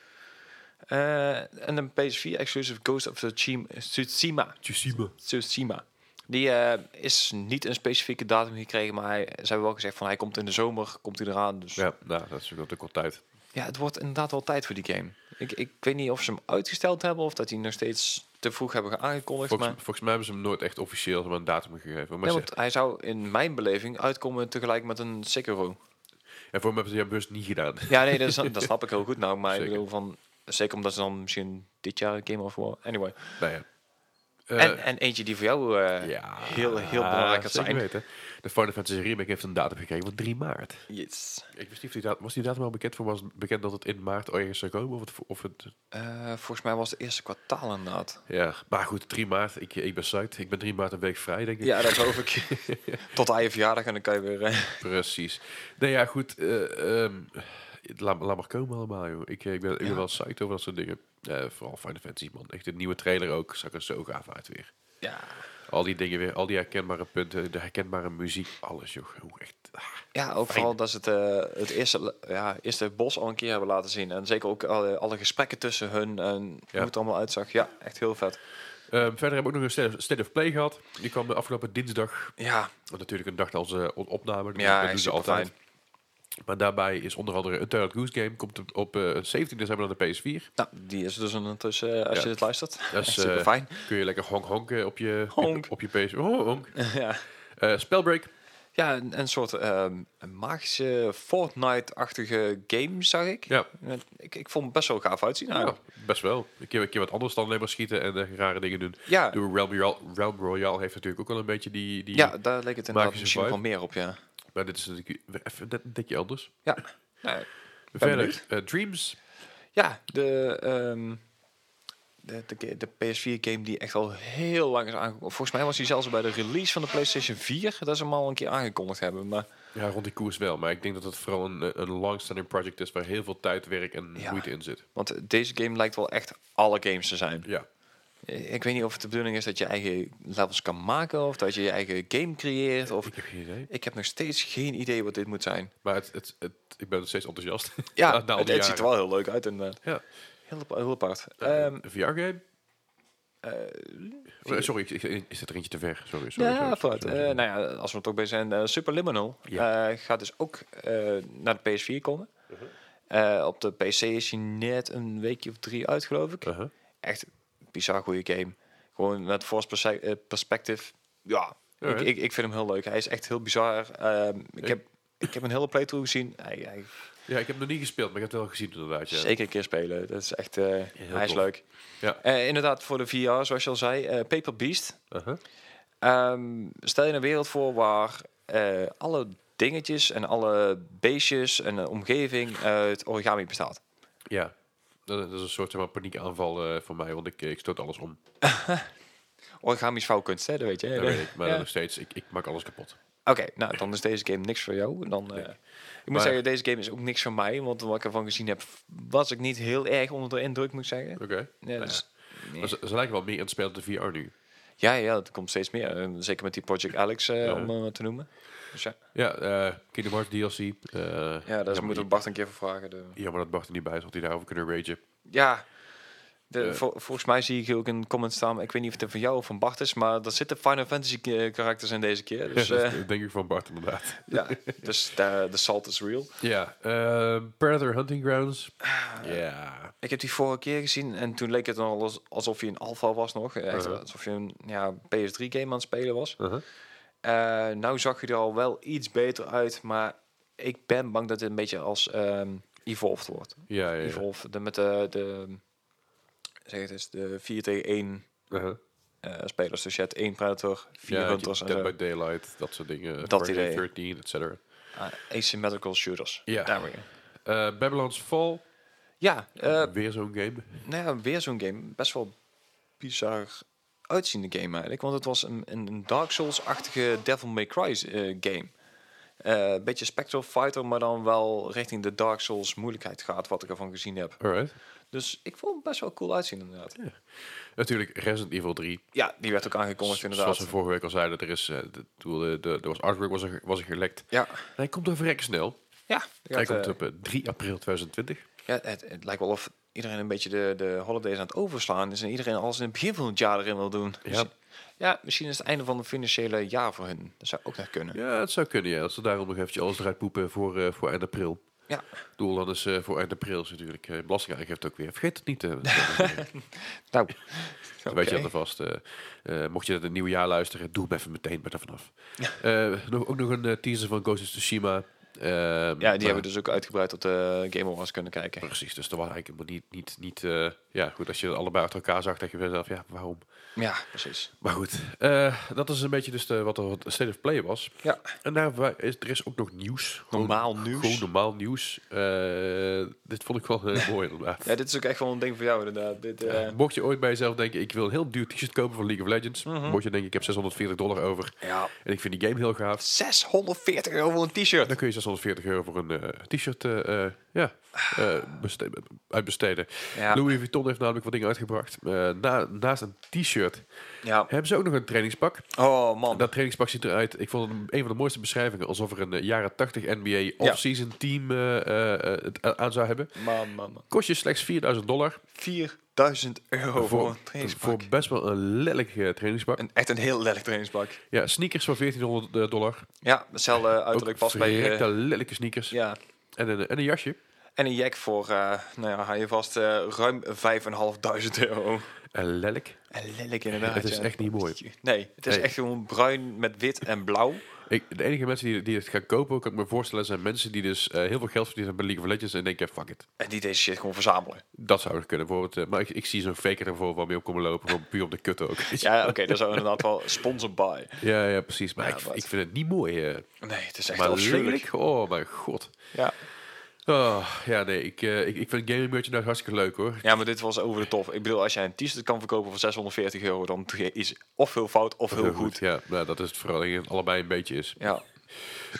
S2: Eh, en een PS4 exclusive Ghost of Tsushima- Tsushima.
S1: Tsushima.
S2: Tsushima. Die eh, is niet een specifieke datum gekregen, maar hij, ze hebben wel gezegd van hij komt in de zomer, komt hij eraan. Dus ja,
S1: Ja, nou, dat is natuurlijk al tijd.
S2: het wordt inderdaad wel tijd voor die game. Ik, ik weet niet of ze hem uitgesteld hebben of dat die nog steeds te vroeg hebben aangekondigd.
S1: Volgens,
S2: maar...
S1: volgens mij hebben ze hem nooit echt officieel zeg maar, een datum gegeven. Maar
S2: Ja,
S1: ze-
S2: want hij zou in mijn beleving uitkomen tegelijk met een Sekiro.
S1: en voor mij hebben ze dat bewust niet gedaan.
S2: Ja, nee, dat, is- dat snap ik heel goed nou. Maar
S1: Zeker.
S2: ik bedoel van... Zeker omdat ze dan misschien dit jaar Game of War... Anyway.
S1: nou ja. Eh,
S2: en, en eentje die voor jou eh, heel, heel belangrijk gaat
S1: Ah, zeker
S2: zijn.
S1: Weten. De Final Fantasy Remake heeft een datum gekregen van 3 maart.
S2: Yes.
S1: Ik wist niet of die datum, was die datum al bekend voor was het bekend dat het in maart ergens zou komen of het, of het
S2: Eh, volgens mij was het eerste kwartaal inderdaad.
S1: ja, maar goed, 3 maart. Ik, ik ben zuid. Ik ben 3 maart een week vrij, denk ik.
S2: Ja, dat geloof ik. Tot aan je verjaardag en dan kan je weer... eh,
S1: Precies. Nee, ja, goed. eh, ehm, laat, laat maar komen allemaal, joh. Ik, eh, ik, ben, ik ben wel psyched over dat soort dingen. Eh, vooral Final Fantasy, man. Echt de nieuwe trailer ook. Zag er zo gaaf uit weer.
S2: ja.
S1: Al die dingen weer, al die herkenbare punten, de herkenbare muziek, alles joh. Hoe echt, ah,
S2: Ja, ook vooral dat ze het, eh, het eerste, ja, eerste bos al een keer hebben laten zien. En zeker ook alle, alle gesprekken tussen hun en
S1: Ja.
S2: hoe het allemaal uitzag. Ja, echt heel vet.
S1: Ehm, verder hebben we ook nog een State of- State of Play gehad. Die kwam de afgelopen dinsdag.
S2: Ja,
S1: Want Natuurlijk een dag na onze on- opname. Dat-
S2: ja
S1: dat
S2: hij
S1: doen
S2: is
S1: ze
S2: super
S1: altijd.
S2: fijn.
S1: Maar daarbij is onder andere een Tired Goose Game. Komt op- op eh 17 december naar de PS4.
S2: Nou, die is dus ondertussen, eh, als
S1: Ja.
S2: je dit luistert,
S1: Dat is,
S2: echt super
S1: eh,
S2: fijn.
S1: Kun je lekker honk honken op je,
S2: Honk.
S1: Op je PS4. Oh, honk.
S2: ja.
S1: Eh, Spellbreak.
S2: ja, een, een soort ehm, een magische Fortnite-achtige game, zag ik.
S1: Ja. Oh.
S2: Eh, Ik, ik vond hem best wel gaaf uitzien
S1: ja,
S2: eigenlijk.
S1: best wel. Een keer, een keer wat anders dan alleen maar schieten en eh, rare dingen doen.
S2: Ja, ja,
S1: Door Realm Royale, Realm Royale heeft natuurlijk ook wel een beetje die... die
S2: daar leek het inderdaad
S1: Magische
S2: misschien nog wel
S1: vibe.
S2: meer op, ja.
S1: Maar dit is natuurlijk weer even net een tikje anders.
S2: Ja, Nou,
S1: Verder, eh, Dreams.
S2: ja de, ehm, de, de, ge- de PS4-game die echt al heel lang is aangekondigd. Volgens mij was die zelfs al bij de release van de PlayStation 4, dat ze hem al een keer aangekondigd hebben. Maar
S1: Ja, rond die koers wel. Maar ik denk dat het vooral een, eh, een longstanding project is... waar heel veel tijd, werk en
S2: Ja.
S1: moeite in zit.
S2: Want deze game lijkt wel echt alle games te zijn.
S1: Ja.
S2: Eh, Ik weet niet of het de bedoeling is dat je eigen levels kan maken of dat je je eigen game creëert. Of...
S1: Ik heb geen idee.
S2: Ik heb nog steeds geen idee wat dit moet zijn.
S1: Maar het, het, het, ik ben nog steeds enthousiast.
S2: Ja,
S1: Na- na Nou, al
S2: het,
S1: die
S2: het ziet er
S1: jaren.
S2: wel heel leuk uit inderdaad.
S1: Ja.
S2: Heel, apa- heel apart.
S1: Eh,
S2: Ehm,
S1: een VR-game?
S2: eh,
S1: Oh, Sorry, ik, ik, ik zit er eentje te ver. Sorry, sorry.
S2: ja,
S1: sorry, sorry,
S2: vooruit.
S1: sorry,
S2: Eh,
S1: sorry.
S2: nou ja, als we toch bij zijn, eh, Superliminal
S1: Ja. Mhm.
S2: eh, gaat dus ook eh, naar de PS4 komen. Eh, op de PC is hij net een weekje of drie uit, geloof ik.
S1: Uh-huh.
S2: Echt een bizar goede game. Gewoon met Force perse- eh, Perspective. Ja, ik,
S1: Alright.
S2: ik, ik vind hem heel leuk. Hij is echt heel bizar. Ehm, ik,
S1: Ik-
S2: heb, ik heb een hele playthrough gezien. Hij, hij
S1: Ja, ik heb hem nog niet gespeeld, maar ik heb het wel gezien inderdaad. Ja.
S2: Zeker een keer spelen. Dat is echt, eh, hij is
S1: tof.
S2: leuk.
S1: Ja.
S2: Eh, inderdaad, voor de VR, zoals je al zei, eh, Paper Beast.
S1: Uh-huh.
S2: Ehm, stel je een wereld voor waar eh, alle dingetjes en alle beestjes en de omgeving uit origami bestaat.
S1: Ja, dat, dat is een soort zeg maar, paniekaanval eh, voor mij, want ik, ik stoot alles om.
S2: Origamisch vouwkunst, hè? Dat weet je. hè?
S1: Dat weet ik, maar
S2: Ja.
S1: nog steeds, ik, ik maak alles kapot.
S2: Oké, nou, dan is deze game niks voor jou. En Dan, eh, ik moet
S1: Maar-
S2: zeggen, deze game is ook niks voor mij. Want wat ik ervan gezien heb, was ik niet heel erg onder de indruk, moet ik zeggen.
S1: Oké. Nou
S2: Ja, dus-
S1: Maar Ze, ze lijken wel meer aan het spelen dan VR nu.
S2: ja, ja, dat komt steeds meer. Eh, Zeker met die Project Alex, eh,
S1: Ja.
S2: om eh, te noemen. Dus ja.
S1: Ja, eh Kingdom Hearts DLC. eh,
S2: Ja, daar
S1: jammer
S2: moeten we
S1: dat-
S2: Bart een keer voor vragen. De...
S1: Jammer dat Bart er niet bij is, had hij daarover kunnen ragen.
S2: Ja, de,
S1: Eh.
S2: vol- volgens mij zie ik ook een comment staan. Ik weet niet of het van jou of van Bart is, maar er zitten Final Fantasy eh, karakters in deze keer. Dus,
S1: Ja, dat
S2: eh,
S1: denk ik van Bart inderdaad.
S2: ja, dus de, de salt is real.
S1: Ja, ehm, Predator Hunting Grounds.
S2: Ah.
S1: Ja.
S2: Ik heb die vorige keer gezien en toen leek het dan alles- alsof je een alfa was nog. Echt,
S1: Uh-huh.
S2: Alsof je een ja, PS3-game aan het spelen was.
S1: Uh-huh.
S2: Eh, nou zag je er al wel iets beter uit, maar ik ben bang dat dit een beetje als ehm, Evolved wordt.
S1: Ja, ja, ja.
S2: Evolved, de, met de, de, zeg het eens, de 4 tegen 1
S1: Uh-huh.
S2: eh, spelers. Dus je hebt één Predator, vier
S1: Ja,
S2: Hunters en
S1: Dead
S2: zo.
S1: by Daylight, dat soort dingen.
S2: eh, Dat
S1: Friday
S2: idee.
S1: 13, et cetera.
S2: Ah, asymmetrical shooters.
S1: Ja.
S2: Daar we gaan.
S1: Eh, Babylon's Fall.
S2: Ja, eh,
S1: Weer zo'n game.
S2: nou ja, weer zo'n game. Best wel bizar uitziende game eigenlijk. Want het was een, een een Dark Souls-achtige Devil May Cry eh, game. Eh beetje Spectral Fighter, maar dan wel richting de Dark Souls moeilijkheid gaat, wat ik ervan gezien heb.
S1: Alright.
S2: Dus ik vond het best wel cool uitzien inderdaad.
S1: Natuurlijk Resident Evil 3.
S2: Ja, die werd ook aangekondigd
S1: Zoals
S2: inderdaad.
S1: we vorige week al zeiden, er is, eh, de, toen de, de, er was artwork was, er, was er gelekt.
S2: Ja,
S1: Hij komt er verrek snel.
S2: ja.
S1: Hij
S2: die had,
S1: komt
S2: eh,
S1: op eh, 3 april 2020.
S2: Ja, het, het lijkt wel of iedereen een beetje de, de holidays aan het overslaan is en iedereen alles in het begin van het jaar erin wil doen.
S1: Ja.
S2: Misschien- ja, misschien is het einde van het financiële jaar voor hun. Dat zou ook nog kunnen.
S1: Ja, het zou kunnen, ja. Dat ze daarom nog eventjes alles eruit poepen voor, eh, voor eind april.
S2: Ja.
S1: Doel dan is eh, voor eind april is natuurlijk eh belastingaangifte ook weer. Vergeet het niet. eh,
S2: Nou,
S1: Dat weet je
S2: oké.
S1: alvast. eh eh, mocht je het een nieuw jaar luisteren, doe hem even meteen maar er vanaf. Eh, nog, ook nog een eh, teaser van Ghost of Tsushima. Ehm,
S2: ja, die
S1: maar-
S2: hebben we dus ook uitgebreid op de Game Awards kunnen kijken.
S1: Precies, dus dat was eigenlijk helemaal niet... niet, niet eh, ja, goed, als je het allebei achter elkaar zag, dacht je bij jezelf, ja, waarom?
S2: Ja, precies.
S1: Maar goed, eh, dat is een beetje dus de, wat de State of Play was.
S2: Ja.
S1: En daar wa- is, er is ook nog nieuws. Gewoon-
S2: Normaal nieuws.
S1: Gewoon normaal nieuws. Eh, dit vond ik wel heel mooi inderdaad.
S2: Ja, dit is ook echt wel een ding voor jou inderdaad. Dit, eh,
S1: Mocht je ooit bij jezelf denken, ik wil een heel duur t-shirt kopen van League of Legends.
S2: Mhm.
S1: Mocht je denken, ik heb 640 dollar over
S2: ja.
S1: en ik vind die game heel gaaf.
S2: 640 euro voor een t-shirt.
S1: Dan kun je 640 euro voor een eh, t-shirt eh, eh, Ja, eh, beste- uitbesteden.
S2: Ja.
S1: Louis Vuitton heeft namelijk wat dingen uitgebracht. Eh, na, naast een t-shirt
S2: ja.
S1: hebben ze ook nog een trainingspak.
S2: Oh man.
S1: Dat trainingspak ziet eruit, ik vond het een van de mooiste beschrijvingen, alsof er een eh, jaren 80 NBA off-season team eh, eh, eh, het a- aan zou hebben.
S2: man, man, man.
S1: Kost je slechts 4000 dollar
S2: 4000 euro voor,
S1: voor,
S2: een trainingspak.
S1: voor best wel een lelijk eh, trainingspak.
S2: Een, echt een heel lelijk trainingspak.
S1: Ja, sneakers van 1400 dollar.
S2: Ja, hetzelfde uiterlijk
S1: Ook
S2: past bij... eh,
S1: verrekte lelijke sneakers.
S2: ja.
S1: En, een, en een jasje.
S2: En een jack voor, eh, nou ja, hou je vast, eh, ruim 5500 euro.
S1: En lelijk.
S2: En lelijk inderdaad.
S1: Het is
S2: ja.
S1: echt niet mooi.
S2: Nee, het is
S1: Nee.
S2: echt gewoon bruin met wit en blauw.
S1: Ik, de enige mensen die, die het gaan kopen, kan ik me voorstellen, zijn mensen die dus eh, heel veel geld verdienen bij League of Legends en denken, fuck it.
S2: En die deze shit gewoon verzamelen.
S1: Dat zou er kunnen. Bijvoorbeeld, eh, maar ik, ik zie zo'n faker ervoor wel mee op komen lopen, gewoon puur op de kut ook.
S2: Ja, oké, dat zou inderdaad wel sponsor buy.
S1: Ja, ja, precies. Maar
S2: Ja,
S1: ik,
S2: wat?
S1: ik vind het niet mooi. eh
S2: Nee, het is echt
S1: maar
S2: afschuwelijk.
S1: lelijk? Oh, mijn god.
S2: Ja.
S1: Oh, ja, nee. Ik, eh, ik, ik vind gaming merchandise hartstikke leuk, hoor.
S2: ja, maar dit was over de tof. Ik bedoel, als jij een t-shirt kan verkopen voor 640 euro, dan doe je iets of heel fout of heel goed.
S1: Ja, nou, dat is het vooral. Ik denk dat het allebei een beetje is.
S2: Ja.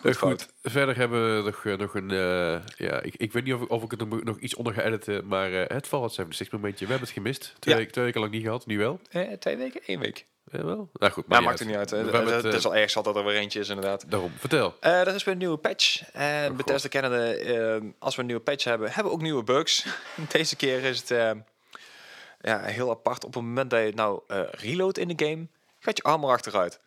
S2: Goed,
S1: Eh,
S2: fout.
S1: goed, verder hebben we nog, eh, nog een... eh, ja, ik, ik weet niet of ik, of ik het er nog iets onder ga editen, maar eh het Fallout 76 momentje. We hebben het gemist. Twee,
S2: Ja.
S1: weken, twee weken lang niet gehad, nu wel.
S2: Eh, twee weken? Eén week?
S1: Eh, wel? Nou goed,
S2: Maar
S1: maar
S2: ja, maakt het niet uit. hè.
S1: We
S2: Het,
S1: hebben het,
S2: het is
S1: eh,
S2: al erg zat dat er weer eentje is, inderdaad.
S1: Daarom, vertel.
S2: Eh, er is weer een nieuwe patch. En Bethesda kennende, ehm, als we een nieuwe patch hebben, hebben we ook nieuwe bugs. Deze keer is het ehm, ja, heel apart. Op het moment dat je nou eh, reload in de game, gaat je armor achteruit.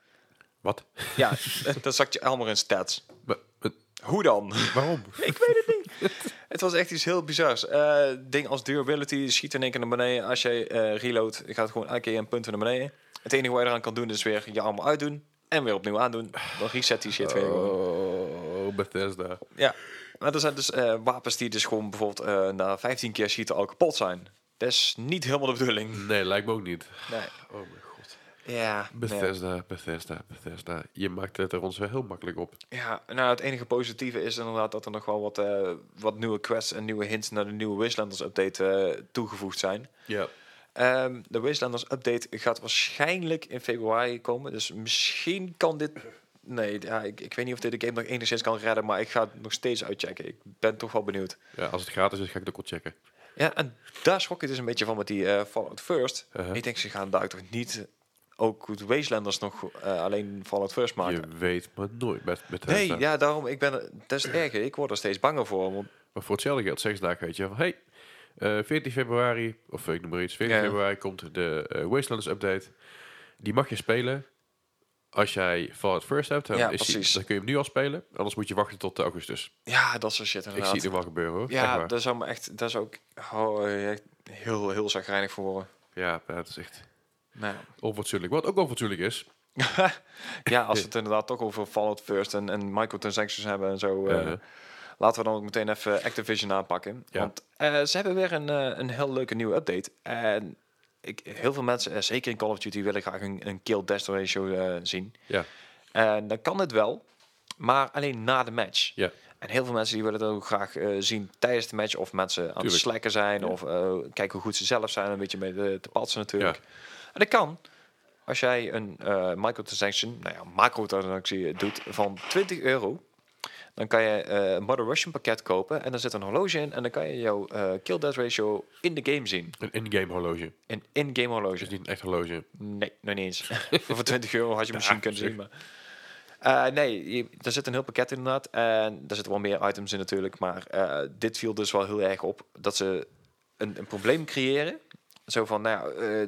S1: Wat?
S2: Ja, eh, dan zakt je armor in stats.
S1: Maar, maar
S2: Hoe dan?
S1: waarom?
S2: Ik weet het niet. het was echt iets heel bizars. Eh ding als durability schiet in één keer naar beneden. Als jij eh, reload, je gaat gewoon elke keer een punt naar beneden. Het enige wat je eraan kan doen is weer je armor uitdoen. En weer opnieuw aandoen. Dan reset die shit weer gewoon.
S1: Oh, Bethesda.
S2: Ja, maar er zijn dus eh, wapens die dus gewoon bijvoorbeeld eh, na 15 keer schieten al kapot zijn. Dat is niet helemaal de bedoeling.
S1: Nee, lijkt me ook niet.
S2: Nee.
S1: Oh mijn god.
S2: Ja, nee.
S1: Bethesda, Bethesda, Bethesda. Je maakt het er ons wel heel makkelijk op.
S2: ja, nou het enige positieve is inderdaad dat er nog wel wat, eh, wat nieuwe quests en nieuwe hints naar de nieuwe Wastelanders update eh, toegevoegd zijn.
S1: Ja.
S2: Ehm, de Wastelanders update gaat waarschijnlijk in februari komen, dus misschien kan dit... Nee, ja, ik, ik weet niet of dit de game nog enigszins kan redden, maar ik ga het nog steeds uitchecken. Ik ben toch wel benieuwd.
S1: ja. Als het gratis is, ga ik het ook wel checken.
S2: Ja, en daar schrok ik dus een beetje van met die eh, Fallout First.
S1: Uh-huh.
S2: Ik denk, ze gaan daar toch niet eh, ook goed Wastelanders nog eh, alleen Fallout First maken.
S1: Je weet maar nooit met Bethesda.
S2: Nee, ja, daarom, ik ben, dat is het erge. Ik word er steeds banger voor. Want,
S1: Maar voor hetzelfde geld, zes dagen weet je van... Hey, eh, 14 februari, of eh, ik noem maar iets, 14
S2: Ja.
S1: februari komt de eh, Wastelanders update. Die mag je spelen als jij Fallout First hebt. Dan,
S2: Ja,
S1: is die-
S2: precies.
S1: dan kun je hem nu al spelen. Anders moet je wachten tot augustus.
S2: ja, dat soort shit
S1: Ik
S2: inderdaad.
S1: zie het nu wel gebeuren hoor. Echt
S2: ja,
S1: waar.
S2: dat zou me echt, dat is ook oh, eh, echt heel, heel zagrijnig voor worden.
S1: ja, maar dat is echt
S2: Nou,
S1: onfatsoenlijk. Wat ook onfatsoenlijk is...
S2: ja. ja, als we het inderdaad toch over Fallout First en, en microtransactions hebben en zo... eh,
S1: eh,
S2: Laten we dan ook meteen even Activision aanpakken.
S1: Ja.
S2: Want eh, ze hebben weer een, eh, een heel leuke nieuwe update. En ik, heel veel mensen, eh, zeker in Call of Duty, willen graag een, een kill-death ratio eh, zien.
S1: ja,
S2: En dan kan het wel, maar alleen na de match.
S1: ja.
S2: En heel veel mensen die willen dat ook graag eh, zien tijdens de match. Of mensen aan het
S1: Tuurlijk.
S2: slacken zijn.
S1: Ja.
S2: Of eh, kijken hoe goed ze zelf zijn. Een beetje mee te, te patsen natuurlijk.
S1: Ja.
S2: En dat kan als jij een eh microtransaction, nou ja, macrotransactie doet van 20 euro. Dan kan je eh, een Mother Russian pakket kopen. En dan zit een horloge in. En dan kan je jouw eh, kill-death ratio in de game zien.
S1: Een in-game horloge.
S2: Een in-game horloge.
S1: Dus niet een echt horloge.
S2: Nee, nog niet eens. Voor 20 euro had je misschien kunnen
S1: zeg.
S2: zien. Maar. Eh, nee, je- er zit een heel pakket inderdaad. En daar zitten wel meer items in natuurlijk. Maar eh, dit viel dus wel heel erg op. Dat ze een, een probleem creëren. Zo van, nou ja, eh,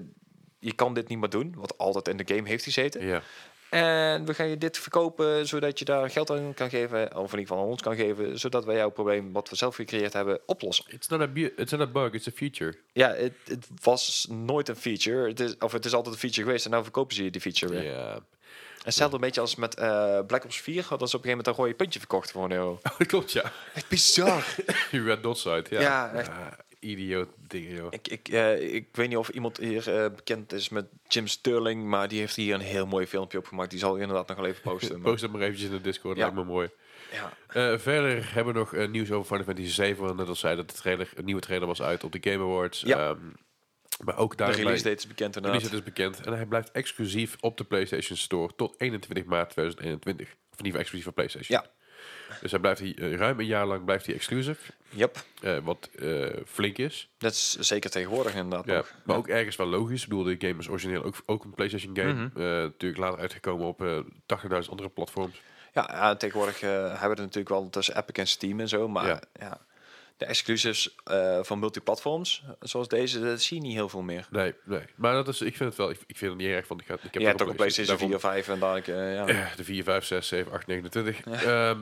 S2: je kan dit niet meer doen. Wat altijd in de game heeft gezeten.
S1: Ja.
S2: En we gaan je dit verkopen, zodat je daar geld aan kan geven. Of in ieder geval aan ons kan geven. Zodat wij jouw probleem, wat we zelf gecreëerd hebben, oplossen.
S1: It's not, a bu- it's not a bug, it's a feature.
S2: Ja, het, het was nooit een feature. Het is, of het is altijd een feature geweest. En nu verkopen ze je die feature weer.
S1: Ja.
S2: Hetzelfde een beetje als met eh, Black Ops 4 hadden ze op een gegeven moment een rode puntje verkocht voor een euro.
S1: Dat klopt, ja.
S2: Echt bizar.
S1: Die Red Dot site, ja.
S2: Ja, echt.
S1: Ah, idioot dingen, joh.
S2: ik, ik, eh, ik weet niet of iemand hier eh, bekend is met Jim Sterling, maar die heeft hier een heel mooi filmpje op gemaakt. Die zal ik inderdaad nog wel even posten. maar-
S1: Post dat maar eventjes in de Discord,
S2: Ja.
S1: lijkt me mooi.
S2: ja.
S1: Eh, verder hebben we nog eh, nieuws over Final Fantasy 7. Want net al zei dat de trailer, een nieuwe trailer was uit op de Game Awards.
S2: Ja.
S1: Ehm, maar ook
S2: De
S1: daar
S2: release date is bekend inderdaad.
S1: is bekend. En hij blijft exclusief op de PlayStation Store tot 21 maart 2021. Of in ieder geval exclusief voor PlayStation.
S2: Ja.
S1: Dus hij blijft hier, eh, ruim een jaar lang blijft hij exclusive.
S2: Yep.
S1: eh, wat eh, flink is.
S2: Dat is zeker tegenwoordig inderdaad
S1: Ja,
S2: nog.
S1: maar ook ergens wel logisch. Ik bedoel, de game is origineel ook, ook een PlayStation game.
S2: Mhm.
S1: Eh, natuurlijk later uitgekomen op eh 80.000 andere platforms.
S2: Ja, ja, tegenwoordig eh, hebben we het natuurlijk wel tussen Epic en Steam en zo. Maar
S1: Ja.
S2: ja. de exclusives eh, van multiplatforms, zoals deze, dat zie je niet heel veel meer.
S1: Nee, nee. Maar dat is, ik vind het wel, ik, ik vind het niet erg, want ik, ga, ik heb
S2: Je hebt ook een PlayStation
S1: daarom-
S2: 4 of 5 en dan... eh ja.
S1: Eh, de 4, 5, 6, 7, 8, 29. Ja, Ehm,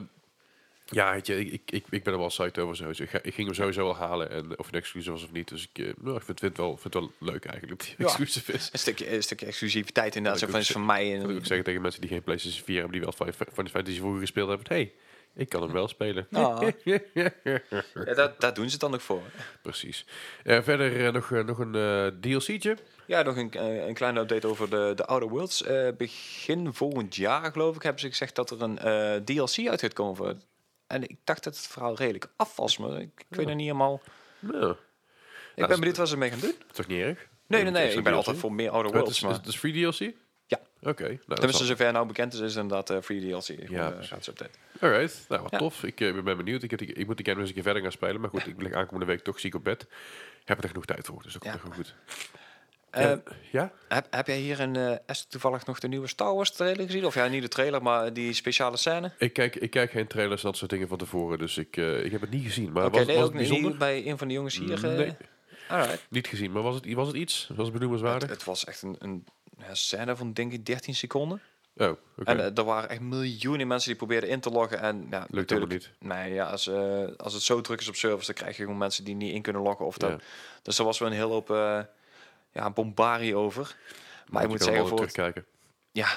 S1: ja weet je, ik, ik, ik, ik ben er wel psyched over sowieso. Ik, ga, ik ging hem sowieso wel halen, en of het een exclusive was of niet. Dus ik, eh, nou, ik vind, vind, het wel, vind het wel leuk eigenlijk dat hij
S2: Ja.
S1: exclusive is.
S2: Een stukje, een stukje exclusiviteit inderdaad. Zo
S1: Dat
S2: van,
S1: wil ik
S2: is
S1: ook
S2: van mij.
S1: Dat wil ik ook
S2: En,
S1: zeggen tegen mensen die geen PlayStation 4 hebben, die wel Final Final Fantasy vroeger gespeeld hebben. hey, ik kan hem wel spelen.
S2: Ah. ja, dat, daar doen ze het dan nog voor.
S1: Precies. Eh, verder eh, nog, eh, nog een eh DLC'tje.
S2: Ja, nog een, eh, een kleine update over de, de Outer Worlds. Eh, begin volgend jaar, geloof ik, hebben ze gezegd dat er een eh, DLC uit gaat komen. Voor. En ik dacht dat het verhaal redelijk af was, maar ik, ik weet nog niet helemaal.
S1: Nou,
S2: Ik
S1: dat is-
S2: ben benieuwd wat ze ermee gaan doen.
S1: toch niet erg?
S2: Nee, nee,
S1: Een
S2: nee.
S1: extra
S2: Ik ben
S1: DLC?
S2: altijd voor meer Outer
S1: Oh, Het
S2: Worlds.
S1: is,
S2: maar
S1: is, het is free DLC?
S2: Ja.
S1: Oké. nou, dat
S2: tenminste,
S1: zal-
S2: zover nou bekend is, is inderdaad eh, free DLC. gewoon, eh,
S1: precies.
S2: gratis update.
S1: Alright, nou wat
S2: Ja.
S1: tof. Ik eh, ben benieuwd. Ik, heb die- ik moet die game nog eens een keer verder gaan spelen. Maar goed, ik lig aankomende week toch ziek op bed. Ik heb er genoeg tijd voor, dus dat komt
S2: Ja.
S1: echt wel goed.
S2: Eh,
S1: Ja, ja?
S2: heb, heb jij hier in eh Est toevallig nog de nieuwe Star Wars trailer gezien? Of ja, niet de trailer, maar die speciale scène?
S1: Ik, kijk, ik kijk geen trailers en dat soort dingen van tevoren. Dus ik, eh, ik heb het niet gezien. Maar
S2: Oké,
S1: was,
S2: nee,
S1: was
S2: ook
S1: het
S2: niet
S1: bijzonder?
S2: bij een van de jongens hier. eh,
S1: Nee.
S2: alright.
S1: Niet gezien, maar was het, was het iets? Was het
S2: Het,
S1: benoemenswaardig?
S2: het was echt een, een ja, scène van denk ik 13 seconden.
S1: Oh, oké.
S2: En eh, er waren echt miljoenen mensen die probeerden in te loggen. En ja,
S1: Lukt helemaal
S2: natuurlijk
S1: niet.
S2: Nee, ja, als, eh, als het zo druk is op servers, dan krijg je gewoon mensen die niet in kunnen loggen. Of dat.
S1: Ja.
S2: Dus er was wel een heel hoop eh, ja, bombardie over. Maar ik moet
S1: kan hem
S2: zeggen,
S1: wel
S2: voor het-
S1: terugkijken.
S2: ja.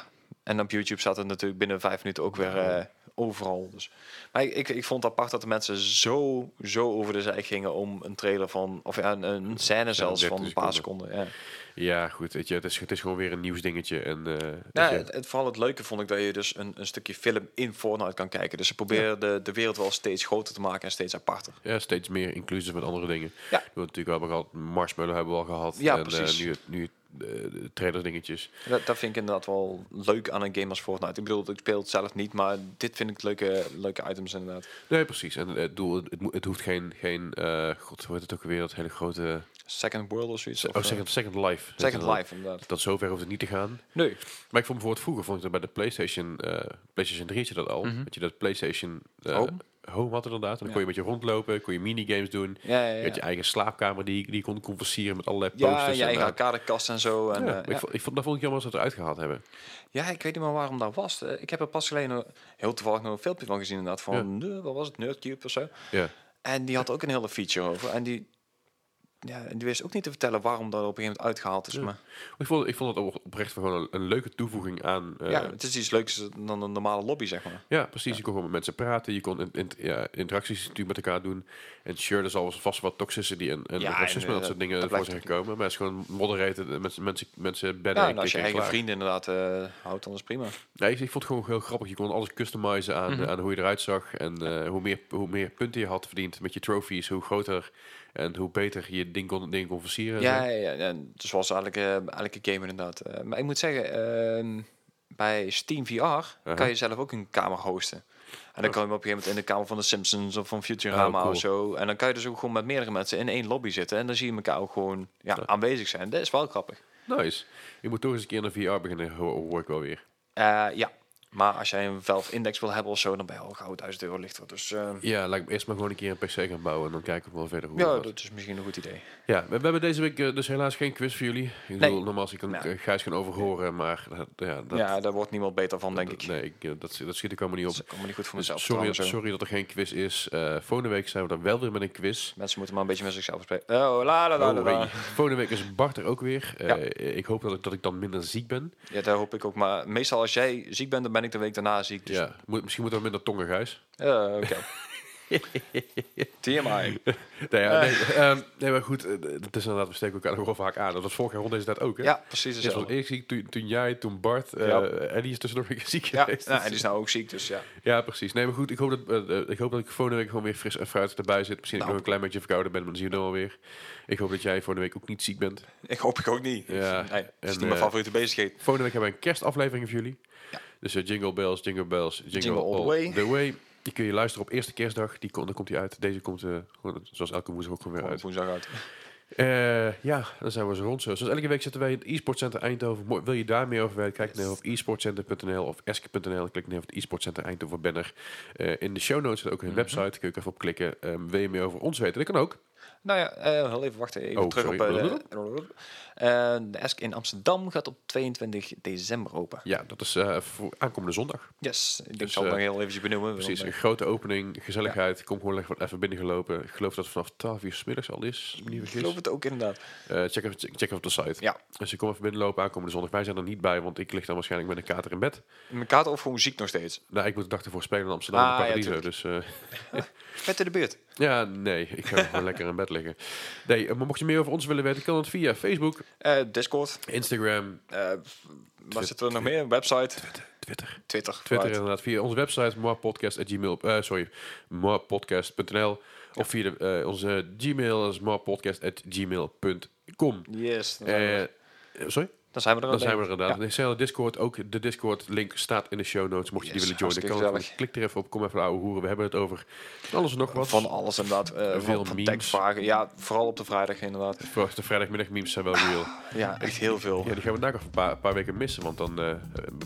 S2: En op YouTube zat het natuurlijk binnen vijf minuten ook weer eh, overal. Dus. Maar ik, ik, ik vond het apart dat de mensen zo, zo over de zij gingen om een trailer van, of ja, een, een scène zelfs van
S1: 13
S2: een paar seconden. Ja.
S1: Ja, goed. Weet je, het, is, het is gewoon weer een nieuwsdingetje. En, eh,
S2: Ja,
S1: weet je,
S2: Nou, het, het- vooral het leuke vond ik dat je dus een, een stukje film in Fortnite kan kijken. Dus ze proberen de, de wereld wel steeds groter te maken en steeds aparter.
S1: ja, steeds meer inclusief met andere dingen.
S2: Ja.
S1: We hebben natuurlijk wel gehad. Marshmallow hebben we al gehad.
S2: Ja,
S1: en, eh,
S2: precies.
S1: nu het- nu het, eh, de trailer dingetjes.
S2: Dat, dat vind ik inderdaad wel leuk aan een game als Fortnite. Ik bedoel, ik speel het zelf niet, maar dit vind ik leuke, leuke items inderdaad.
S1: Nee, precies. En eh, het doel, het, mo- het hoeft geen, geen eh, god, hoe heet het ook weer, dat hele grote...
S2: Second World of zoiets. of,
S1: oh,
S2: eh,
S1: Second, second Life.
S2: Second
S1: Dat-
S2: Life, inderdaad.
S1: Dat zover hoeft het niet te gaan.
S2: Nee.
S1: Maar ik vond bijvoorbeeld vroeger, vond ik dat bij de PlayStation, eh, PlayStation 3 had je dat al. Dat je dat PlayStation eh,
S2: Mhm. Home?
S1: Home had inderdaad. En dan
S2: Ja.
S1: kon je met je rondlopen, kon je minigames doen.
S2: Ja, ja,
S1: Je had je
S2: ja.
S1: eigen slaapkamer die, die je kon conversieren met allerlei
S2: Ja,
S1: posters.
S2: je eigen
S1: en, eh,
S2: arcadekast en zo. En,
S1: ja,
S2: eh,
S1: maar ik, vond, ik vond, dat vond ik jammer dat ze het eruit gehaald hebben.
S2: Ja, ik weet niet meer waarom dat was. Eh, Ik heb er pas geleden een- heel toevallig nog een filmpje van gezien inderdaad. Van, eh, wat was het, Nerdcube of zo.
S1: Ja.
S2: En die had ook een hele feature over. En die, ja, die wist ook niet te vertellen waarom dat op een gegeven moment uitgehaald is. Maar
S1: Maar Ik vond, ik vond het op- oprecht gewoon een, een leuke toevoeging aan... eh,
S2: ja, het is iets leuks dan een normale lobby, zeg maar.
S1: Ja, precies. Je kon gewoon met mensen praten. Je kon in, in- ja, interacties natuurlijk met elkaar doen. En sure, er zal wel vast wat toxicity en, en
S2: Ja,
S1: racisme
S2: en,
S1: en dat
S2: eh,
S1: soort dingen
S2: dat
S1: voor
S2: blijft
S1: zijn gekomen. Maar het is gewoon moderated. eh, Mensen, mensen, mensen bedden
S2: Ja,
S1: en
S2: en als
S1: klikken
S2: je
S1: en
S2: eigen
S1: klaar.
S2: vrienden inderdaad eh, houdt, dan is prima.
S1: Nee, ik, ik vond het gewoon heel grappig. Je kon alles customizen aan,
S2: Mhm.
S1: aan hoe je eruit zag. En eh, hoe, meer, hoe meer punten je had verdiend met je trophies, hoe groter en hoe beter je ding kon, ding kon versieren. en
S2: Ja,
S1: zo.
S2: ja, ja. En zoals elke, elke game inderdaad. Eh, maar ik moet zeggen, ehm, bij Steam VR
S1: Uh-huh.
S2: kan je zelf ook een kamer hosten. En dan kan je hem op een gegeven moment in de kamer van de Simpsons of van Futurama
S1: Oh, cool.
S2: of zo. En dan kan je dus ook gewoon met meerdere mensen in één lobby zitten. En dan zie je elkaar ook gewoon ja, aanwezig zijn. Dat is wel grappig.
S1: Nice. Je moet toch eens een keer naar VR beginnen, ho- hoor ik wel weer.
S2: Eh, ja, maar als jij een Valve Index wil hebben of zo, dan ben je al gauw 1000 euro lichter. Dus eh,
S1: Ja, laat ik me eerst maar gewoon een keer een PC gaan bouwen en dan kijken we wel verder hoe
S2: ja,
S1: het gaat.
S2: dat is misschien een goed idee.
S1: Ja, we, we hebben deze week eh, dus helaas geen quiz voor jullie. Ik bedoel, normaal als ik een
S2: Nee.
S1: eh, Gijs kan overhoren, maar eh, ja, dat,
S2: ja, daar wordt niemand beter van, denk
S1: dat-
S2: ik.
S1: nee, ik, eh, dat, dat schiet ik allemaal niet op.
S2: Dat komt me niet goed voor mezelf.
S1: Sorry,
S2: trouwens, hoor.
S1: sorry dat er geen quiz is. Eh volgende week zijn we dan wel weer met een quiz.
S2: Mensen moeten maar een beetje met zichzelf spreken. Oh, la la la la.
S1: Oh,
S2: la.
S1: hey. Volgende week is Bart er ook weer. Eh,
S2: Ja.
S1: Ik hoop dat ik, dat ik dan minder ziek ben.
S2: Ja, daar hoop ik ook. Maar meestal als jij ziek bent, dan ben ik de week daarna ziek. Dus...
S1: Ja, moet, misschien moeten we minder tongen, Gijs.
S2: Ja, oké. TMI.
S1: Nee, ja, nee, ehm, nee, maar goed, eh, dat is inderdaad, we steken elkaar nog wel vaak aan. Dat was vorig jaar rond deze tijd ook, hè?
S2: Ja, precies
S1: Eerst was
S2: hetzelfde.
S1: ik ziek, toen, toen jij, toen Bart. eh,
S2: Ja.
S1: En die is tussendoor weer ziek
S2: Ja,
S1: geweest.
S2: nou, en die is nou ook ziek, dus ja.
S1: Ja, precies. Nee, maar goed, ik hoop dat, eh, eh, ik, hoop dat ik volgende week gewoon weer fris en fruit erbij zit. Misschien dat ik
S2: Nou.
S1: nog een klein beetje verkouden ben, maar dan zien we dan alweer. Ik hoop dat jij volgende week ook niet ziek bent.
S2: Ik hoop ik ook niet.
S1: Ja,
S2: Nee, dat is
S1: en,
S2: niet mijn
S1: eh,
S2: favoriete bezigheid.
S1: Volgende week hebben we een kerstaflevering voor jullie.
S2: Ja.
S1: Dus eh, Jingle Bells, Jingle Bells, Jingle,
S2: Jingle All the Way.
S1: the way. Die kun je luisteren op eerste kerstdag. Die kon, dan komt hij uit. Deze komt eh, gewoon, zoals elke woensdag ook gewoon weer
S2: Gewoon
S1: uit.
S2: op woensdag uit.
S1: Eh, ja, dan zijn we zo rond. Zo. Dus elke week zitten wij in het e-sportcenter Eindhoven. Mo- Wil je daar meer over weten? Kijk naar op e-sportcenter.nl of esk.nl. Klik naar het e-sportcenter Eindhoven banner. Eh, in de show notes zit
S2: Mhm.
S1: ook een website. Kun je ook even op klikken. Ehm, wil je meer over ons weten? Dat kan ook.
S2: Nou ja, eh, heel even wachten. Even
S1: Oh,
S2: terug
S1: sorry.
S2: op eh, de, eh, de ESC in Amsterdam gaat op 22 december open.
S1: Ja, dat is eh, voor aankomende zondag.
S2: Yes, ik denk
S1: Dus,
S2: ik zal het
S1: eh,
S2: nog heel eventjes benoemen. want,
S1: Precies,
S2: eh,
S1: een grote opening, gezelligheid. Kom gewoon even even binnengelopen. Ik geloof dat het vanaf 12 uur 's middags al is, als ik me niet
S2: Ik
S1: vergis.
S2: geloof het ook inderdaad.
S1: Eh, check, even, check even op de site.
S2: Ja,
S1: Dus ik kom even binnenlopen aankomende zondag. Wij zijn er niet bij, want ik lig dan waarschijnlijk met een kater in bed.
S2: mijn kaart of gewoon ziek nog steeds.
S1: Nou, ik moet de dag ervoor spelen in Amsterdam,
S2: Ah,
S1: in
S2: ja,
S1: Paradiso.
S2: tuurlijk.
S1: dus eh,
S2: Vet in de buurt.
S1: ja, nee, ik ga gewoon lekker in bed liggen. Nee, eh, maar mocht je meer over ons willen weten, kan dat via Facebook,
S2: Eh, Discord.
S1: Instagram,
S2: eh, waar zitten we nog meer? Website.
S1: Twitter.
S2: Twitter.
S1: Twitter
S2: right.
S1: inderdaad, via onze website moapodcast.gmail. eh sorry, moapodcast.nl of via de, eh, onze Gmail, dat is moapodcast.gmail.com.
S2: Yes. Dan zijn,
S1: Eh
S2: we,
S1: sorry?
S2: dan zijn we er al
S1: Dan zijn we
S2: denk
S1: er
S2: ik.
S1: inderdaad. Ik zei al, Discord, ook de Discord-link staat in de show notes. Mocht je
S2: Yes,
S1: die willen joinen,
S2: hartstikke
S1: kan het.
S2: gezellig.
S1: klik er even op. Kom even ouwe hoeren. We hebben het over van alles en nog
S2: Ja,
S1: wat.
S2: Van alles inderdaad. eh,
S1: Veel
S2: van, van
S1: memes.
S2: tekstvragen. Ja, vooral op de vrijdag inderdaad.
S1: Voor de vrijdagmiddag memes zijn wel real.
S2: Ja, echt heel veel.
S1: Oh, Ja, die gaan we daar nog een paar, paar weken missen, want dan eh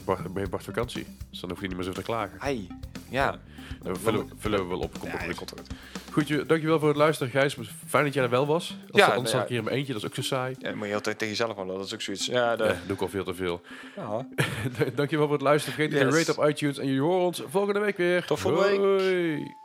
S1: Bart, ben je Bart vakantie. Dus dan hoef je niet meer zo te klagen.
S2: Ai. Ja.
S1: Eh, vullen, we- vullen we wel op. Komt
S2: Ah, Ja,
S1: wel
S2: dat
S1: goed.
S2: komt goed.
S1: Goed, je- dankjewel voor het luisteren, Gijs. Fijn dat jij er wel was. Als,
S2: Ja, nou
S1: anders
S2: ja.
S1: zat ik hier in mijn eentje, dat is ook zo saai.
S2: Ja, dan moet je altijd tegen jezelf aan lullen, dat is ook zoiets. Ja, de,
S1: Eh, doe ik al veel te veel.
S2: ja.
S1: dankjewel voor het luisteren. Vergeet niet
S2: Yes.
S1: te rate op iTunes. En jullie horen ons volgende week weer.
S2: Tot volgende week.
S1: Hoi.